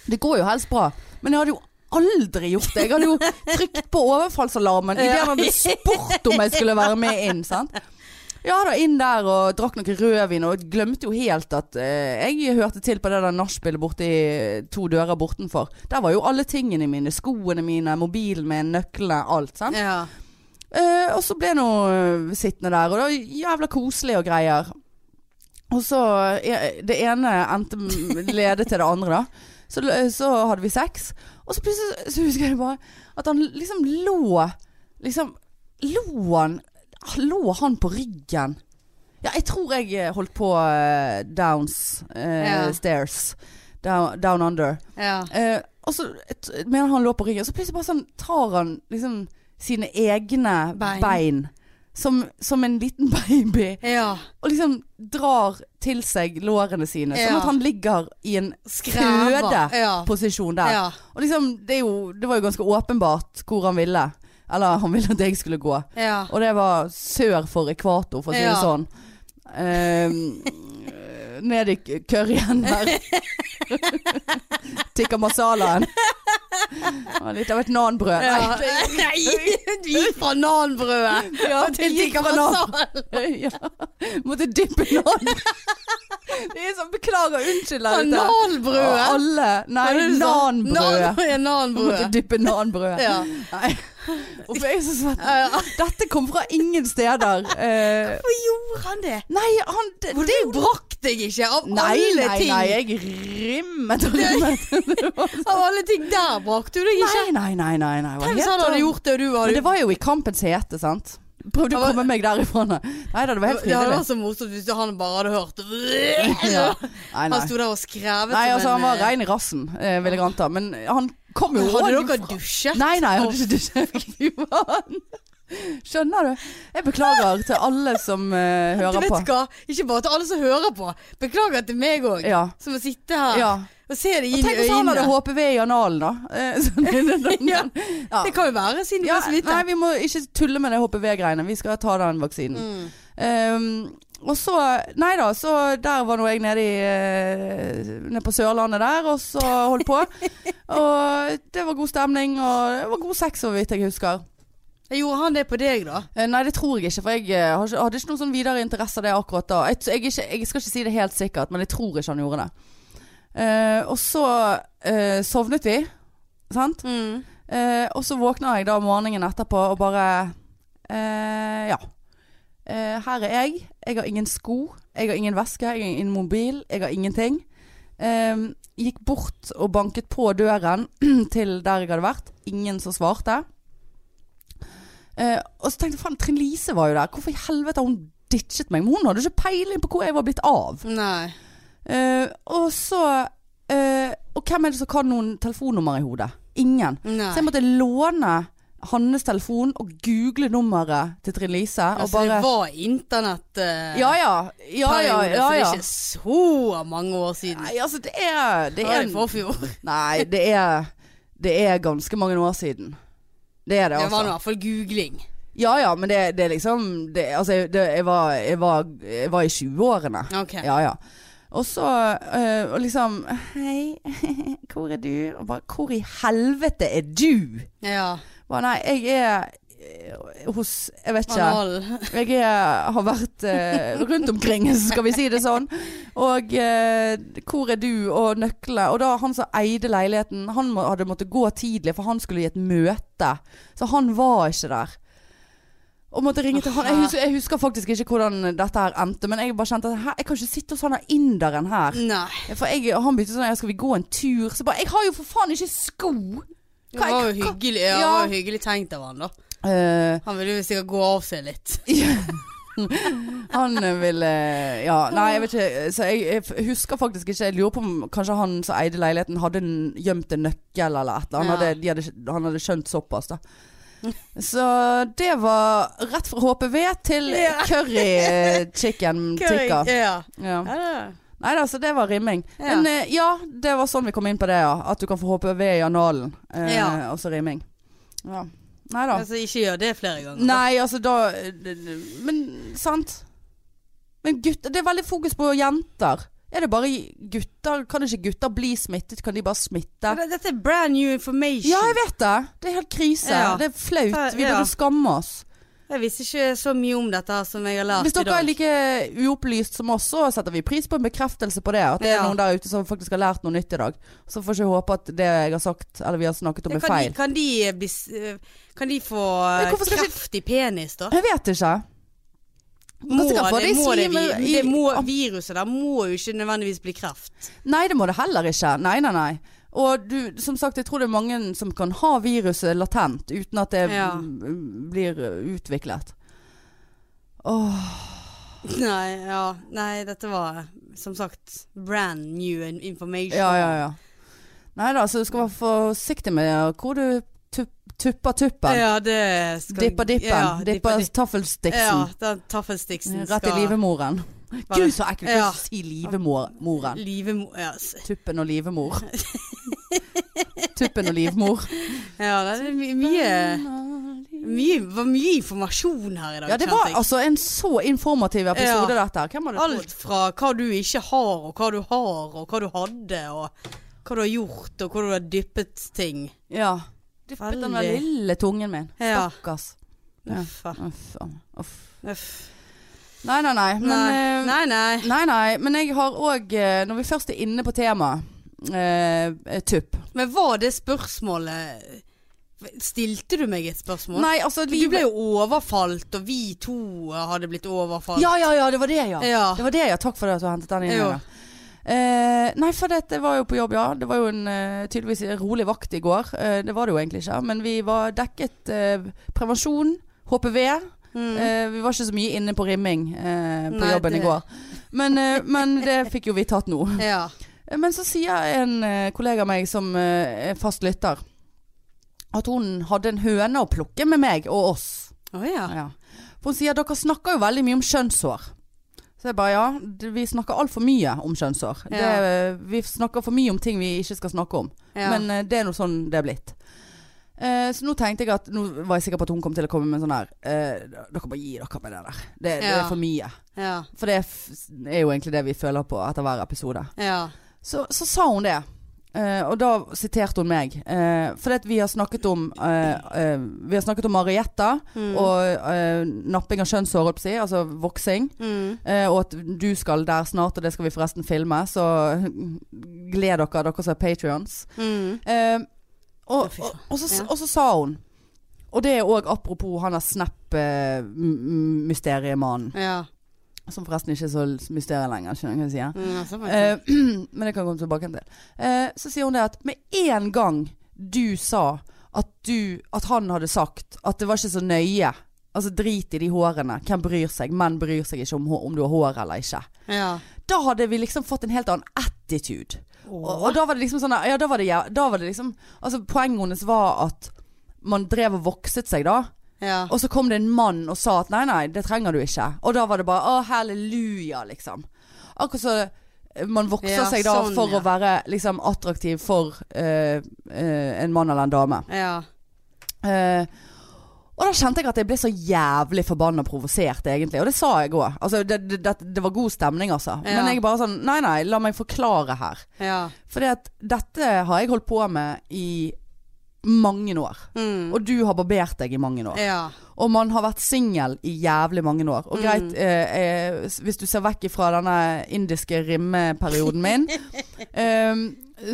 [SPEAKER 1] Det går jo helst bra, men jeg hadde jo aldri gjort det. Jeg hadde jo trykt på overfallsalarmen idet han hadde spurt om jeg skulle være med inn. sant? Ja da, inn der og drakk noe rødvin og glemte jo helt at eh, jeg hørte til på det der nachspielet borti to dører bortenfor. Der var jo alle tingene mine. Skoene mine, mobilen min, nøklene, alt. sant?
[SPEAKER 2] Ja.
[SPEAKER 1] Eh, og så ble jeg nå eh, sittende der, og det var jævla koselig og greier. Og så eh, Det ene endte m- ledet til det andre, da. Så, l- eh, så hadde vi sex, og så plutselig så husker jeg bare at han liksom lå Liksom Lå han Lå han på ryggen? Ja, jeg tror jeg eh, holdt på eh, downs eh,
[SPEAKER 2] Ja.
[SPEAKER 1] stairs. Down, down under.
[SPEAKER 2] ja.
[SPEAKER 1] Eh, og så et- mener han lå på ryggen, og så plutselig bare sånn tar han liksom sine egne
[SPEAKER 2] Bein.
[SPEAKER 1] bein, som, som en liten [LAUGHS] baby,
[SPEAKER 2] ja.
[SPEAKER 1] og liksom drar til seg lårene sine.
[SPEAKER 2] Ja.
[SPEAKER 1] Sånn at han ligger i en
[SPEAKER 2] Skræver.
[SPEAKER 1] fødeposisjon
[SPEAKER 2] Ja.
[SPEAKER 1] der.
[SPEAKER 2] ja.
[SPEAKER 1] Og liksom, det, er jo, det var jo ganske åpenbart hvor han ville. Eller han ville at jeg skulle gå.
[SPEAKER 2] ja.
[SPEAKER 1] Og det var sør for ekvator, for å si det
[SPEAKER 2] Ja.
[SPEAKER 1] sånn. Ehm, ned i k- curryen
[SPEAKER 2] [LAUGHS]
[SPEAKER 1] der. Tikka masalaen. Og litt av et nanbrød.
[SPEAKER 2] Ja.
[SPEAKER 1] Nei,
[SPEAKER 2] Nei, du gikk fra nanbrødet
[SPEAKER 1] [LAUGHS] ja,
[SPEAKER 2] til tikka masala.
[SPEAKER 1] [LAUGHS] Ja. Måtte dyppe nan. [LAUGHS] Det er sånn, beklager, unnskyld der ute. Og
[SPEAKER 2] Nanbrødet.
[SPEAKER 1] Alle. Nei, nanbrød.
[SPEAKER 2] Nanbrød.
[SPEAKER 1] Måtte
[SPEAKER 2] Nanbrød.
[SPEAKER 1] dyppe nanbrød.
[SPEAKER 2] Ja.
[SPEAKER 1] Nei. Uff, jeg er så svett.
[SPEAKER 2] Ja, ja.
[SPEAKER 1] Dette kom fra ingen steder. Eh,
[SPEAKER 2] Hvorfor gjorde han det?
[SPEAKER 1] Nei, han det,
[SPEAKER 2] For
[SPEAKER 1] det,
[SPEAKER 2] du brakk deg ikke av
[SPEAKER 1] Nei,
[SPEAKER 2] alle
[SPEAKER 1] nei,
[SPEAKER 2] ting.
[SPEAKER 1] nei, jeg rimmet
[SPEAKER 2] [LAUGHS]
[SPEAKER 1] og rimmet.
[SPEAKER 2] Av alle ting der brakk du deg ikke.
[SPEAKER 1] Nei, nei, nei, nei. nei. hva
[SPEAKER 2] Hvem
[SPEAKER 1] het
[SPEAKER 2] sa han hadde
[SPEAKER 1] han?
[SPEAKER 2] gjort det, og du hadde
[SPEAKER 1] eh, Men det var jo i kampens hete, sant? Prøvde å
[SPEAKER 2] Han var-
[SPEAKER 1] komme meg derifra. Nei da, det var helt
[SPEAKER 2] Det hadde
[SPEAKER 1] frivillig.
[SPEAKER 2] vært så morsomt hvis han bare hadde hørt
[SPEAKER 1] Ja. Nei, nei.
[SPEAKER 2] Han sto der og skrevet
[SPEAKER 1] nei, altså han var
[SPEAKER 2] eh,
[SPEAKER 1] rein i rassen, eh, vil jeg anta. Men han kom jo også
[SPEAKER 2] Hadde dere
[SPEAKER 1] fra-
[SPEAKER 2] dusjet?
[SPEAKER 1] Nei, nei, jeg hadde ikke dusjet. Fy faen. Skjønner du? Jeg beklager til alle som eh,
[SPEAKER 2] du
[SPEAKER 1] hører
[SPEAKER 2] vet
[SPEAKER 1] på.
[SPEAKER 2] hva? Ikke bare til alle som hører på. Beklager til meg òg,
[SPEAKER 1] Ja.
[SPEAKER 2] som må sitte her
[SPEAKER 1] ja.
[SPEAKER 2] og se
[SPEAKER 1] Og
[SPEAKER 2] det inn Ah. i
[SPEAKER 1] tenk hvis han
[SPEAKER 2] øynene.
[SPEAKER 1] hadde HPV i analen, da. Eh, [LAUGHS]
[SPEAKER 2] [LAUGHS]
[SPEAKER 1] sånn-
[SPEAKER 2] Ja.
[SPEAKER 1] Ja.
[SPEAKER 2] Det kan jo være, siden du
[SPEAKER 1] Ja,
[SPEAKER 2] ja, så vidt
[SPEAKER 1] nei, vi må ikke tulle med det HPV-greiene. Vi skal ta den vaksinen.
[SPEAKER 2] Mm.
[SPEAKER 1] Ehm, og så Nei da, så der var nå jeg nede i eh, Nede på Sørlandet der, og så holdt
[SPEAKER 2] [LAUGHS]
[SPEAKER 1] på. og det var god stemning, og det var god sex, så vidt jeg husker.
[SPEAKER 2] Gjorde han det på deg, da?
[SPEAKER 1] Eh, nei, det tror jeg ikke, for jeg eh, har ikke- hadde ikke noen sånn videre interesse av det akkurat da. Jeg, jeg, er ikke, jeg skal ikke si det helt sikkert, men jeg tror ikke han gjorde det. Eh, og så eh, sovnet vi, sant? Eh, og så våkna jeg da morgenen etterpå og bare eh, Ja. Eh, her er jeg. Jeg har ingen sko. Jeg har ingen veske. Jeg har ingen mobil. Jeg har ingenting. Eh, gikk bort og banket på døren [CLEARS THROAT] til der jeg hadde vært. Ingen som svarte. Eh, og så tenkte jeg faen, Trine Lise var jo der. Hvorfor i helvete har hun ditchet meg? Men hun hadde ikke peiling på hvor jeg var blitt av.
[SPEAKER 2] Nei.
[SPEAKER 1] Eh, og så eh, Og hvem er det som kan noen telefonnummer i hodet? Ingen.
[SPEAKER 2] Nei.
[SPEAKER 1] Så jeg måtte låne Hannes telefon og google nummeret til Trine Lise. Og
[SPEAKER 2] altså,
[SPEAKER 1] bare
[SPEAKER 2] det var internett eh,
[SPEAKER 1] Ja ja. Ja ja.
[SPEAKER 2] periode,
[SPEAKER 1] ja,
[SPEAKER 2] så det
[SPEAKER 1] ja.
[SPEAKER 2] er ikke så mange år siden.
[SPEAKER 1] Nei, altså det er, det
[SPEAKER 2] Det
[SPEAKER 1] er
[SPEAKER 2] var i forfjor.
[SPEAKER 1] Nei, det er Det er ganske mange år siden. Det er det,
[SPEAKER 2] [LAUGHS] Det var nå i
[SPEAKER 1] altså.
[SPEAKER 2] hvert fall googling.
[SPEAKER 1] Ja ja, men det, det er liksom det, Altså, jeg- det, jeg, var, jeg, var, jeg var i 20-årene.
[SPEAKER 2] Ok.
[SPEAKER 1] Ja, ja. Og så eh, og liksom Hei, [LAUGHS] hvor er du? Og bare Hvor i helvete er du?
[SPEAKER 2] Ja.
[SPEAKER 1] Bare nei, jeg er eh, hos Jeg vet ikke.
[SPEAKER 2] Anal.
[SPEAKER 1] Jeg er, har vært eh, rundt omkring, [LAUGHS] skal vi si det sånn. Og eh, hvor er du? Og nøklene. Og da han som eide leiligheten, han må, hadde måttet gå tidlig, for han skulle i et møte. Så han var ikke der. Og måtte ringe til han. Jeg husker, jeg husker faktisk ikke hvordan dette her endte, men jeg bare kjente at "Hæ, jeg kan ikke sitte hos han der inderen her.
[SPEAKER 2] Nei.
[SPEAKER 1] For jeg, og han begynte sånn "Ja, Skal vi gå en tur? Så bare Jeg har jo for faen ikke sko!
[SPEAKER 2] Det
[SPEAKER 1] Hva-
[SPEAKER 2] var jo
[SPEAKER 1] hva-
[SPEAKER 2] hyggelig, ja, det
[SPEAKER 1] Ja.
[SPEAKER 2] var jo hyggelig tenkt av han da.
[SPEAKER 1] Eh,
[SPEAKER 2] Han ville jo sikkert gå av seg litt.
[SPEAKER 1] Han eh, ville Ja, nei, jeg vet ikke. eh, Så jeg, jeg f- husker faktisk ikke. Jeg lurer på om kanskje han som eide leiligheten, hadde en- gjemt en nøkkel eller et eller annet. Han,
[SPEAKER 2] Ja.
[SPEAKER 1] hadde, de hadde, ikke- han hadde skjønt såpass, da. Så det var rett fra HPV til
[SPEAKER 2] Ja.
[SPEAKER 1] curry eh, chicken
[SPEAKER 2] [LAUGHS]
[SPEAKER 1] tikka.
[SPEAKER 2] Ja.
[SPEAKER 1] Ja.
[SPEAKER 2] Ja, det-
[SPEAKER 1] Nei da, så det var rimming.
[SPEAKER 2] Ja.
[SPEAKER 1] Men eh, ja, det var sånn vi kom inn på det, ja. At du kan få HPV i analen, eh,
[SPEAKER 2] Ja.
[SPEAKER 1] og så rimming. Ja. Nei da.
[SPEAKER 2] Altså, ikke gjør det flere ganger. da.
[SPEAKER 1] Nei, altså da Men sant. Men gutter Det er veldig fokus på jenter. Er det bare gutter? Kan ikke gutter bli smittet? Kan de bare smitte?
[SPEAKER 2] Men Dette er brand new information.
[SPEAKER 1] Ja, jeg vet det. Det er helt krise.
[SPEAKER 2] Ja.
[SPEAKER 1] Det er flaut. Vi
[SPEAKER 2] Ja.
[SPEAKER 1] burde skamme oss.
[SPEAKER 2] Jeg visste ikke så mye om dette her som jeg har lært
[SPEAKER 1] Hvis
[SPEAKER 2] i
[SPEAKER 1] dere er
[SPEAKER 2] dag.
[SPEAKER 1] like uopplyst som oss, så setter vi pris på en bekreftelse på det. At det er
[SPEAKER 2] Ja.
[SPEAKER 1] noen der ute som faktisk har lært noe nytt i dag. Så får ikke håpe at det jeg har sagt, eller vi har snakket om,
[SPEAKER 2] Ja,
[SPEAKER 1] er
[SPEAKER 2] kan, de,
[SPEAKER 1] feil.
[SPEAKER 2] kan, de bli, s- eh, kan de få
[SPEAKER 1] Men hvorfor skal ikke-
[SPEAKER 2] kreft i penis, da?
[SPEAKER 1] Jeg vet ikke.
[SPEAKER 2] Må
[SPEAKER 1] Ganske
[SPEAKER 2] det,
[SPEAKER 1] klart, for de
[SPEAKER 2] må det,
[SPEAKER 1] sier,
[SPEAKER 2] vi-
[SPEAKER 1] men i-
[SPEAKER 2] det må, viruset der må jo ikke nødvendigvis bli kreft.
[SPEAKER 1] Nei, det må det heller ikke. Nei, nei, nei. Og du, som sagt, jeg tror det er mange som kan ha viruset latent uten at det
[SPEAKER 2] Ja.
[SPEAKER 1] m- blir utviklet. Åh,
[SPEAKER 2] Nei, ja. Nei, dette var som sagt brand new information.
[SPEAKER 1] ja, ja, ja. Nei da, så du skal være forsiktig med hvor du tup, tupper tuppen.
[SPEAKER 2] Ja, det skal
[SPEAKER 1] Dipper dippen.
[SPEAKER 2] Ja,
[SPEAKER 1] dipper
[SPEAKER 2] dipper dip- Ja,
[SPEAKER 1] taffelstiksen.
[SPEAKER 2] den taffelstiksen skal
[SPEAKER 1] Rett i livemoren.
[SPEAKER 2] være-
[SPEAKER 1] Gud, så ekkelt
[SPEAKER 2] Ja.
[SPEAKER 1] å si livemoren.
[SPEAKER 2] Livemo... Ja, s-
[SPEAKER 1] Tuppen og
[SPEAKER 2] [LAUGHS]
[SPEAKER 1] livmor. Tuppen og livmor.
[SPEAKER 2] ja, det er my- mye Mye, var mye informasjon her i dag,
[SPEAKER 1] Ja, det
[SPEAKER 2] kjente
[SPEAKER 1] var
[SPEAKER 2] jeg.
[SPEAKER 1] altså en så informativ episode,
[SPEAKER 2] Ja.
[SPEAKER 1] dette. her. Hvem hadde trodd?
[SPEAKER 2] Alt fra hva du ikke har, og hva du har, og hva du hadde, og hva du har gjort, og hvor du har dyppet ting.
[SPEAKER 1] Ja. Dyppet den der
[SPEAKER 2] Veldig.
[SPEAKER 1] lille tungen min.
[SPEAKER 2] Ja.
[SPEAKER 1] Stakkars. Ja.
[SPEAKER 2] Uff. a-
[SPEAKER 1] Uff, a- uff.
[SPEAKER 2] Uff.
[SPEAKER 1] Nei, nei, nei. Men,
[SPEAKER 2] Nei,
[SPEAKER 1] eh,
[SPEAKER 2] nei. nei.
[SPEAKER 1] nei, nei. Men jeg har òg, når vi først er inne på temaet, eh, eh, tupp.
[SPEAKER 2] Men var det spørsmålet Stilte du meg et spørsmål?
[SPEAKER 1] Nei, altså
[SPEAKER 2] Du ble jo overfalt, og vi to hadde blitt overfalt.
[SPEAKER 1] Ja, ja, ja. Det var det, ja.
[SPEAKER 2] Ja.
[SPEAKER 1] Det var det, ja. Takk for det at du hentet den inn.
[SPEAKER 2] Jo.
[SPEAKER 1] Ja. Eh, nei, for dette var jo på jobb, ja. Det var jo en eh, tydeligvis rolig vakt i går. Eh, det var det jo egentlig ikke. Men vi var dekket eh, prevensjon, HPV,
[SPEAKER 2] Mm.
[SPEAKER 1] Eh, vi var ikke så mye inne på rimming eh, på
[SPEAKER 2] Nei,
[SPEAKER 1] jobben i
[SPEAKER 2] det-
[SPEAKER 1] går. Men, eh, men det fikk jo vi tatt nå.
[SPEAKER 2] ja.
[SPEAKER 1] Eh, Men så sier en eh, kollega av meg som eh, er fast lytter, at hun hadde en høne å plukke med meg og oss.
[SPEAKER 2] Å ja.
[SPEAKER 1] Ja. For hun sier dere snakker jo veldig mye om kjønnshår. Så jeg bare ja, d- vi snakker altfor mye om kjønnshår.
[SPEAKER 2] Ja.
[SPEAKER 1] Det, eh, vi snakker for mye om ting vi ikke skal snakke om.
[SPEAKER 2] ja.
[SPEAKER 1] Men eh, det er nå sånn det er blitt. Eh, så nå tenkte jeg at Nå var jeg sikker på at hun kom til å komme med en sånn her eh, Dere bare gi dere med det der. Det, det
[SPEAKER 2] Ja.
[SPEAKER 1] er for mye.
[SPEAKER 2] ja.
[SPEAKER 1] For det er, f er jo egentlig det vi føler på etter hver episode.
[SPEAKER 2] Ja.
[SPEAKER 1] Så, så sa hun det. Eh, og da siterte hun meg. Eh, for det at vi har snakket om eh, eh, Vi har snakket om Marietta
[SPEAKER 2] Mm.
[SPEAKER 1] og eh, napping av kjønnshår, holdt på å si, altså voksing.
[SPEAKER 2] mm.
[SPEAKER 1] Eh, og at du skal der snart, og det skal vi forresten filme. Så gled dere, dere som er patrions.
[SPEAKER 2] Mm.
[SPEAKER 1] Eh, og,
[SPEAKER 2] Å, fy
[SPEAKER 1] og,
[SPEAKER 2] faen.
[SPEAKER 1] og, så,
[SPEAKER 2] Ja.
[SPEAKER 1] og så sa hun Og og det er òg apropos han der eh, Snap-mysteriemannen.
[SPEAKER 2] Ja.
[SPEAKER 1] Som forresten ikke er så mysteriet lenger, skjønner du hva jeg sier?
[SPEAKER 2] Mm, altså, man-
[SPEAKER 1] Eh, [CLEARS THROAT] men det kan jeg komme tilbake til. Eh, så sier hun det at med en gang du sa at du At han hadde sagt at det var ikke så nøye Altså drit i de hårene. Hvem bryr seg? Menn bryr seg ikke om, hå- om du har hår eller ikke.
[SPEAKER 2] ja.
[SPEAKER 1] Da hadde vi liksom fått en helt annen attitude. Og, og da var det liksom sånn Ja, da var det, jæv- da var det liksom Altså poenget hennes var at man drev og vokset seg da.
[SPEAKER 2] ja.
[SPEAKER 1] Og så kom det en mann og sa at nei, nei, det trenger du ikke. Og da var det bare å, halleluja, liksom. Akkurat så eh, man vokser
[SPEAKER 2] Ja,
[SPEAKER 1] seg da
[SPEAKER 2] sånn,
[SPEAKER 1] for
[SPEAKER 2] ja.
[SPEAKER 1] å være liksom attraktiv for eh, eh, en mann eller en dame.
[SPEAKER 2] ja.
[SPEAKER 1] Eh, og da kjente jeg at jeg ble så jævlig forbanna og provosert, egentlig. Og det sa jeg òg. Altså, det, det, det, det var god stemning, altså.
[SPEAKER 2] Ja.
[SPEAKER 1] Men jeg bare sånn Nei, nei, la meg forklare her.
[SPEAKER 2] Ja.
[SPEAKER 1] Fordi at dette har jeg holdt på med i mange år.
[SPEAKER 2] Mm.
[SPEAKER 1] Og du har barbert deg i mange år.
[SPEAKER 2] ja.
[SPEAKER 1] Og man har vært singel i jævlig mange år. Og
[SPEAKER 2] Mm.
[SPEAKER 1] greit, eh, eh, s- hvis du ser vekk fra denne indiske rimmeperioden
[SPEAKER 2] [LAUGHS]
[SPEAKER 1] min, ehm,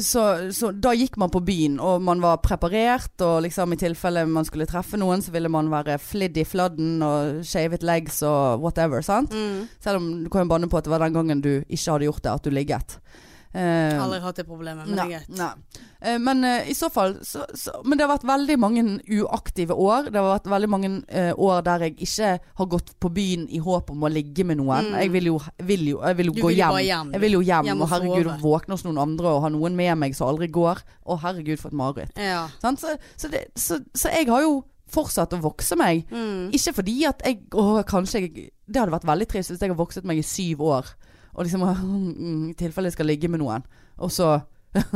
[SPEAKER 1] så, så da gikk man på byen, og man var preparert, og liksom i tilfelle man skulle treffe noen, så ville man være flidd i fladden og shavet legs og whatever, sant?
[SPEAKER 2] Mm.
[SPEAKER 1] Selv om du kan jo banne på at det var den gangen du ikke hadde gjort det, at du ligget. Ehm,
[SPEAKER 2] Aldri hatt det problemet, men det er
[SPEAKER 1] Nei,
[SPEAKER 2] greit.
[SPEAKER 1] nei. Eh, Men eh, i så fall så, så, Men det har vært veldig mange uaktive år. Det har vært veldig mange eh, år der jeg ikke har gått på byen i håp om å ligge med noen.
[SPEAKER 2] Mm.
[SPEAKER 1] Jeg vil jo, vil jo, jeg vil jo
[SPEAKER 2] Du
[SPEAKER 1] gå
[SPEAKER 2] vil jo
[SPEAKER 1] hjem.
[SPEAKER 2] bare hjem, du.
[SPEAKER 1] Jeg vil jo hjem,
[SPEAKER 2] Hjem
[SPEAKER 1] og
[SPEAKER 2] og
[SPEAKER 1] herregud,
[SPEAKER 2] sove.
[SPEAKER 1] våkne hos noen andre og ha noen med meg som aldri går. Å herregud, for et mareritt.
[SPEAKER 2] Ja.
[SPEAKER 1] Sant? Så, så, det, så, så jeg har jo fortsatt å vokse meg.
[SPEAKER 2] Mm.
[SPEAKER 1] Ikke fordi at jeg Åh, kanskje jeg Det hadde vært veldig trist hvis jeg har vokset meg i syv år, og liksom mm, I tilfelle jeg skal ligge med noen, og så [LAUGHS]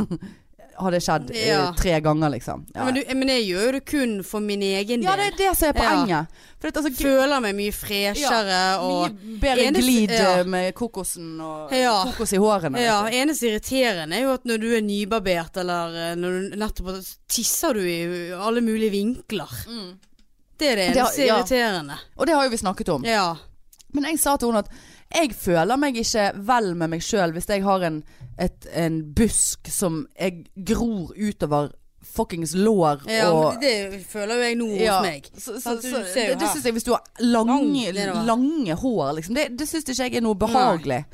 [SPEAKER 1] har det skjedd eh,
[SPEAKER 2] Ja.
[SPEAKER 1] tre ganger, liksom.
[SPEAKER 2] Ja,
[SPEAKER 1] Ja,
[SPEAKER 2] Men, du, eh, men jeg gjør jo det kun for min egen
[SPEAKER 1] ja det
[SPEAKER 2] del.
[SPEAKER 1] er det som er
[SPEAKER 2] Ja.
[SPEAKER 1] poenget. For det, er altså,
[SPEAKER 2] Føler meg mye freshere og
[SPEAKER 1] mye bedre
[SPEAKER 2] eneste-
[SPEAKER 1] glid
[SPEAKER 2] ja.
[SPEAKER 1] eh, med kokosen og
[SPEAKER 2] Ja.
[SPEAKER 1] kokos i hårene.
[SPEAKER 2] Ja,
[SPEAKER 1] liksom.
[SPEAKER 2] eneste irriterende er jo at når du er nybarbert eller eh, når du nettopp har- så tisser du i alle mulige vinkler.
[SPEAKER 1] Mm.
[SPEAKER 2] Det er det
[SPEAKER 1] Det har-
[SPEAKER 2] eneste
[SPEAKER 1] ja.
[SPEAKER 2] irriterende.
[SPEAKER 1] Og det har jo vi snakket om.
[SPEAKER 2] Ja.
[SPEAKER 1] Men jeg sa til henne at jeg føler meg ikke vel med meg sjøl hvis jeg har en, et, en busk som jeg gror utover fuckings lår
[SPEAKER 2] ja men
[SPEAKER 1] og
[SPEAKER 2] det føler jo jeg nå
[SPEAKER 1] Ja,
[SPEAKER 2] hos meg.
[SPEAKER 1] så, så,
[SPEAKER 2] Sant, du
[SPEAKER 1] så,
[SPEAKER 2] ser jo
[SPEAKER 1] det, det
[SPEAKER 2] her.
[SPEAKER 1] syns jeg hvis du har lange,
[SPEAKER 2] Lang, det er det.
[SPEAKER 1] lange hår, liksom. Det, det syns ikke jeg er noe behagelig.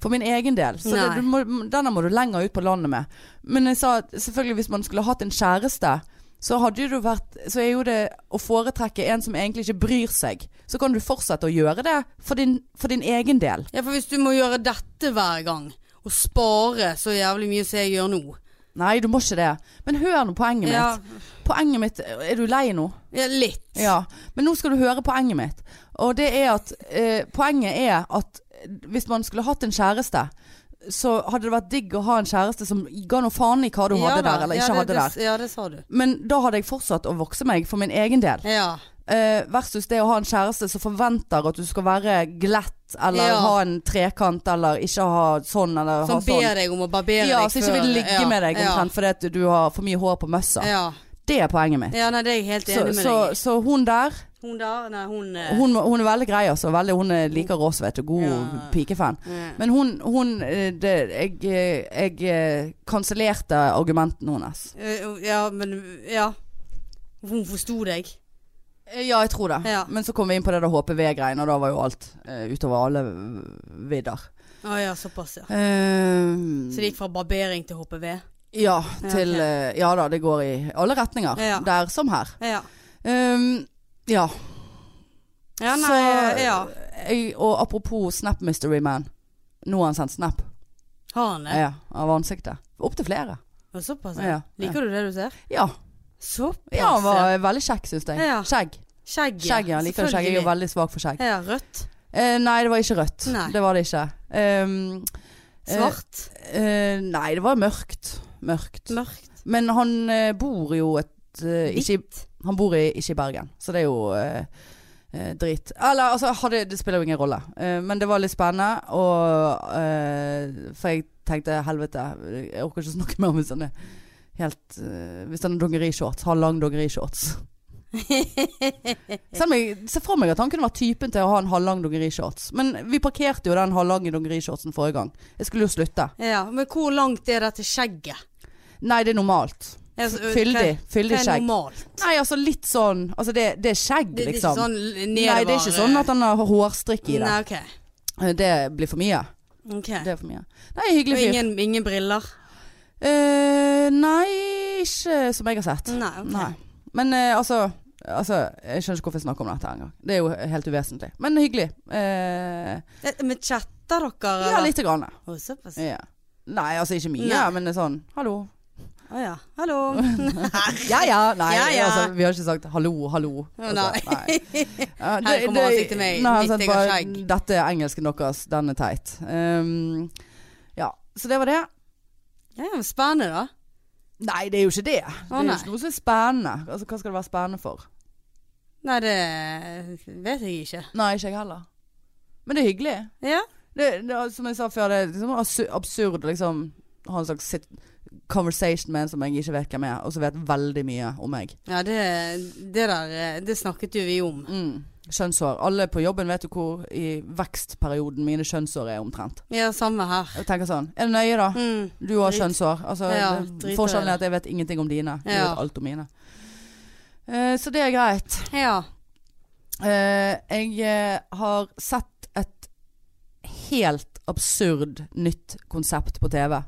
[SPEAKER 1] For min egen del. Så det,
[SPEAKER 2] Nei.
[SPEAKER 1] du må, denne må du lenger ut på landet med. Men jeg sa at selvfølgelig hvis man skulle hatt en kjæreste, så, hadde jo det vært, så er jo det å foretrekke en som egentlig ikke bryr seg. Så kan du fortsette å gjøre det for din, for din egen del.
[SPEAKER 2] Ja, for hvis du må gjøre dette hver gang og spare så jævlig mye som jeg gjør nå
[SPEAKER 1] Nei, du må ikke det. Men hør nå poenget
[SPEAKER 2] ja,
[SPEAKER 1] mitt. Poenget mitt Er du lei nå?
[SPEAKER 2] ja, litt.
[SPEAKER 1] Ja, men nå skal du høre poenget mitt. Og det er at eh, poenget er at hvis man skulle hatt en kjæreste, så hadde det vært digg å ha en kjæreste som ga noe faen i hva du hadde
[SPEAKER 2] da.
[SPEAKER 1] der, eller
[SPEAKER 2] ja,
[SPEAKER 1] ikke
[SPEAKER 2] det,
[SPEAKER 1] hadde
[SPEAKER 2] det,
[SPEAKER 1] der.
[SPEAKER 2] Ja, det sa du.
[SPEAKER 1] Men da hadde jeg fortsatt å vokse meg for min egen del.
[SPEAKER 2] Ja.
[SPEAKER 1] Eh, versus det å ha en kjæreste som forventer at du skal være glatt, eller
[SPEAKER 2] Ja.
[SPEAKER 1] ha en trekant, eller ikke ha sånn, eller
[SPEAKER 2] Som
[SPEAKER 1] ha sånn.
[SPEAKER 2] ber deg om å barbere
[SPEAKER 1] Ja,
[SPEAKER 2] deg
[SPEAKER 1] som ikke vil
[SPEAKER 2] før-
[SPEAKER 1] ligge
[SPEAKER 2] ja,
[SPEAKER 1] med deg
[SPEAKER 2] ja,
[SPEAKER 1] omtrent fordi at du har for mye hår på møssa.
[SPEAKER 2] Ja.
[SPEAKER 1] Det er poenget mitt.
[SPEAKER 2] ja, nei, det er jeg helt
[SPEAKER 1] Så,
[SPEAKER 2] enig med
[SPEAKER 1] så,
[SPEAKER 2] deg i.
[SPEAKER 1] så hun der
[SPEAKER 2] Hun der, nei, hun eh,
[SPEAKER 1] hun, hun er veldig grei, altså. Veldig, hun er- liker oss, vet du. God
[SPEAKER 2] Ja.
[SPEAKER 1] pikefan.
[SPEAKER 2] eh,
[SPEAKER 1] Men hun, hun eh, det, Jeg, eh, jeg eh, kansellerte argumentene hennes.
[SPEAKER 2] eh, Ja, men Ja. Hun forsto deg.
[SPEAKER 1] Eh, Ja, jeg tror det.
[SPEAKER 2] Ja.
[SPEAKER 1] Men så kom vi inn på det der HPV-greiene, og da var jo alt eh, utover alle vidder.
[SPEAKER 2] Å ja, såpass, ja.
[SPEAKER 1] Eh,
[SPEAKER 2] Så det gikk fra barbering til HPV?
[SPEAKER 1] ja,
[SPEAKER 2] Ja,
[SPEAKER 1] til
[SPEAKER 2] ok.
[SPEAKER 1] eh, Ja da, det går i alle retninger.
[SPEAKER 2] Ja.
[SPEAKER 1] Der som her.
[SPEAKER 2] Ja.
[SPEAKER 1] Eh, ja.
[SPEAKER 2] Ja, nei, eh,
[SPEAKER 1] Så-
[SPEAKER 2] ja.
[SPEAKER 1] Jeg, og apropos Snap Mystery Man. Nå har han sendt snap
[SPEAKER 2] Har han det?
[SPEAKER 1] ja, av ansiktet. Opptil flere.
[SPEAKER 2] Ja, Såpass, ja.
[SPEAKER 1] Ja, ja.
[SPEAKER 2] Altså, Liker du det du ser?
[SPEAKER 1] ja.
[SPEAKER 2] Såpass,
[SPEAKER 1] Ja, han var veldig kjekk, syns jeg.
[SPEAKER 2] Ja.
[SPEAKER 1] Skjegg.
[SPEAKER 2] Skjegg,
[SPEAKER 1] Skjegg, ja. Jeg Liker skjegg. Jeg er jo veldig svak for skjegg.
[SPEAKER 2] Ja, rødt.
[SPEAKER 1] Eh, nei, det var ikke rødt.
[SPEAKER 2] Nei.
[SPEAKER 1] Det var det ikke. Ehm, eh,
[SPEAKER 2] Svart.
[SPEAKER 1] eh, nei, det var mørkt. Mørkt.
[SPEAKER 2] Mørkt.
[SPEAKER 1] Men han eh, bor jo et eh, ikke, i-
[SPEAKER 2] Hvitt.
[SPEAKER 1] Han bor i, ikke i Bergen, så det er jo eh, eh, drit. Eller altså, hadde, det spiller jo ingen rolle. Eh, men det var litt spennende, og eh, For jeg tenkte helvete, jeg orker ikke snakke mer om sånne helt eh, Hvis han har dongerishorts, har lang dongerishorts.
[SPEAKER 2] [LAUGHS]
[SPEAKER 1] Selv om jeg ser for meg at han kunne vært typen til å ha en halvlang dongerishorts. Men vi parkerte jo den halvlange dongerishortsen forrige gang. Jeg skulle jo slutte.
[SPEAKER 2] Ja, men hvor langt er dette skjegget?
[SPEAKER 1] Nei, det er normalt.
[SPEAKER 2] Altså,
[SPEAKER 1] Fyldig.
[SPEAKER 2] hva- hva
[SPEAKER 1] Fyldig
[SPEAKER 2] er
[SPEAKER 1] skjegg.
[SPEAKER 2] normalt?
[SPEAKER 1] Nei, altså litt sånn Altså det, det er skjegg,
[SPEAKER 2] Det, det er ikke
[SPEAKER 1] liksom.
[SPEAKER 2] sånn nedover eh,
[SPEAKER 1] Nei, det er ikke sånn at han har hårstrikk i det.
[SPEAKER 2] Nei, ok.
[SPEAKER 1] Det blir for mye.
[SPEAKER 2] Ok.
[SPEAKER 1] Det er for mye. Nei, hyggelig
[SPEAKER 2] Og
[SPEAKER 1] fyr.
[SPEAKER 2] ingen, ingen briller?
[SPEAKER 1] Eh, nei, ikke som jeg har sett.
[SPEAKER 2] Nei. Mm, ok.
[SPEAKER 1] Nei. Men eh, altså, altså Jeg skjønner ikke hvorfor jeg snakker om dette her engang. Det er jo helt uvesentlig. Men hyggelig. Eh,
[SPEAKER 2] Eh, Men chatter dere?
[SPEAKER 1] ja,
[SPEAKER 2] eller?
[SPEAKER 1] lite grann.
[SPEAKER 2] Å, såpass.
[SPEAKER 1] Ja. Nei, altså ikke mye,
[SPEAKER 2] Nei.
[SPEAKER 1] men det er sånn hallo.
[SPEAKER 2] Å ja. Hallo.
[SPEAKER 1] Ja ja. Nei,
[SPEAKER 2] Ja, ja.
[SPEAKER 1] Altså, vi har ikke sagt hallo, hallo.
[SPEAKER 2] Å,
[SPEAKER 1] Altså,
[SPEAKER 2] [LAUGHS]
[SPEAKER 1] nei. Ja,
[SPEAKER 2] Her kommer han og sitter med i
[SPEAKER 1] nei, han sa
[SPEAKER 2] 90 og
[SPEAKER 1] bare,
[SPEAKER 2] skjegg.
[SPEAKER 1] Dette er engelsken deres, den er teit. Um, ja, så det var det.
[SPEAKER 2] Ja, ja, men spennende, da.
[SPEAKER 1] Nei, det er jo ikke det. det er jo
[SPEAKER 2] nei.
[SPEAKER 1] ikke noe som er spennende. Altså, hva skal det være spennende for?
[SPEAKER 2] Nei, det vet jeg ikke.
[SPEAKER 1] Nei, ikke jeg heller. Men det er hyggelig.
[SPEAKER 2] Ja.
[SPEAKER 1] Det, det, er, som jeg sa før, det er liksom absu- absurd å liksom, ha en slags sit conversation med en som jeg ikke vet hvem er, og som vet veldig mye om meg.
[SPEAKER 2] Ja, det, det der eh, Det snakket jo vi om.
[SPEAKER 1] Mm. Kjønnshår. Alle på jobben vet jo hvor i vekstperioden mine kjønnshår er omtrent.
[SPEAKER 2] Ja, samme her.
[SPEAKER 1] Jeg tenker sånn, er det nøye da?
[SPEAKER 2] Mm.
[SPEAKER 1] Du har
[SPEAKER 2] Drit.
[SPEAKER 1] kjønnshår. Altså,
[SPEAKER 2] Ja,
[SPEAKER 1] det-
[SPEAKER 2] drit i
[SPEAKER 1] forskjellen er
[SPEAKER 2] det.
[SPEAKER 1] at jeg vet ingenting om dine. Du
[SPEAKER 2] Ja.
[SPEAKER 1] vet alt om mine. Eh, så det er greit.
[SPEAKER 2] Ja.
[SPEAKER 1] Eh, jeg eh, har sett et helt absurd nytt konsept på TV.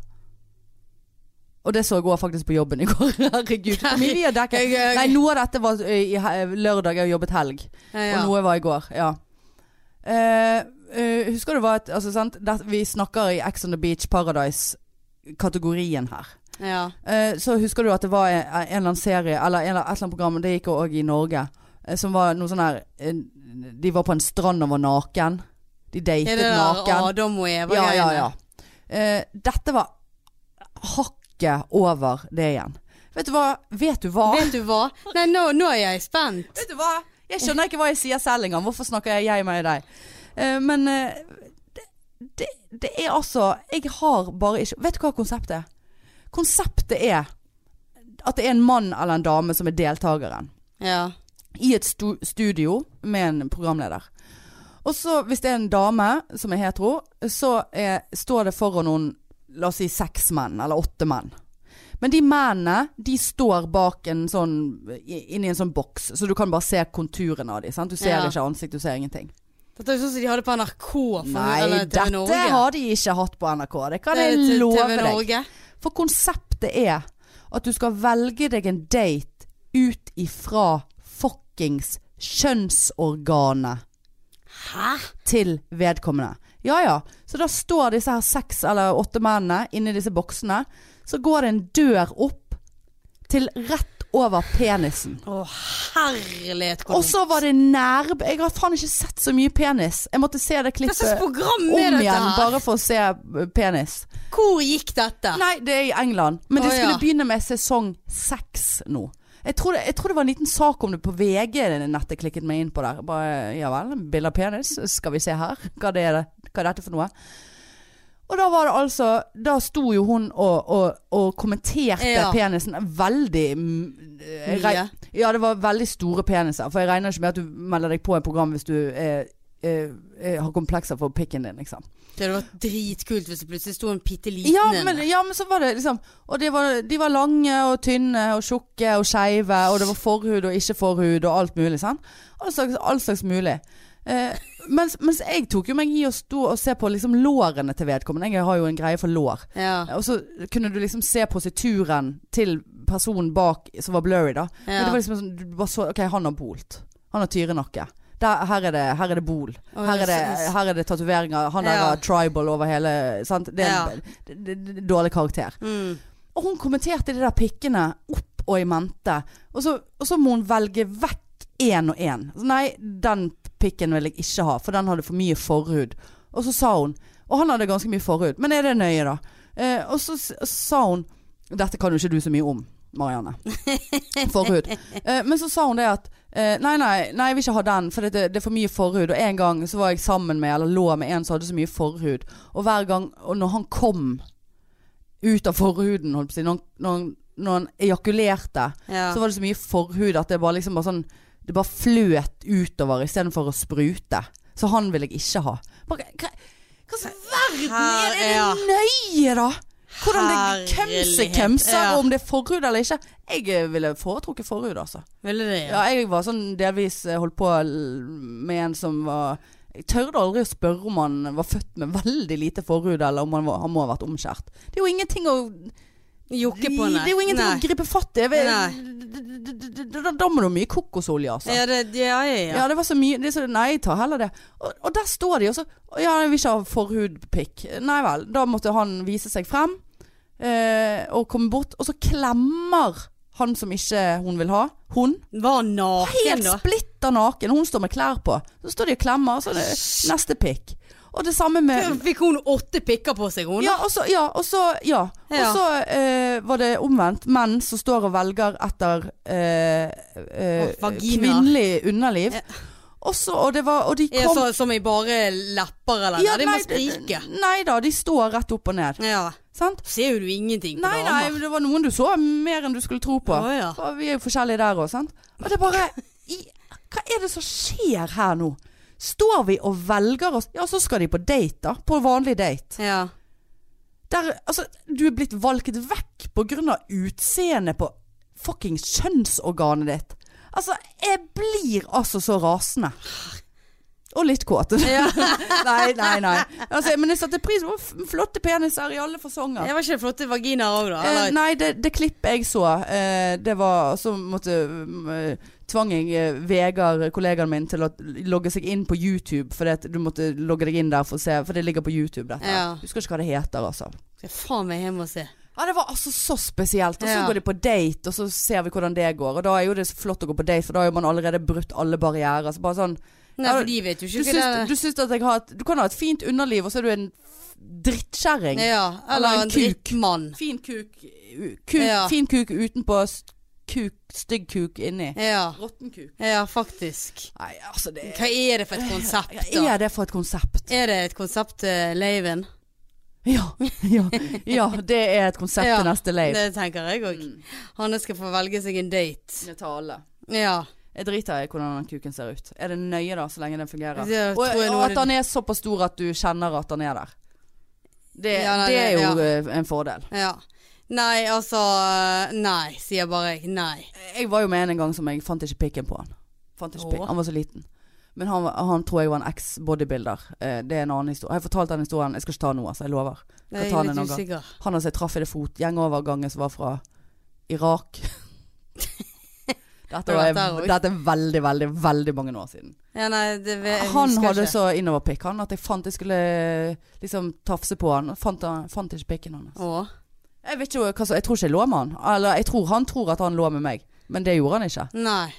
[SPEAKER 1] Og det så jeg også faktisk på jobben i
[SPEAKER 2] [LAUGHS]
[SPEAKER 1] går. [LAUGHS] Herregud. hvor mye vi har dekket.
[SPEAKER 2] Jeg, jeg,
[SPEAKER 1] Nei, noe av dette var eh, i he- lørdag. Jeg har jobbet helg.
[SPEAKER 2] ja, ja.
[SPEAKER 1] Og noe var i går, ja. Eh, eh, husker du hva et, altså, sant? Det, Vi snakker i Ex on the Beach Paradise-kategorien her.
[SPEAKER 2] ja.
[SPEAKER 1] Eh, så husker du at det var en, en eller annen serie, eller, en, eller et eller annet program, det gikk òg i Norge, eh, som var noe sånn her eh, De var på en strand og var naken. De datet
[SPEAKER 2] Er det der
[SPEAKER 1] naken.
[SPEAKER 2] Adam og Eva?
[SPEAKER 1] Ja, ja, ja. Eh, dette var hakket over det igjen. Vet du hva? Vet du hva?
[SPEAKER 2] Vet du hva? Nei, nå, nå er jeg spent.
[SPEAKER 1] Vet du hva? Jeg skjønner ikke hva jeg sier selv engang. Hvorfor snakker jeg jeg med deg? Eh, men eh, det, det, det er altså Jeg har bare ikke Vet du hva konseptet er? Konseptet er at det er en mann eller en dame som er deltakeren.
[SPEAKER 2] Ja.
[SPEAKER 1] I et stu studio med en programleder. Og så, hvis det er en dame som er hetero, så er, står det foran noen La oss si seks menn, eller åtte menn. Men de mennene, de står bak en sånn i- Inni en sånn boks, så du kan bare se konturene av dem. Sant? Du ser
[SPEAKER 2] Ja.
[SPEAKER 1] ikke ansikt, du ser ingenting.
[SPEAKER 2] Dette er jo sånn som de hadde på NRK for
[SPEAKER 1] Nei,
[SPEAKER 2] eller TV
[SPEAKER 1] dette
[SPEAKER 2] Norge.
[SPEAKER 1] har de ikke hatt på NRK. Det kan
[SPEAKER 2] Det er
[SPEAKER 1] jeg
[SPEAKER 2] til
[SPEAKER 1] love
[SPEAKER 2] TV
[SPEAKER 1] deg.
[SPEAKER 2] Norge.
[SPEAKER 1] For konseptet er at du skal velge deg en date ut ifra fuckings kjønnsorganet
[SPEAKER 2] Hæ?
[SPEAKER 1] til vedkommende. Ja ja. Så da står disse her seks eller åtte mennene inni disse boksene. Så går det en dør opp til rett over penisen.
[SPEAKER 2] Å herlighet, hvor
[SPEAKER 1] Og så var det nærb... Jeg har faen ikke sett så mye penis. Jeg måtte se det
[SPEAKER 2] dumt. Hva
[SPEAKER 1] klippet
[SPEAKER 2] slags program
[SPEAKER 1] eh, om
[SPEAKER 2] er
[SPEAKER 1] igjen
[SPEAKER 2] dette her?
[SPEAKER 1] bare for å se eh, penis.
[SPEAKER 2] Hvor gikk dette?
[SPEAKER 1] Nei, det er i England. Men det
[SPEAKER 2] Å,
[SPEAKER 1] skulle
[SPEAKER 2] ja.
[SPEAKER 1] begynne med sesong seks nå. Jeg tror, det, jeg tror det var en liten sak om det på VG-nettet klikket meg inn på der. Bare, ja vel, bilde av penis. Skal vi se her. Hva, det er, det- hva er dette for noe? Og da var det altså Da sto jo hun og, og, og kommenterte
[SPEAKER 2] Ja.
[SPEAKER 1] penisen veldig mm, jeg reg-
[SPEAKER 2] Mye.
[SPEAKER 1] Ja, det var veldig store peniser. For jeg regner ikke med at du melder deg på et program hvis du er, er, er, har komplekser for pikken din, liksom.
[SPEAKER 2] Det hadde vært dritkult hvis det plutselig sto en bitte liten
[SPEAKER 1] Ja
[SPEAKER 2] en.
[SPEAKER 1] men, ja, men så var det liksom Og de var, de var lange og tynne og tjukke og skeive, og det var forhud og ikke forhud og alt mulig. Sant? All, slags, all slags mulig. Eh, mens, mens jeg tok jo meg i å stå og se på liksom lårene til vedkommende. Jeg har jo en greie for lår.
[SPEAKER 2] Ja,
[SPEAKER 1] Og så kunne du liksom se posituren til personen bak som var blurry, da.
[SPEAKER 2] ja.
[SPEAKER 1] Men det var liksom sånn du bare så, OK, han har bolt. Han har tyrenakke. Der, her, er det, her er det bol.
[SPEAKER 2] Og
[SPEAKER 1] Her er det,
[SPEAKER 2] så-
[SPEAKER 1] her er det tatoveringer. Han der
[SPEAKER 2] Ja.
[SPEAKER 1] har tribal over hele sant? Det er en d- d- d- dårlig karakter.
[SPEAKER 2] Mm.
[SPEAKER 1] Og hun kommenterte de der pikkene opp og i mente. Og så, og så må hun velge vekk én og én. Så Nei, den pikken vil jeg ikke ha, for den hadde for mye forhud. Og så sa hun Og han hadde ganske mye forhud, men er det nøye, da? Eh, og så s- sa hun Dette kan jo ikke du så mye om, Marianne. Forhud. Eh, men så sa hun det at eh, Nei, nei, nei, jeg vil ikke ha den, for det, det er for mye forhud. Og en gang så var jeg sammen med, eller lå med en som hadde så mye forhud. Og hver gang Og når han kom ut av forhuden, holdt på å si, når han, når han, når han ejakulerte,
[SPEAKER 2] Ja.
[SPEAKER 1] så var det så mye forhud at det bare liksom bare sånn Det bare fløt utover istedenfor å sprute. Så han vil jeg ikke ha. Bare, hva hva slags verden er det? Er det nøye, da? Hvordan det kømse
[SPEAKER 2] Herlighet.
[SPEAKER 1] kømser,
[SPEAKER 2] Ja.
[SPEAKER 1] og om det er forhud eller ikke. Jeg eh, ville foretrukket forhud, altså.
[SPEAKER 2] Ville det, ja.
[SPEAKER 1] Ja, jeg var sånn delvis eh, holdt på l- med en som var Jeg tørde aldri å spørre om han var født med veldig lite forhud, eller om han, var, han må ha vært omskjært. Det er jo ingenting å
[SPEAKER 2] Jokke på, nei.
[SPEAKER 1] Det er jo ingenting å
[SPEAKER 2] nei.
[SPEAKER 1] gripe fatt i. Jeg vet-
[SPEAKER 2] Nei.
[SPEAKER 1] d- d- d- d- Da da må du ha mye kokosolje, altså.
[SPEAKER 2] Ja, det, ja, ja, ja.
[SPEAKER 1] Ja. det var så mye det er så, Nei, ta heller det. Og, og der står de, og så «Å, Ja, jeg vil ikke ha forhudpikk. Nei vel. Da måtte han vise seg frem eh, og komme bort. Og så klemmer han som ikke hun vil ha. Hun.
[SPEAKER 2] Var han naken,
[SPEAKER 1] Helt
[SPEAKER 2] da?
[SPEAKER 1] splitter naken. Hun står med klær på. Så står de og klemmer, og så er det neste pikk. Og det samme med
[SPEAKER 2] Fikk hun åtte pikker på seg, hun?
[SPEAKER 1] ja, og så, ja, og så, ja. Og
[SPEAKER 2] Ja.
[SPEAKER 1] så eh, var det omvendt. Menn som står og velger etter eh, eh,
[SPEAKER 2] Og vaginaer.
[SPEAKER 1] kvinnelig underliv.
[SPEAKER 2] Ja.
[SPEAKER 1] Og, så, og, det var, og de
[SPEAKER 2] Ja,
[SPEAKER 1] kom
[SPEAKER 2] så, som i bare lepper, eller?
[SPEAKER 1] Ja,
[SPEAKER 2] Ja, det må
[SPEAKER 1] nei,
[SPEAKER 2] sprike.
[SPEAKER 1] Nei da, de står rett opp og ned.
[SPEAKER 2] Ja.
[SPEAKER 1] Sant?
[SPEAKER 2] Ser jo du ingenting på
[SPEAKER 1] Nei, nei,
[SPEAKER 2] damer?
[SPEAKER 1] det var noen du så mer enn du skulle tro på.
[SPEAKER 2] Å, ja.
[SPEAKER 1] Og vi er jo forskjellige der òg, sant. Og det er bare i, Hva er det som skjer her nå? Står vi og velger oss Ja, så skal de på date, da. På vanlig date.
[SPEAKER 2] Ja.
[SPEAKER 1] Der, altså, du er blitt valgt vekk på grunn av utseendet på fuckings kjønnsorganet ditt. Altså, jeg blir altså så rasende. Og litt kåt.
[SPEAKER 2] [LAUGHS] ja.
[SPEAKER 1] nei, nei, nei. Altså, men jeg satte pris på f- flotte peniser i alle fasonger.
[SPEAKER 2] Det var ikke flotte vaginaer òg, da?
[SPEAKER 1] Eh,
[SPEAKER 2] Eller?
[SPEAKER 1] nei, det, det klippet jeg så, eh, det var Så måtte mm, eh, tvang jeg eh, Vegard, kollegaen min, til å logge seg inn på YouTube. For det, at du måtte logge deg inn der for å se, for det ligger på YouTube, dette.
[SPEAKER 2] Ja.
[SPEAKER 1] Husker ikke hva det heter, altså.
[SPEAKER 2] Skal jeg faen meg hjem og se.
[SPEAKER 1] Ja, det var altså så spesielt. Og så
[SPEAKER 2] Ja.
[SPEAKER 1] går de på date, og så ser vi hvordan det går. Og da er jo det så flott å gå på date, for da har jo man allerede brutt alle barrierer. Så bare sånn
[SPEAKER 2] Nei,
[SPEAKER 1] Ja,
[SPEAKER 2] for de vet jo
[SPEAKER 1] du
[SPEAKER 2] ikke hva det
[SPEAKER 1] syns,
[SPEAKER 2] er.
[SPEAKER 1] du syns at jeg har et Du kan ha et fint underliv, og så er du en f- drittkjerring.
[SPEAKER 2] Ja,
[SPEAKER 1] Eller en
[SPEAKER 2] eller en
[SPEAKER 1] kuk.
[SPEAKER 2] drittmann.
[SPEAKER 1] Fin kuk, u- kuk
[SPEAKER 2] Ja.
[SPEAKER 1] Fin kuk utenpå, s- kuk, stygg kuk inni.
[SPEAKER 2] Ja.
[SPEAKER 1] Råtten kuk.
[SPEAKER 2] ja, faktisk.
[SPEAKER 1] Nei, altså det
[SPEAKER 2] Hva er det for et konsept,
[SPEAKER 1] Hva
[SPEAKER 2] da?
[SPEAKER 1] er det for et konsept?
[SPEAKER 2] Er det et konsept, uh, Leiven?
[SPEAKER 1] Ja, ja, ja det er et konsept
[SPEAKER 2] Ja,
[SPEAKER 1] til neste lave.
[SPEAKER 2] Det tenker jeg òg.
[SPEAKER 1] Mm.
[SPEAKER 2] Hanne skal få velge seg en date.
[SPEAKER 1] Jeg tar alle.
[SPEAKER 2] Ja.
[SPEAKER 1] Jeg driter i hvordan den kuken ser ut. Er det nøye da, så lenge den fungerer?
[SPEAKER 2] Det
[SPEAKER 1] Og,
[SPEAKER 2] tror jeg nå
[SPEAKER 1] og
[SPEAKER 2] er
[SPEAKER 1] at
[SPEAKER 2] det-
[SPEAKER 1] han er såpass stor at du kjenner at han er der. Det,
[SPEAKER 2] Ja, nei,
[SPEAKER 1] det er
[SPEAKER 2] det-
[SPEAKER 1] jo
[SPEAKER 2] ja.
[SPEAKER 1] eh, en fordel.
[SPEAKER 2] ja. Nei, altså Nei, sier bare jeg. Nei.
[SPEAKER 1] Jeg var jo med en en gang som jeg fant ikke pikken på han. Fant ikke
[SPEAKER 2] Åh.
[SPEAKER 1] pikken. Han var så liten. Men han, var- han tror jeg var en eks-bodybuilder. Eh, det er en annen historie. Jeg har fortalt den historien. Jeg skal ikke ta den nå, altså. Jeg lover.
[SPEAKER 2] Jeg
[SPEAKER 1] Skal ta
[SPEAKER 2] er
[SPEAKER 1] den
[SPEAKER 2] litt
[SPEAKER 1] en gang.
[SPEAKER 2] usikker.
[SPEAKER 1] Han altså jeg traff i det fotgjengovergangen som var fra
[SPEAKER 2] [LAUGHS]
[SPEAKER 1] Irak. dette, var,
[SPEAKER 2] Det var der også.
[SPEAKER 1] dette er veldig, veldig, veldig mange år siden.
[SPEAKER 2] Ja, nei, det vet jeg
[SPEAKER 1] Han
[SPEAKER 2] husker
[SPEAKER 1] hadde
[SPEAKER 2] ikke.
[SPEAKER 1] så innoverpikk, han, at jeg fant jeg skulle liksom tafse på han. og Fant, han, fant ikke pikken hans.
[SPEAKER 2] Å.
[SPEAKER 1] Jeg vet ikke hva som Jeg tror ikke jeg lå med han. Eller jeg tror han tror at han lå med meg, men det gjorde han ikke.
[SPEAKER 2] Nei.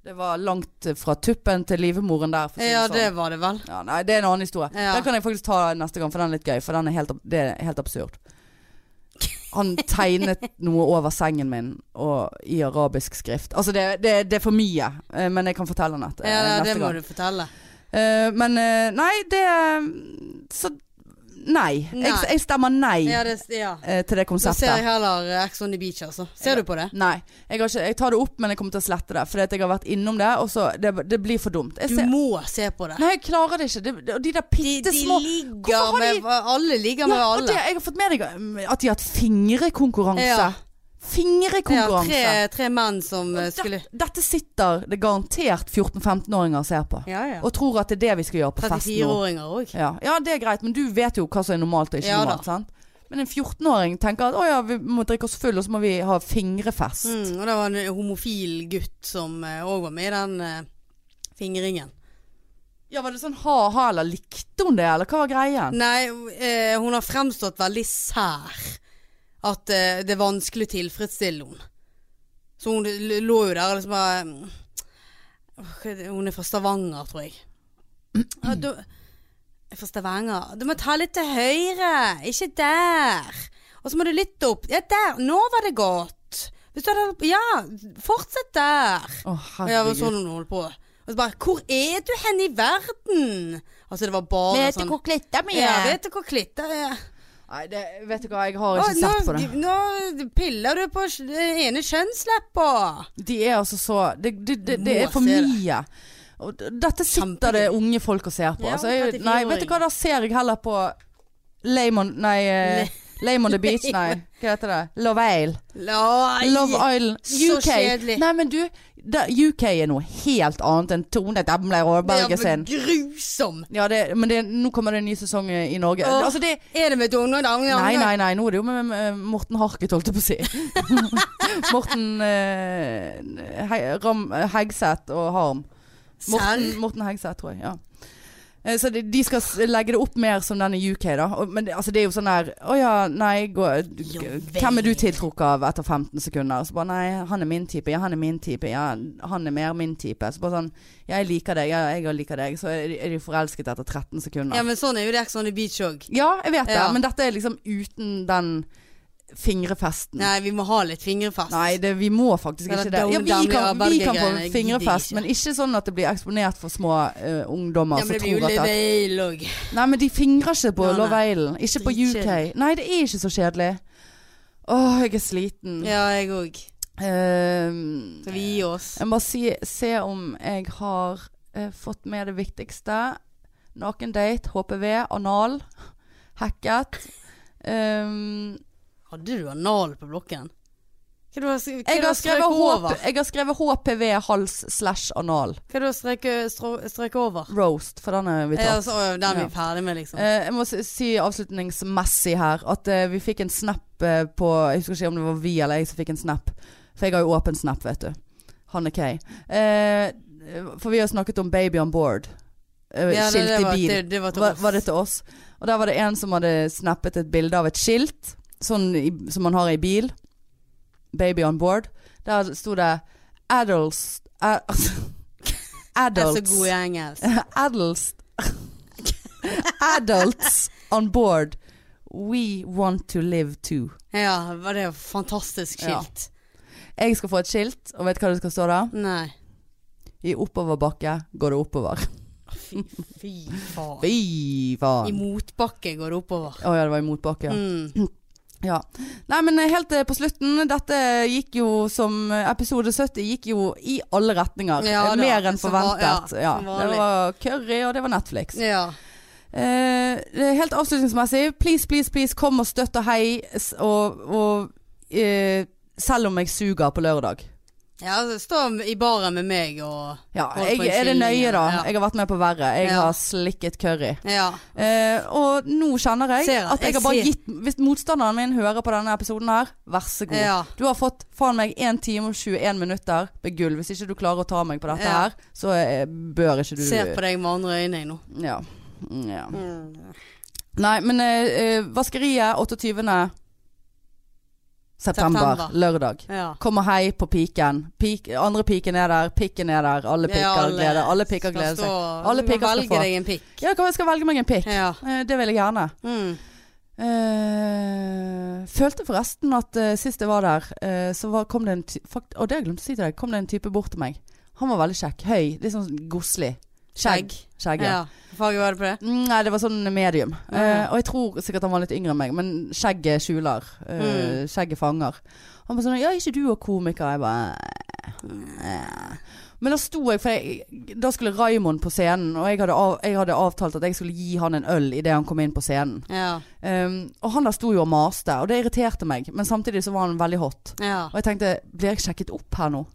[SPEAKER 1] Det var langt fra tuppen til livmoren der. For å si
[SPEAKER 2] Ja,
[SPEAKER 1] det
[SPEAKER 2] det var det vel.
[SPEAKER 1] sånn. ja, nei, det er en annen historie.
[SPEAKER 2] Ja.
[SPEAKER 1] Den kan jeg faktisk ta neste gang, for den er litt gøy. For den er helt, ab- det er helt absurd. Han tegnet noe over sengen min og, i arabisk skrift. Altså, det, det, det er for mye, eh, men jeg kan fortelle den et, eh,
[SPEAKER 2] Ja, nei,
[SPEAKER 1] neste
[SPEAKER 2] det må
[SPEAKER 1] gang.
[SPEAKER 2] du fortelle.
[SPEAKER 1] Eh, men eh, nei, det eh, Så nei. Jeg,
[SPEAKER 2] Nei.
[SPEAKER 1] jeg stemmer nei
[SPEAKER 2] Ja, det, ja.
[SPEAKER 1] eh, til det
[SPEAKER 2] Da ser
[SPEAKER 1] konseptet.
[SPEAKER 2] jeg heller eh, Ex on the beach, altså. Ser du på det?
[SPEAKER 1] Nei. Jeg, har ikke, jeg tar det opp, men jeg kommer til å slette det. Fordi at jeg har vært innom det, og så Det, det blir for dumt. Jeg
[SPEAKER 2] Du
[SPEAKER 1] ser,
[SPEAKER 2] må se på det.
[SPEAKER 1] Nei, jeg klarer det ikke. Det- det- Og de der
[SPEAKER 2] De,
[SPEAKER 1] bitte
[SPEAKER 2] de
[SPEAKER 1] små Hvorfor
[SPEAKER 2] ligger
[SPEAKER 1] har
[SPEAKER 2] med Alle ligger med
[SPEAKER 1] ja, og det,
[SPEAKER 2] alle.
[SPEAKER 1] Jeg har fått med deg um, at de har hatt fingrekonkurranse.
[SPEAKER 2] Ja. Ja,
[SPEAKER 1] Fingrekonkurranse.
[SPEAKER 2] tre, tre menn som eh, skulle
[SPEAKER 1] Dette- Dette sitter det garantert 14-15-åringer og ser på.
[SPEAKER 2] Ja, ja.
[SPEAKER 1] Og tror at det er det vi skal gjøre på fest nå.
[SPEAKER 2] 34-åringer òg.
[SPEAKER 1] Ja. ja, det er greit, men du vet jo hva som er normalt og ikke
[SPEAKER 2] Ja da.
[SPEAKER 1] normalt. sant? Men en 14-åring tenker at å ja, vi må drikke oss full, og så må vi ha fingrefest.
[SPEAKER 2] Mm, og det var en homofil gutt som òg var med i den eh, fingringen.
[SPEAKER 1] Ja, Var det sånn ha-ha, eller likte hun det, eller hva var greien?
[SPEAKER 2] Nei, eh, hun har fremstått veldig sær. At eh, det er vanskelig å tilfredsstille henne. Så hun l- lå jo der og liksom bare mm, åh, hva er det- Hun er fra Stavanger, tror jeg. Ja, du, er fra Stavanger. Du må ta litt til høyre, ikke der. Og så må du litt opp. Ja, der. Nå var det godt. Hvis du hadde Ja, fortsett der.
[SPEAKER 1] Å,
[SPEAKER 2] Og jeg var
[SPEAKER 1] herregud.
[SPEAKER 2] sånn hun holdt på. Og så bare Hvor er du hen i verden? Altså, det var bare sånn
[SPEAKER 1] klitta
[SPEAKER 2] ja, vet du hvor klitta er?
[SPEAKER 1] Nei, det, vet du hva, jeg har
[SPEAKER 2] Å,
[SPEAKER 1] ikke
[SPEAKER 2] nå,
[SPEAKER 1] sett på det.
[SPEAKER 2] nå piller du på sj- den ene kjønnsleppa.
[SPEAKER 1] De er altså så Det, det, det, det
[SPEAKER 2] Må
[SPEAKER 1] er for
[SPEAKER 2] se det.
[SPEAKER 1] mye. Og d- dette sitter det
[SPEAKER 2] Kjempegøy.
[SPEAKER 1] unge folk og ser på.
[SPEAKER 2] Ja,
[SPEAKER 1] altså, jeg,
[SPEAKER 2] 34-åring.
[SPEAKER 1] nei, vet du hva, da ser jeg heller på Lemon Nei, eh, [LAUGHS] Lame on the beach, nei. Hva heter det? Love Ale.
[SPEAKER 2] Nei,
[SPEAKER 1] Love Island.
[SPEAKER 2] så
[SPEAKER 1] UK.
[SPEAKER 2] kjedelig.
[SPEAKER 1] Nei, men du, da, UK er noe helt annet enn Tone Demle
[SPEAKER 2] det
[SPEAKER 1] Råberget
[SPEAKER 2] er
[SPEAKER 1] sin.
[SPEAKER 2] grusom.
[SPEAKER 1] Ja, det, men det, nå kommer det en ny sesong eh, i Norge.
[SPEAKER 2] Åh.
[SPEAKER 1] Altså det
[SPEAKER 2] Er det med Donald Angen?
[SPEAKER 1] Nei, nei, nei, nå er det jo med, med Morten Harket, holdt jeg på å si. [LAUGHS] Morten eh, Hei- Ram, Hegseth og Harm. Morten,
[SPEAKER 2] Serr?
[SPEAKER 1] Morten Hegseth, tror jeg. ja Eh, så de, de skal s- legge det opp mer som denne UK, da. Og, men det, altså, det er jo sånn der Å ja, nei gå,
[SPEAKER 2] Jo vel.
[SPEAKER 1] Hvem er du tiltrukket av etter 15 sekunder? Så bare nei, han er min type, ja, han er min type, ja, han er mer min type. Så bare sånn Jeg liker deg, ja, jeg liker deg. Så er de, er de forelsket etter 13 sekunder.
[SPEAKER 2] Ja, men sånn er jo det Ex on the Beach òg.
[SPEAKER 1] Ja, jeg vet det,
[SPEAKER 2] Ja.
[SPEAKER 1] men dette er liksom uten den fingrefesten. Nei,
[SPEAKER 2] Nei, vi må ha litt fingerfest.
[SPEAKER 1] det, vi må faktisk
[SPEAKER 2] Det er
[SPEAKER 1] ikke det.
[SPEAKER 2] det
[SPEAKER 1] Ja,
[SPEAKER 2] dum-
[SPEAKER 1] vi kan,
[SPEAKER 2] dum-
[SPEAKER 1] vi kan
[SPEAKER 2] greiene, jeg
[SPEAKER 1] få
[SPEAKER 2] gidder
[SPEAKER 1] fingrefest,
[SPEAKER 2] ikke.
[SPEAKER 1] men ikke sånn at det blir eksponert for små eh, ungdommer
[SPEAKER 2] ja, men
[SPEAKER 1] som
[SPEAKER 2] det blir jo
[SPEAKER 1] tror at det,
[SPEAKER 2] leveil òg.
[SPEAKER 1] Nei, men de fingrer ikke på
[SPEAKER 2] Nei, nei.
[SPEAKER 1] Love Island. Ikke på UK.
[SPEAKER 2] Dritkjedelig.
[SPEAKER 1] Nei, det er ikke så kjedelig. Åh, jeg er sliten.
[SPEAKER 2] Ja, jeg òg.
[SPEAKER 1] Ehm,
[SPEAKER 2] Så vi gir oss.
[SPEAKER 1] jeg må si, se om jeg har eh, fått med det viktigste. Nakendate, HPV, anal, hacket. Um,
[SPEAKER 2] Hadde du anal på blokken? Hva du har, hva
[SPEAKER 1] jeg,
[SPEAKER 2] du
[SPEAKER 1] har
[SPEAKER 2] har
[SPEAKER 1] skrevet
[SPEAKER 2] strøket over?
[SPEAKER 1] HP, jeg har skrevet HPV hals slash anal.
[SPEAKER 2] Hva du har strøket, strå, strøket over?
[SPEAKER 1] Roast, for den er vi
[SPEAKER 2] Ja, altså,
[SPEAKER 1] tatt.
[SPEAKER 2] så, å, den er vi
[SPEAKER 1] Ja.
[SPEAKER 2] ferdig med, liksom.
[SPEAKER 1] Eh, jeg må s- si avslutningsmessig her at eh, vi fikk en snap eh, på Jeg husker ikke om det var vi eller jeg som fikk en snap. For jeg har jo åpen snap, vet du. Hanne Kay. Eh, for vi har snakket om Baby on board. Eh,
[SPEAKER 2] Ja,
[SPEAKER 1] skilt i
[SPEAKER 2] var,
[SPEAKER 1] bil.
[SPEAKER 2] Det, det var til
[SPEAKER 1] var,
[SPEAKER 2] oss.
[SPEAKER 1] var det til oss. Og der var det en som hadde snappet et bilde av et skilt, sånn i, som man har i bil. Baby on board. Der sto det adults a- [LAUGHS]
[SPEAKER 2] Jeg er så
[SPEAKER 1] Adults.
[SPEAKER 2] god i engelsk.
[SPEAKER 1] adults. [LAUGHS] adults on board. We want to live too.
[SPEAKER 2] Ja, var det jo fantastisk
[SPEAKER 1] Ja.
[SPEAKER 2] skilt.
[SPEAKER 1] Jeg skal få et skilt, og vet hva det skal stå der?
[SPEAKER 2] Nei.
[SPEAKER 1] I oppoverbakke går det oppover.
[SPEAKER 2] Fy, fy faen.
[SPEAKER 1] Fy
[SPEAKER 2] I
[SPEAKER 1] faen.
[SPEAKER 2] motbakke går det oppover.
[SPEAKER 1] Å ja, det var i motbakke. Ja.
[SPEAKER 2] Mm.
[SPEAKER 1] Ja. Nei, men helt eh, på slutten. Dette gikk jo som eh, Episode 70 gikk jo i alle retninger.
[SPEAKER 2] Ja,
[SPEAKER 1] Eh,
[SPEAKER 2] det var-
[SPEAKER 1] Mer enn
[SPEAKER 2] som var- ja,
[SPEAKER 1] forventet. Ja,
[SPEAKER 2] som
[SPEAKER 1] det
[SPEAKER 2] vanlig.
[SPEAKER 1] var curry, og det var Netflix.
[SPEAKER 2] Ja.
[SPEAKER 1] Eh, eh, helt avslutningsmessig, please, please, please, kom og støtt og hei. s- Og, og eh, selv om jeg suger på lørdag.
[SPEAKER 2] ja så stå i baren med meg og
[SPEAKER 1] Ja,
[SPEAKER 2] Hold på
[SPEAKER 1] jeg,
[SPEAKER 2] en
[SPEAKER 1] er det
[SPEAKER 2] kylling,
[SPEAKER 1] nøye, da?
[SPEAKER 2] ja.
[SPEAKER 1] Jeg har vært med på verre. Jeg
[SPEAKER 2] Ja.
[SPEAKER 1] har slikket curry.
[SPEAKER 2] Ja.
[SPEAKER 1] Eh, og nå kjenner jeg
[SPEAKER 2] Ser jeg.
[SPEAKER 1] at jeg
[SPEAKER 2] Jeg
[SPEAKER 1] har bare
[SPEAKER 2] ser.
[SPEAKER 1] gitt Hvis motstanderen min hører på denne episoden her, vær så god.
[SPEAKER 2] Ja.
[SPEAKER 1] Du har fått faen meg 1 time og 21 minutter med gull. Hvis ikke du klarer å ta meg på dette
[SPEAKER 2] Ja.
[SPEAKER 1] her, så eh, bør ikke du
[SPEAKER 2] Ser på deg med andre øyne jeg nå.
[SPEAKER 1] Ja. Mm, ja. Nei, men eh, eh, Vaskeriet 28. September,
[SPEAKER 2] September.
[SPEAKER 1] lørdag.
[SPEAKER 2] Ja.
[SPEAKER 1] Kom og hei på piken. Pik, andre piken er der, pikken er der. Alle piker gleder, alle piker gleder seg. Alle piker skal få.
[SPEAKER 2] Velge deg en pikk.
[SPEAKER 1] Ja, hva jeg skal velge meg en pikk?
[SPEAKER 2] Ja.
[SPEAKER 1] Eh, det vil jeg gjerne.
[SPEAKER 2] Mm.
[SPEAKER 1] Eh, følte forresten at eh, sist jeg var der, eh, så var, kom det en ty fakt Og det har jeg glemt å si til deg. Kom det en type bort til meg. Han var veldig kjekk. Høy. Litt sånn godslig. Skjegg. Skjegg, ja.
[SPEAKER 2] Ja. Faget var det på det?
[SPEAKER 1] Mm, Nei, det var sånn medium. Eh,
[SPEAKER 2] Ja.
[SPEAKER 1] og jeg tror sikkert han var litt yngre enn meg, men skjegget skjuler. Eh, Skjegget fanger. Han bare sånn Ja, ikke du og komiker? Jeg bare eh. Men da sto jeg, for jeg, da skulle Raymond på scenen, og jeg hadde, av, jeg hadde avtalt at jeg skulle gi han en øl idet han kom inn på scenen.
[SPEAKER 2] Ja.
[SPEAKER 1] Um, og han der sto jo og maste, og det irriterte meg. Men samtidig så var han veldig hot.
[SPEAKER 2] ja.
[SPEAKER 1] Og jeg tenkte, blir jeg sjekket opp her nå?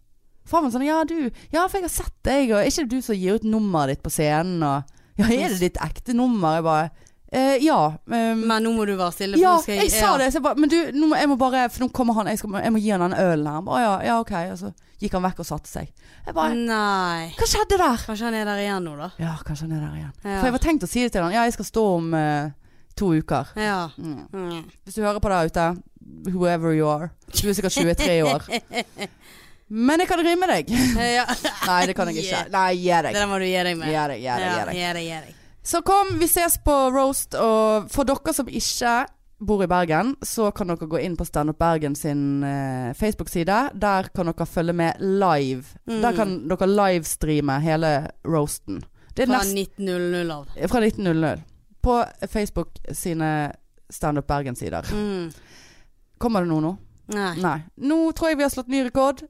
[SPEAKER 1] For han var sånn, ja du, ja for jeg har sett deg, og er ikke det du som gir ut nummeret ditt på scenen? Og, ja, er det ditt ekte nummer? Jeg bare, eh, ja. Um,
[SPEAKER 2] Men nå må du være stille. for
[SPEAKER 1] ja,
[SPEAKER 2] nå skal
[SPEAKER 1] jeg sa det. Så jeg bare, men du, nå må, jeg må bare, for nå kommer han, jeg, skal, jeg må gi han den ølen her. Han bare, ja, ja, ok. Og så gikk han vekk og satte seg. Jeg
[SPEAKER 2] Mm.
[SPEAKER 1] bare,
[SPEAKER 2] Nei.
[SPEAKER 1] hva skjedde der?
[SPEAKER 2] Kanskje han er der igjen nå, da.
[SPEAKER 1] Ja, kanskje han er der igjen.
[SPEAKER 2] Ja.
[SPEAKER 1] For jeg var tenkt å si det til han, ja, jeg skal stå om eh, to uker.
[SPEAKER 2] Ja.
[SPEAKER 1] Mm.
[SPEAKER 2] Mm.
[SPEAKER 1] Hvis du hører på der ute, whoever you are. Du er sikkert 23
[SPEAKER 2] [LAUGHS]
[SPEAKER 1] år. Men jeg kan rime deg.
[SPEAKER 2] ja.
[SPEAKER 1] Nei, det kan jeg ikke. Nei, gi
[SPEAKER 2] Det
[SPEAKER 1] deg.
[SPEAKER 2] der må du gi deg med.
[SPEAKER 1] Gi deg, gi deg, gi deg.
[SPEAKER 2] gi deg, gi deg.
[SPEAKER 1] Så kom, vi ses på roast. Og for dere som ikke bor i Bergen, så kan dere gå inn på Stand Up Bergen sin eh, Facebook-side. Der kan dere følge med live.
[SPEAKER 2] Mm.
[SPEAKER 1] Der kan dere livestreame hele roasten. Det er
[SPEAKER 2] Fra
[SPEAKER 1] nesten
[SPEAKER 2] 1900 av.
[SPEAKER 1] fra 1900. På Facebook sine Stand Up Bergen-sider.
[SPEAKER 2] Mm.
[SPEAKER 1] Kommer det noe nå?
[SPEAKER 2] Nei.
[SPEAKER 1] Nei. Nå tror jeg vi har slått ny rekord.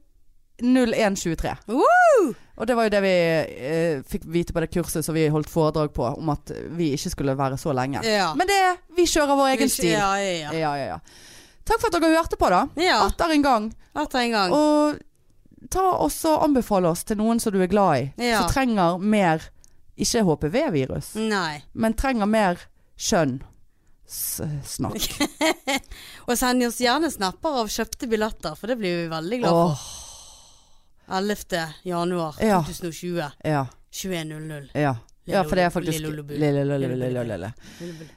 [SPEAKER 1] 0123.
[SPEAKER 2] Woo!
[SPEAKER 1] Og det var jo det vi eh, fikk vite på det kurset som vi holdt foredrag på, om at vi ikke skulle være så lenge.
[SPEAKER 2] Ja.
[SPEAKER 1] Men det, vi kjører vår egen stil.
[SPEAKER 2] Ja, ja, ja.
[SPEAKER 1] Ja, ja, ja. Takk for at dere hørte på, da.
[SPEAKER 2] ja.
[SPEAKER 1] Atter en gang.
[SPEAKER 2] Atter en gang.
[SPEAKER 1] Og ta også anbefale oss til noen som du er glad i.
[SPEAKER 2] Ja. Mm.
[SPEAKER 1] Som trenger mer, ikke HPV-virus,
[SPEAKER 2] Nei.
[SPEAKER 1] men trenger mer kjønn. S snakk.
[SPEAKER 2] Og send oss gjerne snapper av kjøpte billetter, for det blir vi veldig glad for.
[SPEAKER 1] Åh,
[SPEAKER 2] 11. januar
[SPEAKER 1] Ja.
[SPEAKER 2] 2020.
[SPEAKER 1] ja,
[SPEAKER 2] 21.00.
[SPEAKER 1] ja. ja, for det er faktisk
[SPEAKER 2] Lille Ullebo.
[SPEAKER 1] Lille, lille, lille, lille, lille.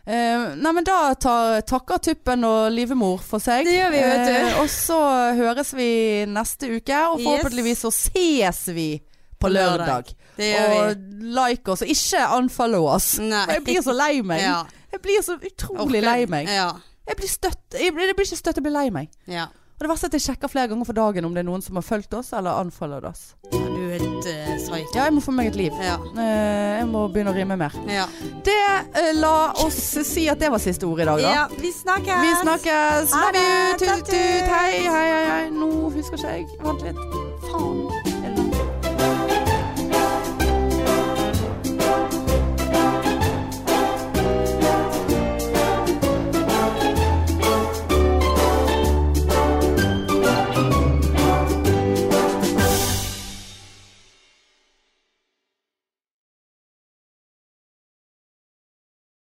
[SPEAKER 1] Eh, nei, men da tar, takker tuppen og livmor for seg.
[SPEAKER 2] Det gjør vi, vet du.
[SPEAKER 1] Eh, og så høres vi neste uke, og
[SPEAKER 2] Yes.
[SPEAKER 1] forhåpentligvis så ses vi på
[SPEAKER 2] På lørdag.
[SPEAKER 1] lørdag.
[SPEAKER 2] Det gjør vi.
[SPEAKER 1] Og like oss, og ikke unfollow oss.
[SPEAKER 2] Nei.
[SPEAKER 1] For Jeg blir så lei meg.
[SPEAKER 2] Ja.
[SPEAKER 1] Jeg blir så utrolig
[SPEAKER 2] Orker-
[SPEAKER 1] lei meg.
[SPEAKER 2] Ja.
[SPEAKER 1] Jeg blir støtt. Jeg blir, jeg blir ikke støtt, jeg blir lei meg.
[SPEAKER 2] ja.
[SPEAKER 1] Og det verste er at jeg sjekker flere ganger for dagen om det er noen som har fulgt oss eller unfollowed oss.
[SPEAKER 2] Du er et uh, psycho.
[SPEAKER 1] Ja, jeg må få meg et liv.
[SPEAKER 2] Ja.
[SPEAKER 1] Eh, jeg må begynne å rime mer.
[SPEAKER 2] Ja.
[SPEAKER 1] Det eh, la oss si at det var siste ord i dag, da.
[SPEAKER 2] ja. Vi snakkes!
[SPEAKER 1] Vi snakkes.
[SPEAKER 2] Ha
[SPEAKER 1] Love you.
[SPEAKER 2] det.
[SPEAKER 1] Tut, tut. Hei, hei, hei. hei. Nå husker ikke jeg. Vent litt. Faen.